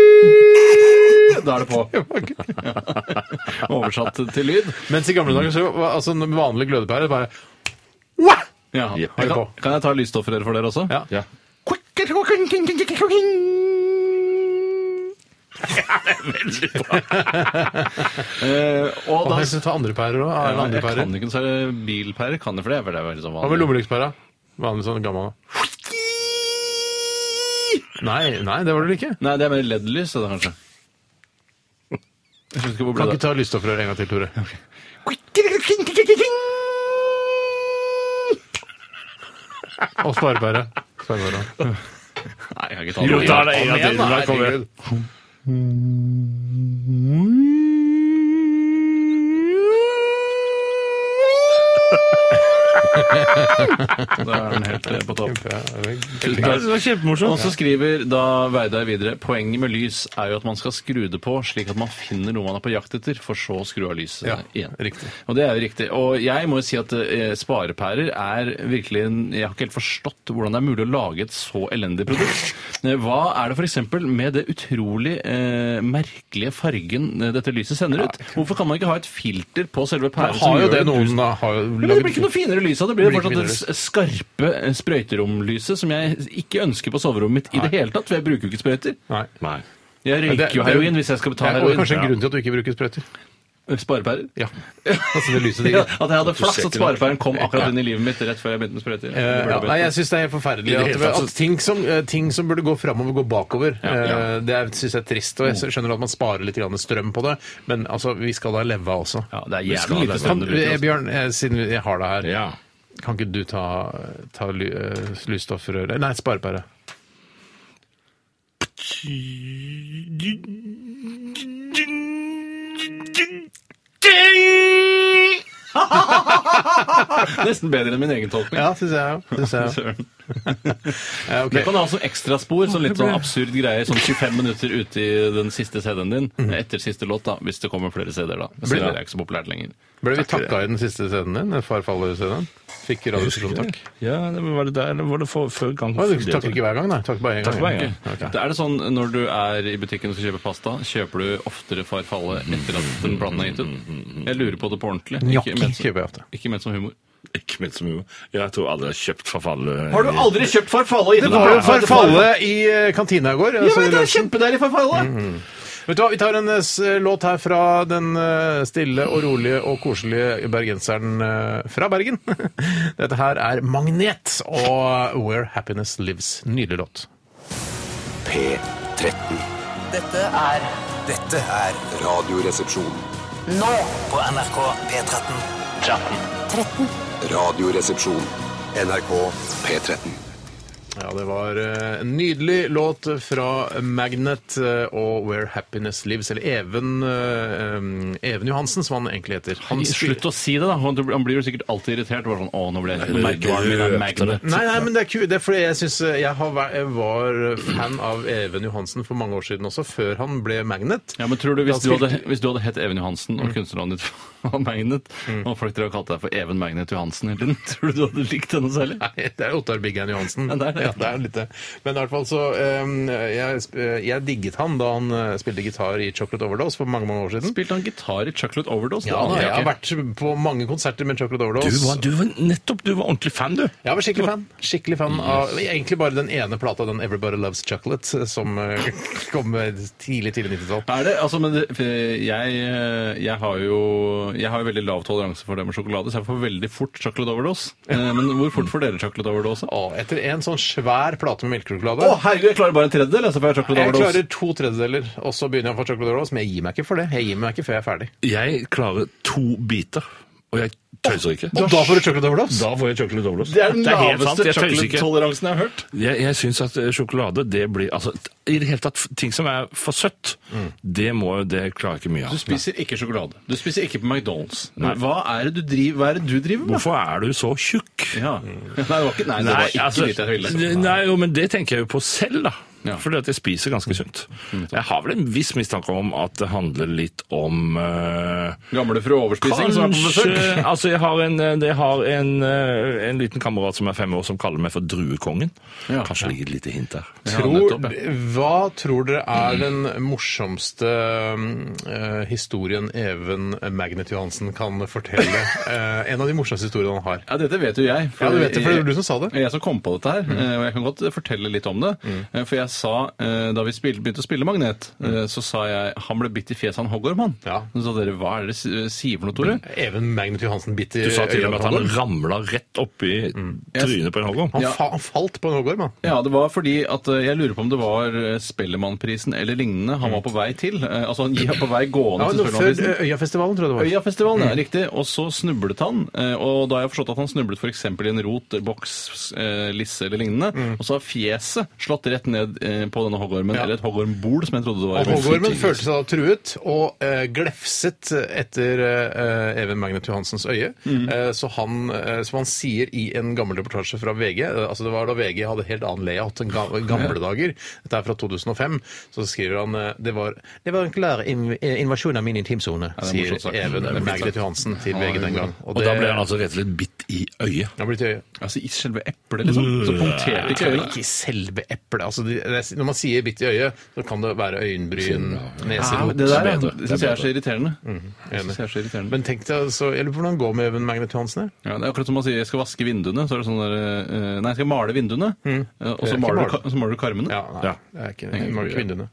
Speaker 8: P- Da er det på. Oversatt til lyd.
Speaker 7: Mens i gamle dager så var altså, en vanlig glødepære bare
Speaker 8: Ja.
Speaker 5: Ja.
Speaker 8: Kan, kan jeg ta lysstoffrør for dere også?
Speaker 7: Ja.
Speaker 5: Ja.
Speaker 8: Eh, og da
Speaker 7: Å, jeg skal ta andre pærer òg. Er det andre
Speaker 8: jeg
Speaker 7: pærer?
Speaker 8: kan ikke så er det bilpærer. Kan det for det? For det er vel sånn
Speaker 7: Hva med
Speaker 8: vanlig.
Speaker 7: lommelyktpæra? Vanlig sånn gammel. Nei, nei, det var det vel ikke.
Speaker 8: Nei, det er mer LED-lys, det da, kanskje. Jeg husker hvor
Speaker 7: Kan
Speaker 8: ble
Speaker 7: ikke
Speaker 8: det
Speaker 7: ta lysstoffrør en gang til, Tore. Og sparepære. Sparepære.
Speaker 8: Nei, jeg kan ikke ta det.
Speaker 5: Jo, ta det en gang til.
Speaker 7: da,
Speaker 5: Da kommer jeg.
Speaker 8: Da er den helt eh, på topp.
Speaker 7: Ja, det er
Speaker 8: Tusen
Speaker 7: veldig-
Speaker 8: takk. Og så skriver da Veidar videre Poenget med lys er jo at man skal skru det på slik at man finner noe man er på jakt etter, for så å skru av lyset
Speaker 7: Ja,
Speaker 8: igjen.
Speaker 7: riktig.
Speaker 8: Og det er jo riktig. Og jeg må jo si at eh, sparepærer er virkelig en, Jeg har ikke helt forstått hvordan det er mulig å lage et så elendig produkt. Eh, Hva er det f.eks. med det utrolig eh, merkelige fargen eh, dette lyset sender ut? Hvorfor kan man ikke ha et filter på selve
Speaker 7: Men
Speaker 8: pæren? som
Speaker 7: Har jo
Speaker 8: gjør
Speaker 7: det
Speaker 8: at lyset-
Speaker 7: noen da, har jo
Speaker 8: ja, Men det blir ikke noe finere lys av det. Blir det
Speaker 7: Det blir ikke
Speaker 8: fortsatt det s- skarpe eh, sprøyteromlyset som jeg ikke ønsker på soverommet mitt i det hele tatt, for jeg bruker jo ikke sprøyter.
Speaker 7: Nei.
Speaker 5: Nei.
Speaker 8: Jeg
Speaker 7: Men det-
Speaker 8: røyker jo
Speaker 7: det-
Speaker 8: heroin hvis jeg skal
Speaker 7: Ja,
Speaker 8: betale
Speaker 7: og det er kanskje en
Speaker 8: heroin.
Speaker 7: grunn til at du ikke bruker sprøyter.
Speaker 8: Ja. Sparepærer.
Speaker 7: Ja. Altså det lyset
Speaker 8: Ja,
Speaker 7: digger.
Speaker 8: at jeg hadde flaks
Speaker 5: ser
Speaker 8: at
Speaker 5: ikke noe.
Speaker 8: sparepæren kom akkurat inn i livet mitt rett før jeg begynte med sprøyter. Det burde
Speaker 7: Eh, ja,
Speaker 8: jeg
Speaker 7: nei,
Speaker 8: begynt.
Speaker 7: jeg syns det er helt forferdelig
Speaker 5: I det
Speaker 7: at,
Speaker 5: hele tatt så-
Speaker 7: at ting, som, eh, ting som burde gå framover, går bakover.
Speaker 5: ja.
Speaker 7: Eh, Det syns jeg er trist. Og jeg skjønner at man sparer litt grann strøm på det, men altså, vi skal da leve av også.
Speaker 8: ja, det er
Speaker 5: Vi skal
Speaker 8: jævlig lite
Speaker 5: det.
Speaker 8: strøm
Speaker 7: Kan,
Speaker 8: du bruker.
Speaker 7: eh,
Speaker 8: altså.
Speaker 7: Bjørn, eh, siden vi- jeg har deg her,
Speaker 5: Ja.
Speaker 7: kan ikke du ta, ta ly, eh, lysstoffrøret Nei, sparepære.
Speaker 8: Nesten bedre enn min egen tolkning.
Speaker 7: Ja, syns jeg òg.
Speaker 8: Søren.
Speaker 7: Eh, ok.
Speaker 8: Det kan du ha som ekstraspor, sånn litt sånn absurd greie, sånn 25 minutter ute i den siste CD-en din, etter siste låt, da, hvis det kommer flere CD-er da. Men siden er det ikke så populært lenger.
Speaker 7: Ble vi takka i den siste scenen din? den Far faller-scenen? Fikk Radioresepsjonen takk?
Speaker 5: Ja, det var det der, eller var det for, før gang?
Speaker 7: Å, du takker ikke hver gang, nei? Takk bare én gang.
Speaker 5: Takk for meg, ja.
Speaker 7: Ok.
Speaker 8: Det er det sånn når du er i butikken og skal kjøpe pasta, kjøper du oftere farfalle etter at den planen er gitt ut? Jeg lurer på det på ordentlig.
Speaker 7: Gnocchi
Speaker 8: ment som-
Speaker 7: kjøper jeg ofte.
Speaker 8: Ikke ment som humor.
Speaker 5: Ikke ment som humor. Jeg tror aldri jeg har kjøpt eh, forfallet.
Speaker 8: kjøpt farfalle?
Speaker 7: Det var jo Farfalle i eh, kantina i går. altså i lunsjen.
Speaker 8: kjempedeilig farfalle!
Speaker 7: Vet du hva, Vi tar en eh, s- låt her fra den eh, stille og rolige og koselige bergenseren eh, fra Bergen. Dette her er Magnet og Where Happiness Lives. Nydelig låt.
Speaker 1: P13.
Speaker 2: Dette er
Speaker 6: Dette er
Speaker 1: Radioresepsjon.
Speaker 2: nå på NRK P13.
Speaker 1: Radioresepsjon. NRK P13.
Speaker 7: Ja, det var eh, en nydelig låt fra Magnet eh, og Where Happiness Lives, eller Even, eh, em, Even Johansen, som han egentlig heter. Han spiller-
Speaker 8: Slutt å si det, da. Han han blir jo sikkert alltid irritert. Bare sånn, å, nå ble jeg merkevaren min er Magnet.
Speaker 7: Nei, nei, men det er kult. Det er fordi jeg synes eh, jeg, har, væ- jeg var eh, fan av Even Johansen for mange år siden også, før han ble Magnet.
Speaker 8: Ja, men tror du, Hvis
Speaker 7: Da
Speaker 8: du hadde,
Speaker 7: spilte-
Speaker 8: hvis du hadde hett Even Johansen, og kunstnernavnet ditt var Magnet, og folk drev og kalte deg for Even Magnet Johansen hele tiden, tror du du hadde likt det noe særlig?
Speaker 7: Nei, det er Ottar Biggen Johansen.
Speaker 8: Ja, det er det.
Speaker 7: Ja, det er litt det. Men i hvert fall så em, jeg, sp- jeg digget han da han eh, spilte gitar i Chocolate Overdose for mange, mange år siden.
Speaker 8: Spilte han gitar i Chocolate Overdose?
Speaker 7: Ja,
Speaker 8: Det aner
Speaker 7: jeg har
Speaker 8: ikke.
Speaker 7: vært på mange konserter med Chocolate Overdose.
Speaker 5: Du var, du var nettopp du var ordentlig fan, du.
Speaker 7: Jeg var skikkelig fan. Skikkelig fan av egentlig bare den ene plata, den 'Everybody Loves Chocolate', som eh, kom med tidlig, tidlig 90-tall.
Speaker 8: Er det, altså, men det, for jeg, eh, jeg har jo jeg har jo veldig lav toleranse for det med sjokolade, så jeg får veldig fort chocolate overdose. Eh, Men hvor fort får dere chocolate overdose? Å,
Speaker 7: Å, Etter en sånn svær plate med melkesjokolade
Speaker 8: herregud, jeg klarer bare en tredjedel, altså, for jeg har chocolate
Speaker 7: Jeg
Speaker 8: overdose.
Speaker 7: klarer to tredjedeler, og så begynner jeg å få chocolate overdose, men jeg gir meg ikke for det. Jeg gir meg ikke før jeg er ferdig.
Speaker 5: Jeg klarer to biter, og jeg tøyser ikke.
Speaker 7: Og da får du chocolate overdose?
Speaker 5: Da får jeg chocolate overdose. helt sant,
Speaker 8: laveste
Speaker 5: jeg tøyser ikke.
Speaker 8: chocolate-toleransen jeg har hørt.
Speaker 5: Jeg, jeg syns at eh, sjokolade, det blir Altså, i det hele tatt, ting som er for søtt, det må det klarer jeg ikke mye
Speaker 8: Mm.
Speaker 5: av.
Speaker 8: Du spiser ikke sjokolade. Du spiser ikke på McDonald's. Hva er det du driver, hva er det du driver med?
Speaker 5: Hvorfor er du så tjukk?
Speaker 8: Ja. Nei, det var ikke, nei, det var ikke
Speaker 5: altså,
Speaker 8: litt jeg ville.
Speaker 5: Nei, jo, men det tenker jeg jo på selv, da.
Speaker 8: Ja. Mm,
Speaker 5: Fordi at jeg spiser ganske sunt. Jeg har vel en viss mistanke om at det handler litt om eh,
Speaker 8: Gamle fru Overspising som er på
Speaker 5: Kanskje,
Speaker 8: besøk.
Speaker 5: altså jeg har, en, jeg har en, eh, en liten kamerat som er fem år som kaller meg for druekongen.
Speaker 8: Ja.
Speaker 5: Kanskje det ligger et lite hint der.
Speaker 7: Tror,
Speaker 8: nettopp,
Speaker 7: hva tror dere er den morsomste eh, historien Even Magnet Johansen kan fortelle? Eh, en av de morsomste historiene han har. Eh,
Speaker 8: Ja, dette vet jo jeg.
Speaker 7: Ja, du vet det, for det var du som sa det. Mm.
Speaker 8: Jeg som kom på dette her, eh, og jeg kan godt fortelle litt om det. Eh, For jeg sa, eh, da vi spil- begynte å spille Magnet, eh, så sa jeg han ble bitt i fjeset, han hoggorm, han.
Speaker 7: Mm. Ja.
Speaker 8: Så sa dere, hva er det dere sier for noe, Tore?
Speaker 7: Even Magnet Johansen bitt i
Speaker 5: Du sa til og med
Speaker 7: øynene
Speaker 5: at
Speaker 7: på
Speaker 5: han
Speaker 7: hoggorm.
Speaker 5: ramla rett oppi
Speaker 8: Mm.
Speaker 5: trynet på en hoggorm.
Speaker 7: Han,
Speaker 8: Ja.
Speaker 7: fa han falt på en hoggorm, han.
Speaker 8: Ja, det var fordi at eh, jeg lurer på om det var eh, Spellemannprisen eller lignende han var på vei til. Eh, Altså, han gikk på vei gående
Speaker 7: Ja,
Speaker 8: til
Speaker 7: nå, før
Speaker 8: Spellemannprisen.
Speaker 7: eh, Mm. Øyafestivalen, tror jeg det var.
Speaker 8: Øyafestivalen, ja, riktig. Og så snublet han. eh, Og da har jeg forstått at han snublet f.eks. i en rot, boks, eh, lisse eller lignende. Og så har fjeset slått rett ned eh, på denne hoggormen,
Speaker 7: Mm. Ja.
Speaker 8: eller et hoggormbol, som jeg trodde det var.
Speaker 7: Og Hoggormen følte seg da truet og eh, glefset etter eh, Even Magnet Johansens øye.
Speaker 8: Mm.
Speaker 7: Eh, så han, eh, som han sier i en gammel reportasje fra VG eh, altså Det var da VG hadde helt annen layout enn ga gamle dager. Dette er fra 2005. Så skriver han eh, det var, det var en klar inv eh, invasjon av min intimsone,
Speaker 8: det er
Speaker 7: sier
Speaker 8: morsomt sagt.
Speaker 7: Even
Speaker 8: Det er morsomt
Speaker 7: Magnet
Speaker 8: sagt.
Speaker 7: Johansen til
Speaker 8: Ja,
Speaker 7: VG den
Speaker 8: det-
Speaker 7: gang.
Speaker 5: Og da ble han altså rett og slett bitt i øyet.
Speaker 7: Han ble til øye.
Speaker 8: Altså i selve eplet, liksom. Så punkterte ikke
Speaker 7: Ikke,
Speaker 8: øyet.
Speaker 7: ikke selve eplet. Altså, det, det, er- når man sier bitt i øyet, så kan det være øyenbryn,
Speaker 8: Ja,
Speaker 7: neserot
Speaker 8: det der
Speaker 7: bedre. Mm,
Speaker 8: det syns jeg er så irriterende. Det synes jeg er så irriterende.
Speaker 7: Men tenk deg, altså, jeg lurer på hvordan det går med Even Magnet Johansen. jeg.
Speaker 8: Ja, det er akkurat som man sier jeg skal vaske vinduene. Så er det sånn der, eh, nei, jeg skal male vinduene. eh, Og
Speaker 7: Mm. Det er
Speaker 8: så
Speaker 7: ikke
Speaker 8: maler, du,
Speaker 7: male.
Speaker 8: ka- så maler du karmene.
Speaker 7: Ja, nei,
Speaker 5: Ja.
Speaker 7: det er ikke det. Mange kvinner.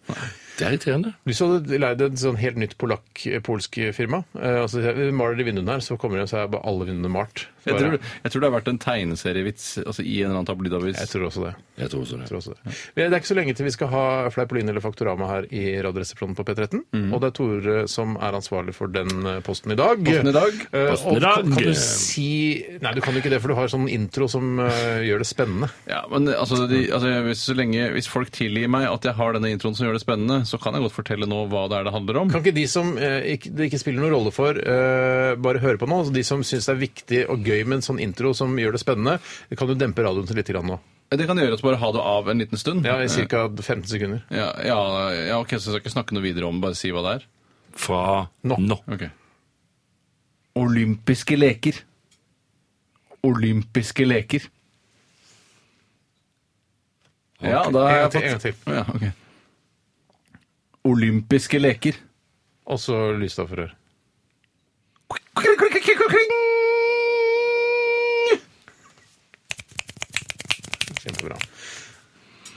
Speaker 5: Det er irriterende.
Speaker 7: Hvis du hadde leid et sånn helt nytt polakk-polsk firma, eh, og så sier jeg, vi maler de vinduene her, så kommer det, så er bare alle vinduene malt.
Speaker 8: Jeg, tror,
Speaker 7: Bare-
Speaker 8: jeg tror det har vært en tegneserievits altså i en eller annen tabloidavis.
Speaker 7: jeg tror også det.
Speaker 5: Jeg tror også
Speaker 7: Jeg
Speaker 5: det.
Speaker 7: tror også det. Men det er ikke så lenge til vi skal ha Fleipolin eller Faktorama her i Radioresepsjonen på P13. Og det er Tore som er ansvarlig for den eh, posten i dag.
Speaker 8: Posten i dag.
Speaker 7: Eh,
Speaker 5: Posten
Speaker 7: og
Speaker 5: i dag.
Speaker 7: Kan, kan du si Nei, du kan jo ikke det, for du har sånn intro som eh, gjør det spennende.
Speaker 8: Ja, men altså, de, altså hvis, så lenge, hvis folk tilgir meg at jeg har denne introen som gjør det spennende, så kan jeg godt fortelle nå hva det er det handler om.
Speaker 7: Kan ikke de som eh, ikke, det ikke spiller noen rolle for, eh, bare høre på nå? Altså de som syns det er viktig og gøy gøy med en sånn intro som gjør det spennende. Kan du dempe radioen til litt grann nå?
Speaker 8: Det kan gjøre at bare ha det av en liten stund.
Speaker 7: Ja, i ca. 15 sekunder.
Speaker 8: ja, ja, ja, ok, så skal jeg ikke snakke noe videre om, bare si hva det er.
Speaker 5: Fra
Speaker 7: Nå.
Speaker 5: nå.
Speaker 8: Ok. Olympiske leker. Olympiske leker. Ja, da har
Speaker 7: En gang
Speaker 8: jeg
Speaker 7: til,
Speaker 8: fått...
Speaker 7: en gang til.
Speaker 8: Ja, ok. Olympiske leker.
Speaker 7: Og så lysstoffrør. Kjempebra.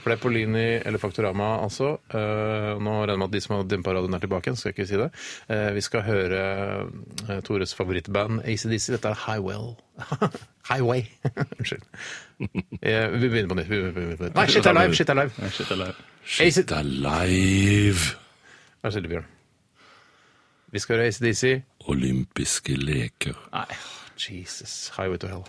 Speaker 7: Fleipolini eller Faktorama, altså. Eh, nå regner jeg med at de som har dempa radioen, er tilbake igjen. Skal jeg ikke si det. Eh, vi skal høre eh, Tores favorittband ACDC. Dette er Highwell. Highway. Unnskyld. Eh, vi begynner på nytt. Vi begynner på nytt. Nei, shit er live! Shit er live!
Speaker 8: Shit, eller...
Speaker 7: AC-
Speaker 5: Alive!
Speaker 7: Vær så snill, Bjørn. Vi skal høre ACDC.
Speaker 5: Olympiske leker.
Speaker 7: Nei, Jesus. Highway to hell.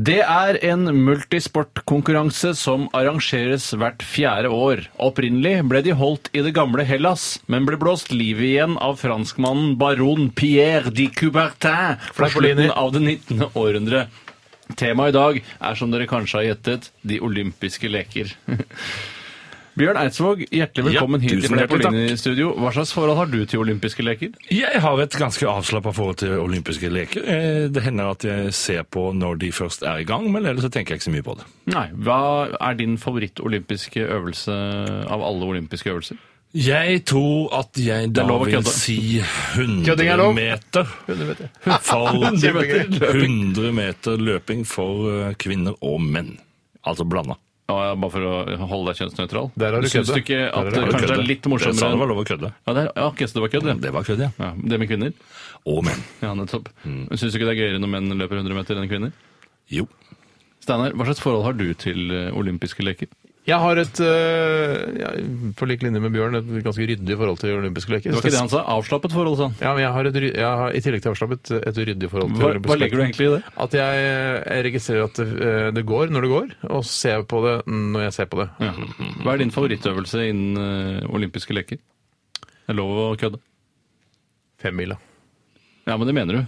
Speaker 8: Det er en multisportkonkurranse som arrangeres hvert fjerde år. Opprinnelig ble de holdt i det gamle Hellas, men ble blåst liv igjen av franskmannen baron Pierre de Coubertin fra slutten av det 19. århundre. Temaet i dag er, som dere kanskje har gjettet, de olympiske leker. Bjørn Eidsvåg,
Speaker 5: Ja,
Speaker 8: hjertelig velkommen hit
Speaker 5: tusen
Speaker 8: til
Speaker 5: hjertelig takk.
Speaker 8: Fleipolini-studio. Hva slags forhold har du til olympiske leker?
Speaker 5: Jeg har et ganske avslappa forhold til olympiske leker. Eh, Det hender at jeg ser på når de først er i gang, men ellers så tenker jeg ikke så mye på det.
Speaker 8: Nei, Hva er din favoritt-olympiske øvelse av alle olympiske øvelser?
Speaker 5: Jeg tror at jeg da
Speaker 8: lov å
Speaker 5: vil
Speaker 8: kødde.
Speaker 5: si 100
Speaker 7: Kødding er lov.
Speaker 5: meter. For 100
Speaker 7: Kjempegøy.
Speaker 5: meter, 100 meter løping for eh, kvinner og menn. Altså blanda.
Speaker 8: Ja, bare for å holde deg kjønnsnøytral.
Speaker 7: Der har du
Speaker 8: Syns
Speaker 7: kødde.
Speaker 8: du ikke
Speaker 7: Der har
Speaker 8: at
Speaker 7: du
Speaker 8: det
Speaker 7: kødde.
Speaker 8: kanskje er litt
Speaker 5: Jeg sa det
Speaker 8: morsommere
Speaker 5: var lov å kødde.
Speaker 8: ja, det er, ja, ok, så det var kødd, ja.
Speaker 5: Det var kødd, ja.
Speaker 8: ja. Det med kvinner?
Speaker 5: Og menn.
Speaker 8: Ja, nettopp.
Speaker 5: Mm.
Speaker 8: Syns du ikke det er gøyere når menn løper 100 meter enn kvinner?
Speaker 5: Jo.
Speaker 8: Steinar, hva slags forhold har du til eh, olympiske leker?
Speaker 7: Jeg har et, øh, ja, på lik linje med Bjørn, et ganske ryddig forhold til olympiske leker.
Speaker 8: Det var ikke det han sa. Avslappet forhold, sa han.
Speaker 7: Ja, men jeg har, et, ry- jeg har i tillegg til avslappet et ryddig forhold til
Speaker 8: Hva,
Speaker 7: olympiske
Speaker 8: hva legger du egentlig i det?
Speaker 7: At jeg, jeg registrerer at det, det går når det går, og ser på det når jeg ser på det.
Speaker 8: Ja.
Speaker 5: Mm.
Speaker 8: Hva er din favorittøvelse innen eh, olympiske leker? Det er lov å kødde.
Speaker 7: Femmila.
Speaker 8: Ja, men det mener du.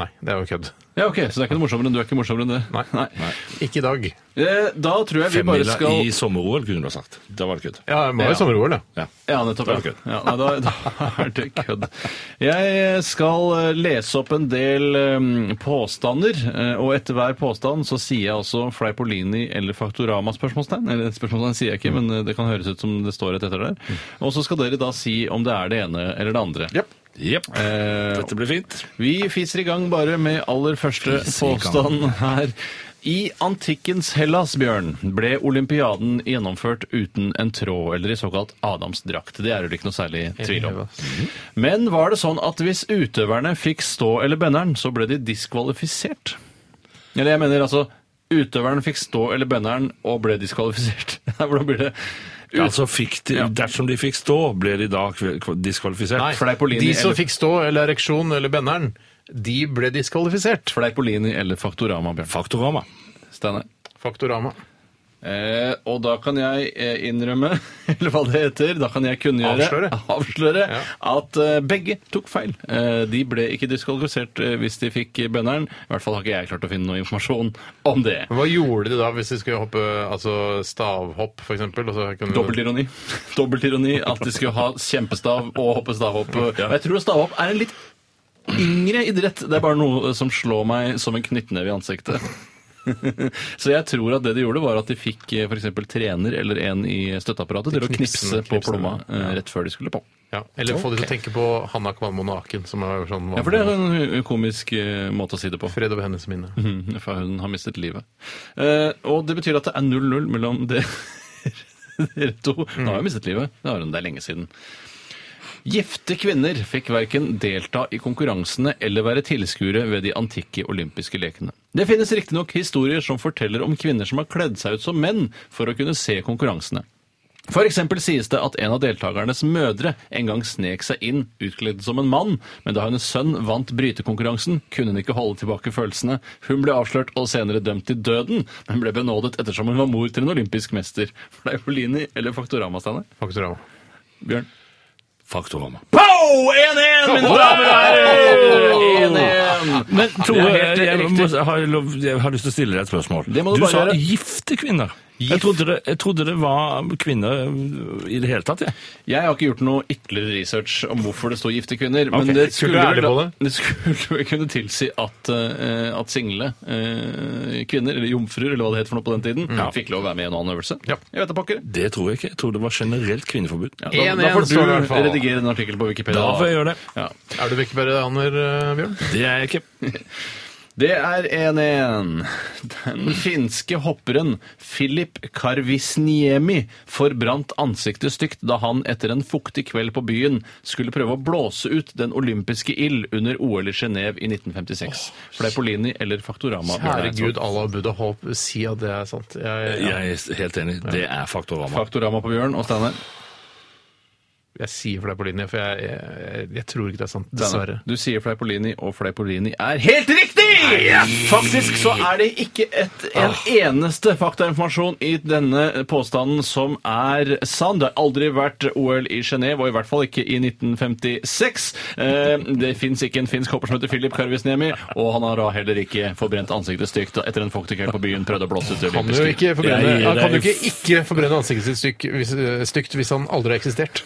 Speaker 7: Nei, det er jo kødd.
Speaker 8: Ja, ok, Så det er ikke noe morsommere enn du er ikke morsommere enn det?
Speaker 7: Nei. Ikke i dag.
Speaker 8: Eh, Da tror jeg vi bare
Speaker 5: Femmila
Speaker 8: skal
Speaker 5: i sommer-OL kunne du ha sagt. Da var det kødd.
Speaker 7: Ja, det var jo
Speaker 8: Ja.
Speaker 7: sommer-OL, da.
Speaker 8: Ja, nettopp.
Speaker 5: Da er det
Speaker 8: Ja. Ja, nei, da, da er det kødd. Jeg skal eh, lese opp en del eh, påstander, eh, og etter hver påstand så sier jeg også Fleipolini eller Faktorama spørsmålstegn. Eller spørsmålstegn sier jeg ikke, men eh, det kan høres ut som det står et etter der. Og så skal dere da si om det er det ene eller det andre.
Speaker 5: Jepp.
Speaker 8: Eh,
Speaker 5: Dette blir fint.
Speaker 8: vi fiser i gang bare med aller første
Speaker 5: Fiser i gang.
Speaker 8: påstand her. I antikkens Hellas, Bjørn, ble olympiaden gjennomført uten en tråd, eller i såkalt adamsdrakt. Det er det ikke noe særlig tvil om. Men var det sånn at hvis utøverne fikk stå eller benneren, så ble de diskvalifisert? Eller jeg mener altså Utøveren fikk stå eller benneren og ble diskvalifisert. Hvordan blir det? Ut...
Speaker 5: Altså fikk de, Dersom de fikk stå, ble de da kve- diskvalifisert?
Speaker 7: Nei,
Speaker 8: Fleipolini
Speaker 7: de som
Speaker 8: eller-
Speaker 7: fikk stå eller ereksjon eller benneren, de ble diskvalifisert.
Speaker 8: Fleipolini eller Faktorama, Bjørn?
Speaker 5: Faktorama.
Speaker 8: Steinar?
Speaker 7: Faktorama.
Speaker 8: Eh, og da kan jeg eh, innrømme, eller hva det heter, da kan jeg kunngjøre
Speaker 7: Avsløre.
Speaker 8: avsløre
Speaker 7: Ja.
Speaker 8: at eh, begge tok feil. Eh, de ble ikke diskvalifisert eh, hvis de fikk bønneren. I hvert fall har ikke jeg klart å finne noe informasjon om det.
Speaker 7: Hva gjorde de da hvis de skulle hoppe altså stavhopp, for eksempel? og så kunne-
Speaker 8: Dobbeltironi. Dobbeltironi Mm. at de skulle ha kjempestav og hoppe stavhopp. Og jeg tror stavhopp er en litt yngre idrett. Det er bare noe som slår meg som en knyttneve i ansiktet. Så jeg tror at det de gjorde, var at de fikk f.eks. trener eller en i støtteapparatet til å
Speaker 7: knipsen,
Speaker 8: knipse på
Speaker 7: knipsen,
Speaker 8: plomma
Speaker 7: ja.
Speaker 8: eh, rett før de skulle på.
Speaker 7: Ja, eller få de til å tenke på Hanna Kvalmo Naken, som er jo sånn
Speaker 8: Ja, for det er en komisk eh, måte å si det på.
Speaker 7: Fred over hennes minne.
Speaker 8: Mhm. Mm, For hun har mistet livet. Eh, og det betyr at det er 0-0 mellom det dere to. Nå har jeg mistet livet. Det har hun, det er lenge siden. Gifte kvinner fikk verken delta i konkurransene eller være tilskuere ved de antikke olympiske lekene. Det finnes riktignok historier som forteller om kvinner som har kledd seg ut som menn for å kunne se konkurransene. For eksempel sies det at en av deltakernes mødre en gang snek seg inn utkledd som en mann, men da hennes sønn vant brytekonkurransen, kunne hun ikke holde tilbake følelsene. Hun ble avslørt og senere dømt til døden, men ble benådet ettersom hun var mor til en olympisk mester. For det er Polini eller Faktorama, Steinar?
Speaker 7: Faktorama.
Speaker 8: Bjørn?
Speaker 5: Faktorama.
Speaker 8: Pow! 1-1, mine damer og herrer! 1-1.
Speaker 5: Men Tore,
Speaker 8: Det er
Speaker 5: jeg,
Speaker 8: helt
Speaker 5: må,
Speaker 8: riktig.
Speaker 5: jeg, har lov, jeg har lyst til å stille deg et spørsmål.
Speaker 8: Det må du
Speaker 5: du
Speaker 8: bare
Speaker 5: sa
Speaker 8: gjøre.
Speaker 5: gifte kvinner. Jeg
Speaker 8: Gift.
Speaker 5: trodde, det, jeg trodde det var kvinner øh, i det hele tatt. Jeg.
Speaker 8: Jeg har ikke gjort noe ytterligere research om hvorfor det står gifte kvinner,
Speaker 5: Ok,
Speaker 8: men det
Speaker 7: skulle du
Speaker 8: skulle,
Speaker 7: være ærlig
Speaker 8: vel-
Speaker 7: på
Speaker 8: det skulle vel kunne tilsi at, eh, at single eh, kvinner, eller jomfruer, eller hva det het for noe på den tiden, fikk lov å være med i en annen øvelse.
Speaker 7: Ja.
Speaker 8: Jeg vet da pokker.
Speaker 5: Det tror jeg ikke. Jeg tror det var generelt kvinneforbud.
Speaker 8: Ja, da,
Speaker 7: 1-1
Speaker 8: da får
Speaker 7: står det i hvert
Speaker 8: du
Speaker 7: fall.
Speaker 8: redigere en artikkel på Wikipedia.
Speaker 5: Da får jeg gjøre det.
Speaker 8: Ja.
Speaker 7: Er du vekkebæreaner, eh, Bjørn?
Speaker 5: Det er jeg ikke.
Speaker 8: Det er 1-1. Den finske hopperen Filip Karvisniemi forbrant ansiktet stygt da han etter en fuktig kveld på byen skulle prøve å blåse ut den olympiske ild under OL i Genéve i 1956. Fleipolini eller Faktorama?
Speaker 7: Herregud, Gud, Allah Buddha Håp, si at det er sant. Jeg, jeg,
Speaker 5: Jeg er helt enig. Det er Faktorama.
Speaker 8: Faktorama på Bjørn og Steinar.
Speaker 7: jeg sier for deg på linje, for jeg, jeg, jeg, jeg tror ikke det er sant.
Speaker 8: Steinar,
Speaker 7: Dessverre.
Speaker 8: Du sier Fleipolini, og Fleipolini er helt riktig! Faktisk så er det ikke et, en
Speaker 7: Ah.
Speaker 8: eneste faktainformasjon i denne påstanden som er sann. Det har aldri vært OL i Genéve, og i hvert fall ikke i 1956. Eh, Det fins ikke en finsk hopper som heter Filip Karvisniemi, og han har da heller ikke forbrent ansiktet stygt etter en fuktigkveld på byen prøvde å blåse ut det
Speaker 7: Kan du
Speaker 8: olympiske.
Speaker 7: ikke forbrenne,
Speaker 5: Jeg gir
Speaker 7: ja, kan du
Speaker 5: deg
Speaker 7: ikke, ikke forbrenne ansiktet sitt stygt hvis, eh, stygt hvis han aldri har eksistert?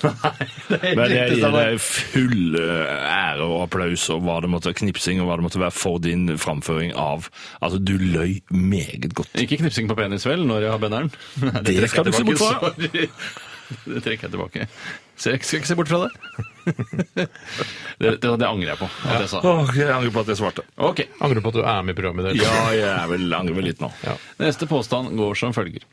Speaker 5: Men jeg gir
Speaker 8: Steinar.
Speaker 5: deg full øh, ære og applaus og hva det måtte knipsing og hva det måtte være for din framføring av Altså, du løy meget godt.
Speaker 8: Ikke knipsing på penis, vel, når jeg har benderen? Nei,
Speaker 5: Det
Speaker 8: trekker
Speaker 5: skal
Speaker 8: jeg
Speaker 5: du se bort fra.
Speaker 8: tilbake, sorry. Det trekker jeg tilbake. Så jeg skal ikke se bort fra det. Det, det, det angrer jeg på at jeg sa.
Speaker 5: Åh, jeg angrer på at jeg svarte.
Speaker 8: Ok.
Speaker 7: Angrer du på at du er med i programmet der?
Speaker 5: Ja, jeg er vel, angrer vel litt nå.
Speaker 8: Neste påstand går som følger.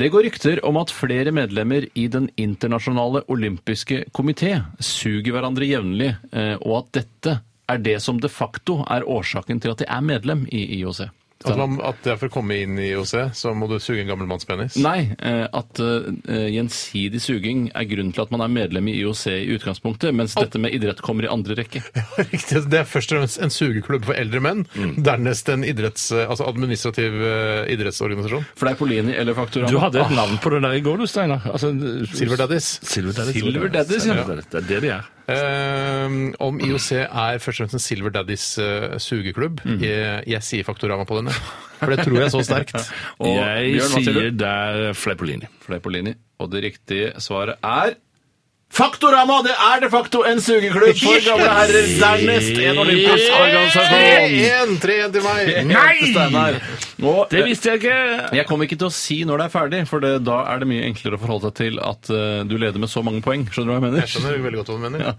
Speaker 8: Det går rykter om at flere medlemmer i Den internasjonale olympiske komité suger hverandre jevnlig, eh, og at dette er det som de facto er årsaken til at de er medlem i IOC.
Speaker 7: At, Altså, man, at det er for å komme inn i IOC, så må du suge en gammel manns penis?
Speaker 8: Nei, eh, at eh, gjensidig suging er grunnen til at man er medlem i IOC i utgangspunktet, mens dette med idrett kommer i andre rekke.
Speaker 7: Riktig. altså, Det er først og fremst en sugeklubb for eldre menn, dernest en idretts, altså administrativ eh, idrettsorganisasjon.
Speaker 8: Fleipolini eller Faktorama?
Speaker 5: Du hadde et navn på det der i går, du, Steinar. Altså,
Speaker 7: Silver Daddies.
Speaker 5: Silver Daddies.
Speaker 8: Silver Daddies, ja.
Speaker 5: Det er det de er.
Speaker 7: Ehm, om IOC er først og fremst en Silver Daddies eh, sugeklubb, jeg, jeg sier Faktorama på denne. For det tror jeg så sterkt.
Speaker 8: Og
Speaker 5: jeg
Speaker 8: Bjørn, hva sier
Speaker 5: sier
Speaker 8: du?
Speaker 5: der eh, Fleipolini.
Speaker 8: Fleipolini. Og det riktige svaret er Faktorama! Det er de facto en sugeklubb for gamle herrer, dernest en olympisk organisasjon!
Speaker 7: 3-1 3-1 til meg!
Speaker 8: Nei! Og, eh,
Speaker 5: Det visste jeg ikke!
Speaker 8: Jeg kommer ikke til å si når det er ferdig, for det, da er det mye enklere å forholde seg til at eh, du leder med så mange poeng. Skjønner du hva jeg mener?
Speaker 7: Jeg skjønner veldig godt hva du mener.
Speaker 8: Ja.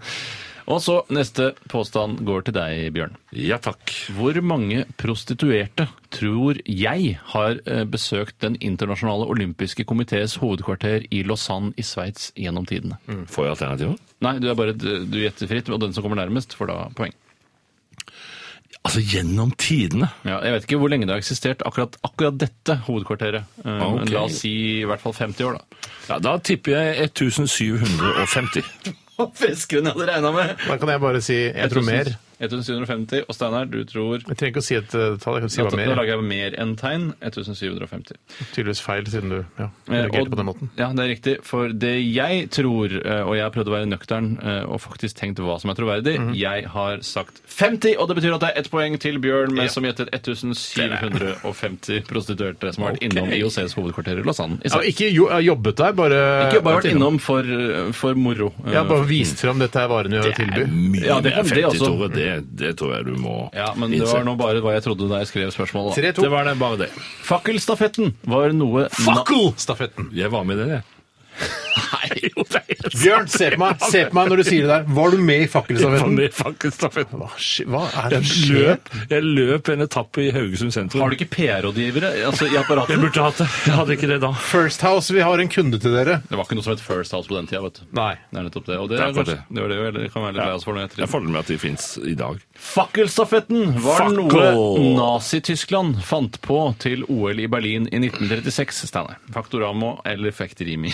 Speaker 8: Og så neste påstand går til deg, Bjørn.
Speaker 5: Ja takk.
Speaker 8: Hvor mange prostituerte tror jeg har eh, besøkt Den internasjonale olympiske komitees hovedkvarter i Lausanne i Sveits gjennom tidene?
Speaker 5: Får jeg alternativer?
Speaker 8: Nei, du, er bare, du gjetter fritt, og den som kommer nærmest, får da poeng.
Speaker 5: Altså, gjennom tidene.
Speaker 8: Ja, jeg vet ikke hvor lenge det har eksistert, akkurat, akkurat dette hovedkvarteret. Eh, men
Speaker 5: Ok.
Speaker 8: La oss si i hvert fall 50 år, da.
Speaker 5: Ja, Da tipper jeg 1750.
Speaker 8: Friskere enn jeg hadde regna med!
Speaker 7: Da kan jeg bare si jeg tror mer.
Speaker 8: 1750. Og Steinar, du tror
Speaker 7: Jeg trenger ikke å si et eh, tall, jeg kan si
Speaker 8: Nå
Speaker 7: hva mer.
Speaker 8: lager jeg mer enn tegn. 1750.
Speaker 7: Tydeligvis feil, siden du ja,
Speaker 8: Eh,
Speaker 7: reagerte
Speaker 8: og-
Speaker 7: på den måten.
Speaker 8: Ja, det er riktig. For det jeg tror, eh, og jeg har prøvd å være nøktern eh, og faktisk tenkt hva som er troverdig, jeg har sagt 50, og det betyr at det er ett poeng til Bjørn, men som gjettet 1750 prostituerte som har vært innom IOCs hovedkvarter i Lausanne. I
Speaker 7: Ja,
Speaker 8: Sveits.
Speaker 7: ikke jo, jobbet der, bare
Speaker 8: Ikke bare vært innom for, for moro. eh,
Speaker 7: Ja, bare vist fram dette Mm. er varene vi har å tilby.
Speaker 5: Mye
Speaker 8: Ja, det
Speaker 5: mer
Speaker 8: kan det
Speaker 5: 50,
Speaker 8: også.
Speaker 5: Tore. Det, det tror jeg du må
Speaker 8: ja, men det var nå bare hva jeg trodde da jeg skrev spørsmålet. da.
Speaker 7: 3-2.
Speaker 5: Det var det, bare det.
Speaker 8: Fakkelstafetten var noe na-
Speaker 7: Fuckle-stafetten.
Speaker 5: Jeg var med i det, jeg.
Speaker 8: Nei,
Speaker 5: Nei, jo, det er helt
Speaker 7: Bjørn, se på meg se på meg når du sier det der. Var du med i
Speaker 5: Faen,
Speaker 7: fakkelstafetten?
Speaker 5: det er faktisk stafett.
Speaker 7: Hva, skje- hva er det
Speaker 5: Jeg
Speaker 7: som skjer?
Speaker 5: løp, jeg løp en etappe i Haugesund sentrum.
Speaker 8: Har du ikke PR-rådgivere altså, i
Speaker 5: Jeg
Speaker 8: apparatet?
Speaker 5: burde hatt det. Jeg hadde ikke det da.
Speaker 7: First House, vi har en kunde til dere.
Speaker 8: Det var ikke noe som het First House på den tida, vet du.
Speaker 7: Nei.
Speaker 8: Det er nettopp det. Og det,
Speaker 5: Det
Speaker 8: er
Speaker 5: er akkurat
Speaker 8: kanskje, det, var det vi kan være litt lei oss for. når jeg
Speaker 5: Jeg
Speaker 8: tror-
Speaker 5: føler med at de fins i dag.
Speaker 8: Fakkelstafetten var
Speaker 5: Fakkel.
Speaker 8: noe Nazi-Tyskland fant på til OL i Berlin i 1936, Steinar. Faktoramo eller Faktorimi?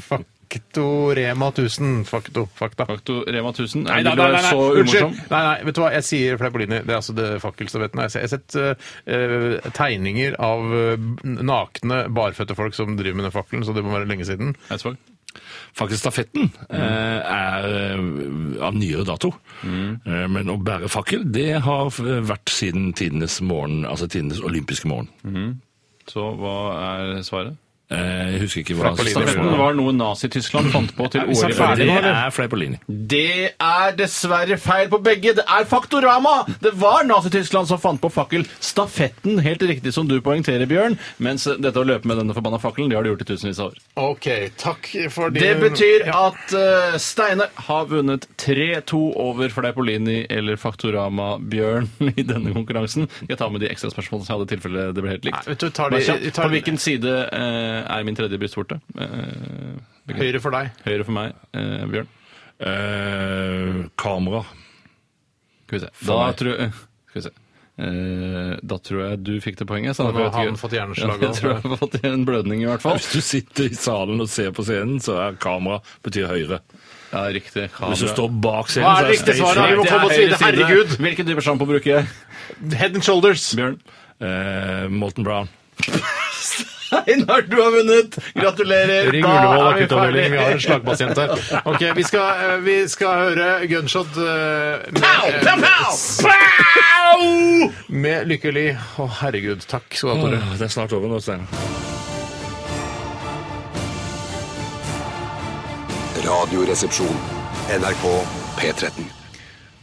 Speaker 7: Fakto Rema 1000. Fakto. Fakta.
Speaker 8: Faktorema 1000
Speaker 7: Nei,
Speaker 8: er
Speaker 7: nei,
Speaker 8: vil
Speaker 7: nei,
Speaker 8: være
Speaker 7: nei.
Speaker 8: så
Speaker 7: Unnskyld.
Speaker 8: umorsom.
Speaker 7: Nei, nei, vet du hva, jeg sier Fleipolini. Det er altså det fakkelstafetten. Jeg har se- jeg har sett eh, eh, tegninger av eh, nakne, barføtte folk som driver med den fakkelen, så det må være lenge siden.
Speaker 8: Eidsvåg?
Speaker 5: Faktisk stafetten eh, er eh, av nyere dato. Eh, men å bære fakkel, det har eh, vært siden tidenes morgen, altså tidenes olympiske morgen.
Speaker 8: Så hva er svaret?
Speaker 5: Eh, jeg husker ikke hva
Speaker 7: Fleipolini.
Speaker 8: Stafetten var noe Nazi-Tyskland fant på til
Speaker 7: Er
Speaker 8: OL
Speaker 7: vi
Speaker 8: i
Speaker 7: snart ferdig
Speaker 8: Berlin.
Speaker 5: Det
Speaker 7: nå, eller?
Speaker 5: er Fleipolini.
Speaker 8: Det er dessverre feil på begge. Det er Faktorama! Det var Nazi-Tyskland som fant på fakkelstafetten, helt riktig som du poengterer, Bjørn. Mens dette å løpe med denne forbanna fakkelen, det har de gjort i tusenvis av år.
Speaker 7: OK, takk for
Speaker 8: Det betyr at eh, Steinar har vunnet 3-2 over Fleipolini eller Faktorama Bjørn i denne konkurransen. Jeg tar med de ekstra spørsmålene som jeg hadde i tilfelle det ble helt likt.
Speaker 7: Nei, vet du, tar
Speaker 8: Bare
Speaker 7: de-
Speaker 8: kjapt,
Speaker 7: tar-
Speaker 8: På hvilken side eh, er min tredje brystvorte? Eh, hvilken-
Speaker 7: Høyre for deg.
Speaker 8: høyre for meg, eh, Bjørn.
Speaker 5: Eh, kamera.
Speaker 8: Skal vi se.
Speaker 5: For
Speaker 8: Da
Speaker 5: meg.
Speaker 8: tror jeg, skal vi se. Eh, da tror jeg du fikk det poenget. Så
Speaker 7: Nå har
Speaker 8: jeg vet ikke-
Speaker 7: han fått hjerneslag
Speaker 8: Ja, jeg
Speaker 7: av
Speaker 8: tror jeg har fått en blødning, i hvert fall.
Speaker 5: Hvis du sitter i salen og ser på scenen, så er kamera betyr høyre.
Speaker 8: Ja, riktig.
Speaker 5: Hvis du står bak scenen,
Speaker 7: Hva er
Speaker 5: så
Speaker 7: det riktige
Speaker 5: er
Speaker 7: svaret? Vi må
Speaker 5: stage
Speaker 7: komme oss
Speaker 8: Det er
Speaker 7: videre.
Speaker 8: høyre side.
Speaker 7: Herregud!
Speaker 8: Hvilken type sjampo bruker jeg?
Speaker 7: Head and shoulders.
Speaker 8: Bjørn?
Speaker 5: right. Eh, Molten Brown.
Speaker 8: Einar, du har vunnet! Gratulerer!
Speaker 7: Ring Ullevål akuttavdeling, vi har en slagpasient her. Ok, Vi skal, eh, vi skal høre Gunshot eh, med, eh, med Lykkelig. Å, herregud. Takk skal du ha, Tore.
Speaker 5: Åh, det er snart over nå, Steinar.
Speaker 6: Radioresepsjon. NRK P13.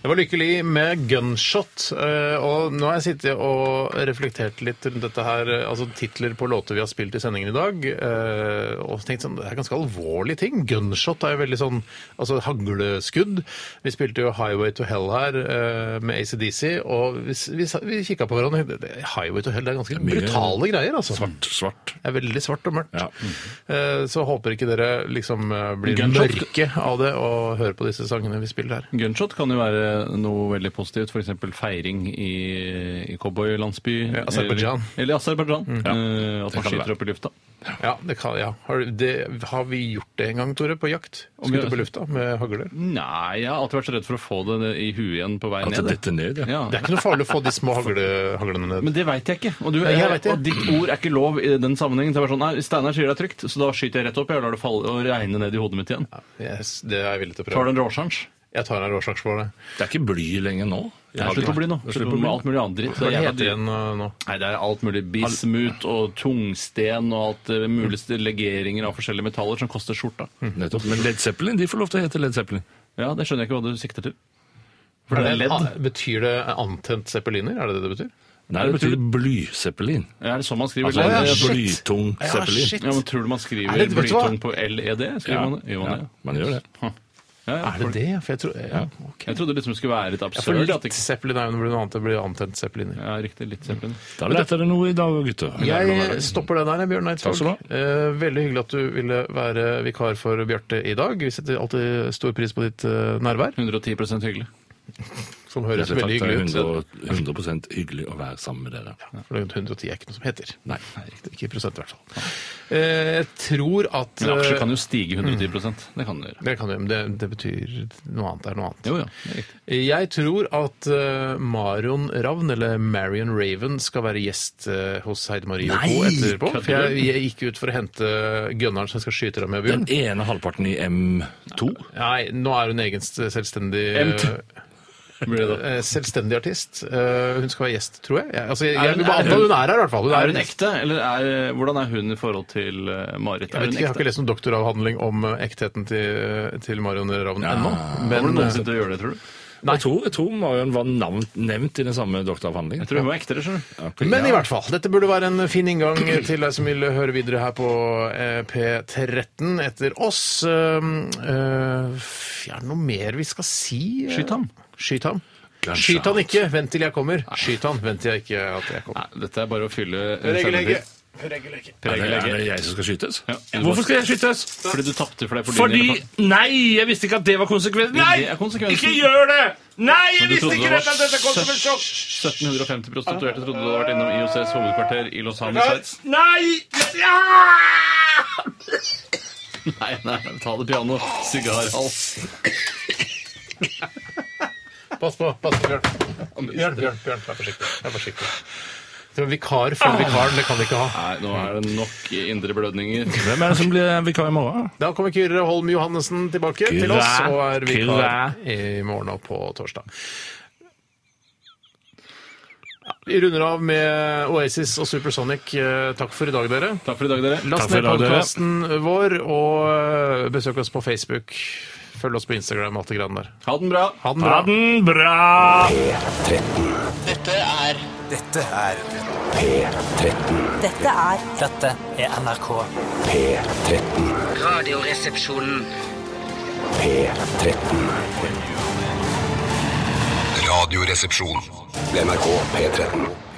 Speaker 7: Det var lykkelig med gunshot. eh, Og nå har jeg sittet og reflektert litt rundt dette her, eh, altså titler på låter vi har spilt i sendingen i dag, eh, og tenkt sånn, det er ganske alvorlige ting. Gunshot er jo veldig sånn, altså hagleskudd. Vi spilte jo Highway to Hell her eh, med ACDC, og vi, s- vi, sa- vi kikket på hverandre, og tenkte, det- Highway to Hell det er ganske
Speaker 5: mye
Speaker 7: brutale greier, altså.
Speaker 5: Svart.
Speaker 7: Det er veldig svart og mørkt.
Speaker 5: Ja.
Speaker 7: Eh, Så håper ikke dere liksom eh, blir
Speaker 8: Gunshot-
Speaker 7: mørke av det og hører på disse sangene vi spiller her.
Speaker 8: Gunshot kan jo være noe veldig positivt, f.eks. feiring i, i cowboylandsby.
Speaker 7: Ja, Aserbajdsjan.
Speaker 8: Eller, eller Aserbajdsjan. eh, at
Speaker 5: det
Speaker 8: man
Speaker 5: kan det
Speaker 8: skyter
Speaker 5: være.
Speaker 8: opp i lufta.
Speaker 7: Ja, det kan, ja. Har, det, har vi gjort det en gang, Tore, på jakt?
Speaker 8: Om vi-
Speaker 7: Skutt opp i lufta med hagler?
Speaker 8: Nei, jeg har alltid vært så redd for å få det i huet igjen på vei
Speaker 5: At det
Speaker 8: ned.
Speaker 5: detter ned, ja.
Speaker 8: Ja.
Speaker 7: Det er ikke noe farlig å få de små hagle, haglene ned.
Speaker 8: Men det veit jeg ikke. Og, du,
Speaker 7: Nei, jeg vet det.
Speaker 8: og ditt ord er ikke lov i den sammenhengen. Så jeg bare sånn, nei, Steinar sier det er trygt, så da skyter jeg rett opp jeg og lar det falle og regne ned i hodet mitt igjen.
Speaker 7: Yes, det er jeg villig til
Speaker 8: Tar
Speaker 7: å
Speaker 8: du
Speaker 7: prøve.
Speaker 8: en råsjans?
Speaker 7: Jeg tar en råsjanse for det.
Speaker 5: Det er ikke bly lenger nå. Jeg
Speaker 8: Slutt å bli nå.
Speaker 5: Jeg
Speaker 8: Slutt
Speaker 5: slipper
Speaker 8: med
Speaker 5: bly.
Speaker 8: alt mulig annet dritt. Det
Speaker 7: Hva
Speaker 8: er jævla
Speaker 7: heter
Speaker 8: dyrt.
Speaker 7: den uh, nå?
Speaker 8: Nei, det er alt mulig bismut og tungsten og alt eh, mulig legeringer av forskjellige metaller som koster skjorta.
Speaker 5: Nettopp. Men Led Zeppelin de får lov til å hete Led Zeppelin.
Speaker 8: Ja, det skjønner jeg ikke hva du sikter til. For det er ledd.
Speaker 7: Ah, Betyr det antent zeppeliner? Er det det det betyr?
Speaker 5: Nei, det betyr blyzeppelin.
Speaker 8: Er det sånn man skriver
Speaker 5: Altså,
Speaker 8: ledd?
Speaker 7: ja,
Speaker 5: en
Speaker 7: shit.
Speaker 5: blytung
Speaker 7: Ja,
Speaker 5: zeppelin.
Speaker 7: shit.
Speaker 8: Ja, men tror du man skriver
Speaker 7: Er det- vet du hva?
Speaker 8: blytung på LED? Skriver
Speaker 5: Ja.
Speaker 8: man det? Gjør man det?
Speaker 5: man gjør det.
Speaker 8: Ja, ja,
Speaker 7: Er det
Speaker 8: for-
Speaker 7: det? For jeg tror ja. ok.
Speaker 8: Jeg trodde liksom det skulle være litt
Speaker 7: Ja, for
Speaker 8: absurd. at det-
Speaker 7: litt zeppelin er jo noe annet. Det blir antent zeppeliner.
Speaker 8: Ja, riktig. Litt Zeppelin.
Speaker 5: Da lærte dere noe i dag, gutter.
Speaker 7: Jeg stopper det der, jeg, Bjørn Eidsvåg.
Speaker 5: Takk skal du
Speaker 7: Eh, veldig hyggelig at du ville være vikar for Bjarte i dag. Vi setter alltid stor pris på ditt eh, nærvær,
Speaker 8: 110 hyggelig.
Speaker 7: som høres
Speaker 5: Rett og
Speaker 7: veldig
Speaker 5: slett,
Speaker 7: hyggelig ut.
Speaker 5: det er 100, 100 hyggelig å være sammen med dere.
Speaker 7: For det er rundt 110 er ikke noe som heter.
Speaker 5: Nei.
Speaker 7: riktig. Ikke i prosent, i hvert fall. Eh, Jeg tror at
Speaker 8: Men aksjer
Speaker 7: eh,
Speaker 8: kan jo stige 110 Det kan det gjøre.
Speaker 7: det kan du, men det, det betyr noe annet er noe annet.
Speaker 8: Jo, ja. Det er riktig.
Speaker 7: Jeg tror at eh, Marion Ravn, eller Marion Raven, skal være gjest eh, hos Heidi Marie og Co. etterpå.
Speaker 8: kødder
Speaker 7: For jeg, jeg gikk ut for å hente gunneren som jeg skal skyte deg med, Bjørn.
Speaker 5: Den ene halvparten i M2.
Speaker 7: Nei, nå er hun egen st- selvstendig
Speaker 8: Emt.
Speaker 7: eh,
Speaker 8: Blir det da.
Speaker 7: eh, Selvstendig artist. Eh, Hun skal være gjest, tror jeg. Jeg, altså, jeg,
Speaker 8: Er
Speaker 7: jeg
Speaker 8: hun-
Speaker 7: vil bare
Speaker 8: er
Speaker 7: anta
Speaker 8: hun-
Speaker 7: hun er her, i hvert fall.
Speaker 8: Er hun ekte, eller er, hvordan er hun i forhold til eh, Marit?
Speaker 7: Jeg
Speaker 8: Er
Speaker 7: vet
Speaker 8: hun
Speaker 7: ikke, jeg har
Speaker 8: ekte?
Speaker 7: ikke lest noen doktoravhandling om eh, ektheten til, til Marion Ravn ennå.
Speaker 8: Kommer du
Speaker 7: Men eh,
Speaker 8: noensinne til å gjøre det, tror du?
Speaker 5: Jeg tror, jeg tror Marion var navnt, nevnt i den samme doktoravhandlingen.
Speaker 8: Jeg tror hun var ektere, skjønner du.
Speaker 7: Men i hvert fall, dette burde være en fin inngang til deg som vil høre videre her på eh, P13 etter oss. Um, eh, f- er det noe mer vi skal si?
Speaker 8: Skyt ham.
Speaker 7: Skyt ham. Skyt han ikke, vent til jeg kommer. Skyt han, vent til jeg ikke at jeg kommer.
Speaker 8: Nei, dette er bare å fylle eh,
Speaker 7: Regellegge.
Speaker 8: skjermen
Speaker 5: Er det, er
Speaker 8: til.
Speaker 5: det jeg som skal skytes?
Speaker 8: Ja.
Speaker 5: Hvorfor skal jeg skytes?
Speaker 8: Fordi du tapte for deg for
Speaker 5: Fordi
Speaker 8: din
Speaker 5: Nei, jeg visste ikke at det var konsekvensen!
Speaker 8: Det er
Speaker 5: Nei!
Speaker 8: konsekvensen.
Speaker 5: Ikke gjør det! Nei, jeg
Speaker 8: Du
Speaker 5: visste
Speaker 8: trodde det
Speaker 5: ikke
Speaker 8: var
Speaker 5: dette! Dette kom som en sjokk!
Speaker 8: 1750 prostituerte trodde du hadde vært innom IOCs hovedkvarter i Los Angeles.
Speaker 5: Nei! Ja!
Speaker 8: Nei, nei, ta det piano. Sigarhals.
Speaker 7: Pass på, pass på, Bjørn. Bjørn, Bjørn, Bjørn, vær forsiktig. Vær forsiktig. Det var vikar for vikaren, det kan vi ikke ha.
Speaker 8: Nei, nå er det nok indre blødninger.
Speaker 5: Hvem er det som blir vikar i morgen?
Speaker 7: Da kommer Kyrre Holm Johannessen tilbake til oss og er vikar i morgen og på torsdag. Ja, Vi runder av med Oasis og Supersonic. Eh, Takk for i dag, dere.
Speaker 8: Takk for i dag, dere.
Speaker 7: Last
Speaker 5: for i
Speaker 7: ned
Speaker 5: dag, dere.
Speaker 7: podkasten vår, og eh, besøk oss på Facebook. Følg oss på Instagram og alt det grann der.
Speaker 8: Ha den bra.
Speaker 7: Ha den bra.
Speaker 5: den bra!
Speaker 2: Dette er Dette er
Speaker 9: Dette er
Speaker 2: Dette er NRK.
Speaker 9: Radioresepsjonen.
Speaker 6: Radioresepsjon. NRK P13.